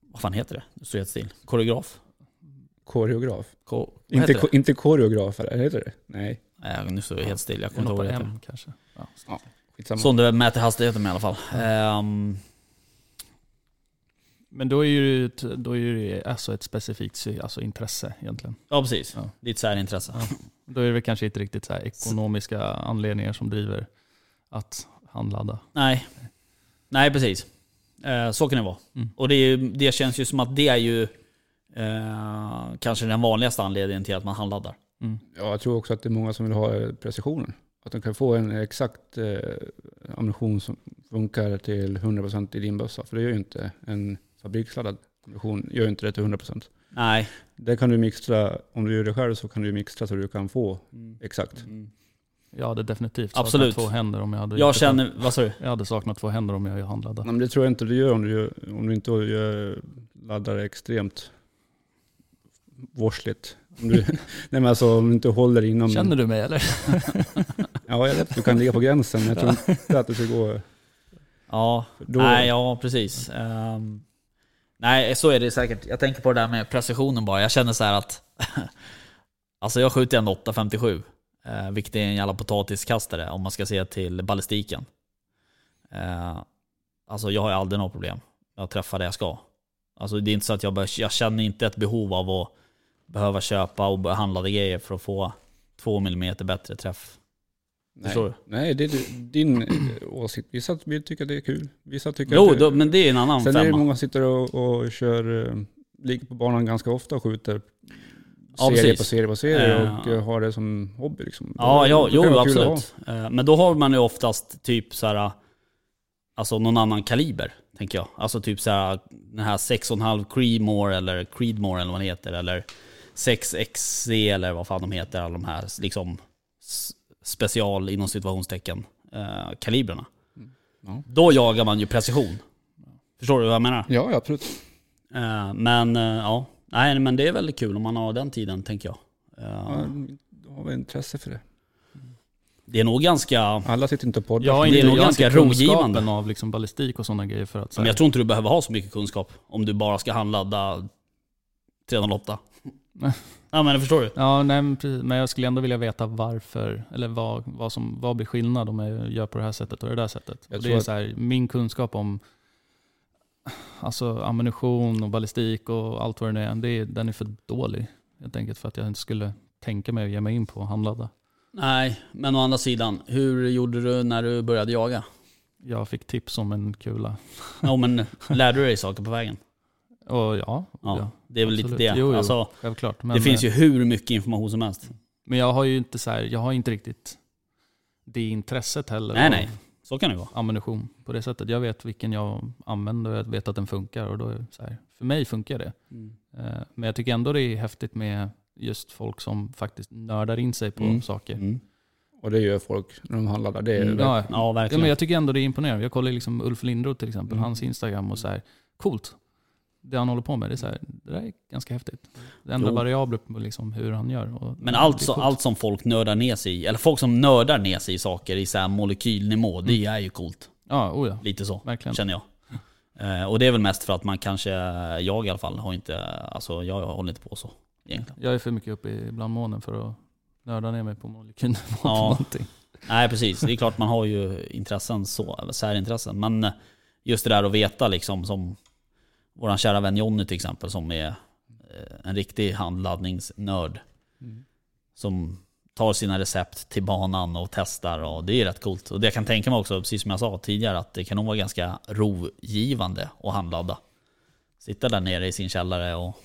[SPEAKER 2] Vad fan heter det? Nu står jag helt still. Koreograf?
[SPEAKER 1] Koreograf.
[SPEAKER 2] Ko- vad
[SPEAKER 1] Inte,
[SPEAKER 2] heter
[SPEAKER 1] ko, inte koreograf, eller heter det? Nej,
[SPEAKER 2] det? Nej, Eh, nu står jag helt still. Jag
[SPEAKER 3] kan
[SPEAKER 2] kommer inte
[SPEAKER 3] hoppa
[SPEAKER 2] ihåg vad det
[SPEAKER 3] hem kanske. Ja.
[SPEAKER 1] skitsamma.
[SPEAKER 2] heter. Sån du mäter hastigheten med i alla fall. Ehm,
[SPEAKER 3] Men då är ju det, ett- då är ju det alltså ett specifikt sy- alltså intresse egentligen.
[SPEAKER 2] ja, precis.
[SPEAKER 3] Ja.
[SPEAKER 2] Ditt särintresse.
[SPEAKER 3] Ja. Då är det väl kanske inte riktigt så här ekonomiska anledningar som driver att handladda.
[SPEAKER 2] Nej. Nej, precis. Eh, så kan det vara.
[SPEAKER 3] Mm.
[SPEAKER 2] Och det, är ju, det känns ju som att det är ju eh, kanske den vanligaste anledningen till att man handladdar.
[SPEAKER 3] mm.
[SPEAKER 1] Ja, jag tror också att det är många som vill ha eh, precisionen. Att de kan få en exakt eh, ammunition som funkar till 100% i din bössa. För det gör ju inte en fabriksladdad ammunition, gör ju inte det till 100%.
[SPEAKER 2] Nej.
[SPEAKER 1] Det kan du mixtra, om du gör det själv så kan du mixtra så du kan få exakt.
[SPEAKER 2] Mm.
[SPEAKER 3] Jag hade definitivt saknat
[SPEAKER 2] Absolut.
[SPEAKER 3] två händer om jag hade...
[SPEAKER 2] Jag känner, vad sa du?
[SPEAKER 3] jag hade saknat två händer om jag handladde.
[SPEAKER 1] Nej, men det tror jag inte du gör om du, gör, om du inte gör, laddar extremt vårsligt. Om du, nej men alltså om du inte håller
[SPEAKER 2] Mm.
[SPEAKER 1] inom...
[SPEAKER 3] Känner du mig eller?
[SPEAKER 1] Ja jag vet, du kan ligga på gränsen men jag tror inte att det ska gå...
[SPEAKER 2] Ja,
[SPEAKER 1] Då,
[SPEAKER 2] nej, ja precis. Ehm, nej, så är det säkert. Jag tänker på det där med precisionen bara. Jag känner så här att, alltså jag skjuter ändå 857, eh, vilket är en jävla potatiskastare om man ska se till ballistiken. Eh, alltså jag har ju aldrig några problem. Jag träffar det jag ska. Alltså det är inte så att jag, bör, jag känner inte ett behov av att behöva köpa och handla grejer för att få 2 mm bättre träff.
[SPEAKER 1] nej,
[SPEAKER 2] Förstår du?
[SPEAKER 1] nej, det är du- din eh, åsikt. Vissa tycker att det är kul, vissa tycker
[SPEAKER 2] Jo,
[SPEAKER 1] att det
[SPEAKER 2] då, men det är en annan
[SPEAKER 1] Sen är det
[SPEAKER 2] femma.
[SPEAKER 1] många som sitter och, och kör, eh, ligger på banan ganska ofta och skjuter
[SPEAKER 2] Ja,
[SPEAKER 1] serie
[SPEAKER 2] precis.
[SPEAKER 1] på serie på serie och
[SPEAKER 2] Eh.
[SPEAKER 1] eh, har det som hobby liksom.
[SPEAKER 2] Ja,
[SPEAKER 1] Det-
[SPEAKER 2] ja
[SPEAKER 1] det kan
[SPEAKER 2] jo,
[SPEAKER 1] vara kul att
[SPEAKER 2] absolut. Eh, Men då har man ju oftast typ så här, alltså någon annan kaliber, tänker jag. Alltså typ så här, den här 6,5 Creedmoor eller Creedmoor eller vad den heter, eller 6XC eller vad fan de heter, alla de här liksom s- special inom situationstecken eh, kalibrerna.
[SPEAKER 1] Mm. Ja.
[SPEAKER 2] Då jagar man ju precision. Förstår du vad jag menar?
[SPEAKER 1] ha. Ja, ja, absolut.
[SPEAKER 2] Eh, Men eh, ja, nej men det är väldigt kul om man har den tiden, tänker jag. Eh,
[SPEAKER 1] Ja, då har vi intresse för det.
[SPEAKER 2] Det är nog ganska...
[SPEAKER 1] Alla sitter inte och poddar.
[SPEAKER 3] Jag har
[SPEAKER 2] Det är
[SPEAKER 3] inte,
[SPEAKER 2] nog
[SPEAKER 3] jag har
[SPEAKER 2] ganska
[SPEAKER 3] inte kunskapen
[SPEAKER 2] rogivande.
[SPEAKER 3] av liksom ballistik och sådana grejer för att... så
[SPEAKER 2] Men
[SPEAKER 3] här-
[SPEAKER 2] jag tror inte du behöver ha så mycket kunskap om du bara ska handladda 308.
[SPEAKER 3] Nej.
[SPEAKER 2] ja men det förstår du.
[SPEAKER 3] Ja, nej, men, precis. men jag skulle ändå vilja veta varför, eller vad, vad, som, vad blir skillnad om jag gör på det här sättet och det där sättet.
[SPEAKER 1] Jag
[SPEAKER 3] Och det
[SPEAKER 1] tror
[SPEAKER 3] är
[SPEAKER 1] att-
[SPEAKER 3] så här, min kunskap om alltså, ammunition och ballistik och allt vad det nu är, det är, den är för dålig. Helt enkelt för att jag inte skulle tänka mig att ge mig in på att handladda.
[SPEAKER 2] Nej, men å andra sidan, hur gjorde du när du började jaga?
[SPEAKER 3] jag fick tips om en kula.
[SPEAKER 2] Ja, men lärde du dig saker på vägen?
[SPEAKER 3] Och ja,
[SPEAKER 2] Ja,
[SPEAKER 3] ja
[SPEAKER 2] det är väl
[SPEAKER 3] absolut.
[SPEAKER 2] lite det.
[SPEAKER 3] Jo, jo.
[SPEAKER 2] Alltså,
[SPEAKER 3] självklart.
[SPEAKER 2] det
[SPEAKER 3] Men, eh,
[SPEAKER 2] finns ju hur mycket information som helst.
[SPEAKER 3] men jag har ju inte, så här, jag har inte riktigt det intresset heller.
[SPEAKER 2] Nej,
[SPEAKER 3] av
[SPEAKER 2] nej. Så kan det vara.
[SPEAKER 3] ammunition på det sättet. Jag vet vilken jag använder och jag vet att den funkar. Och då är det så här, för mig funkar det. Eh, Men jag tycker ändå det är häftigt med just folk som faktiskt nördar in sig på
[SPEAKER 2] Mm.
[SPEAKER 3] saker.
[SPEAKER 2] Mm.
[SPEAKER 1] Och det gör folk när de handlar där. Det är
[SPEAKER 2] Mm.
[SPEAKER 1] verkligen-
[SPEAKER 3] Ja,
[SPEAKER 2] Ja,
[SPEAKER 3] ja,
[SPEAKER 2] verkligen.
[SPEAKER 3] men jag tycker ändå det är imponerande. Jag kollar liksom Ulf Lindroth till exempel,
[SPEAKER 1] Mm.
[SPEAKER 3] hans Instagram och så här, coolt. Det han håller på med, det är, så här, det där är ganska häftigt. Det enda
[SPEAKER 2] Jo.
[SPEAKER 3] variabler på liksom hur han gör. Och
[SPEAKER 2] Men
[SPEAKER 3] det är
[SPEAKER 2] allt, så,
[SPEAKER 3] coolt.
[SPEAKER 2] allt som folk nördar ner sig i, eller folk som nördar ner sig i saker i så här molekylnivå,
[SPEAKER 3] Mm.
[SPEAKER 2] det är ju coolt.
[SPEAKER 3] Ja, oh ja,
[SPEAKER 2] Lite så,
[SPEAKER 3] verkligen.
[SPEAKER 2] känner jag. Eh, och det är väl mest för att man kanske, jag i alla fall, har inte, alltså jag håller inte på så egentligen.
[SPEAKER 3] Jag är för mycket uppe i bland månen för att nörda ner mig på molekylnivå på
[SPEAKER 2] Ja.
[SPEAKER 3] någonting.
[SPEAKER 2] Nej precis, det är klart man har ju intressen så, eller särintressen. Men eh, just det där att veta liksom som våran kära vän Jonny till exempel som är eh, en riktig handladdningsnörd. Mm. Som tar sina recept till banan och testar och det är rätt coolt. Och det jag kan tänka mig också, precis som jag sa tidigare, att det kan nog vara ganska rovgivande att handladda. Sitta där nere i sin källare och,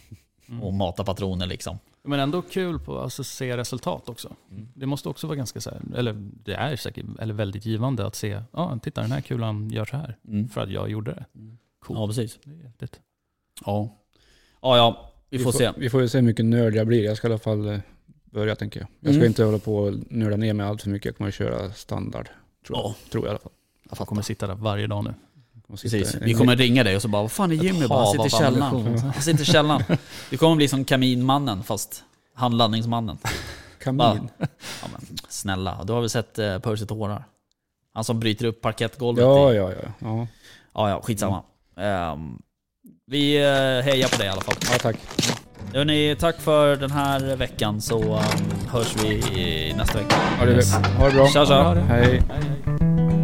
[SPEAKER 2] och mata patroner liksom.
[SPEAKER 3] Men ändå kul på att alltså, se resultat också. Det måste också vara ganska så här, eller det är säkert, eller väldigt givande att se, ja titta den här kulan gör så här,
[SPEAKER 2] Mm.
[SPEAKER 3] för att jag gjorde det. Coolt.
[SPEAKER 2] Ja precis.
[SPEAKER 3] Det är häftigt.
[SPEAKER 2] Ja. Ja, ja. Vi får se.
[SPEAKER 1] Vi får ju se hur mycket nörd jag blir. Jag ska i alla fall eh, börja tänker jag. Jag ska
[SPEAKER 2] Mm.
[SPEAKER 1] inte hålla på och nörda ner mig allt för mycket. Jag kommer att köra standard. Tror jag,
[SPEAKER 2] Ja.
[SPEAKER 1] tror jag i alla fall.
[SPEAKER 3] Jag kommer sitta där varje dag nu.
[SPEAKER 1] Jag kommer sitta
[SPEAKER 2] Precis.
[SPEAKER 1] en-
[SPEAKER 2] Vi kommer ringa dig och så bara, vad fan är Jimmy? Bara, Han
[SPEAKER 3] hav
[SPEAKER 2] sitter i
[SPEAKER 3] av
[SPEAKER 2] källaren.
[SPEAKER 3] ammunition.
[SPEAKER 2] Han sitter i källaren. Du kommer bli som kaminmannen fast handlandningsmannen.
[SPEAKER 1] Kamin.
[SPEAKER 2] Ja, men, snälla, du har väl sett eh, Percy tårar? Han som bryter upp parkettgolvet.
[SPEAKER 1] Ja, Mm.
[SPEAKER 2] i,
[SPEAKER 1] ja, ja. ja.
[SPEAKER 2] ja, ja skitsamma. Ehm, vi eh, hejar på dig i alla fall.
[SPEAKER 1] ja tack.
[SPEAKER 2] Hörrni, tack för den här veckan så um, hörs vi i nästa vecka.
[SPEAKER 1] Ha det,
[SPEAKER 2] Yes.
[SPEAKER 1] ha det bra.
[SPEAKER 2] Tja, tja.
[SPEAKER 3] Ha det.
[SPEAKER 1] Hej.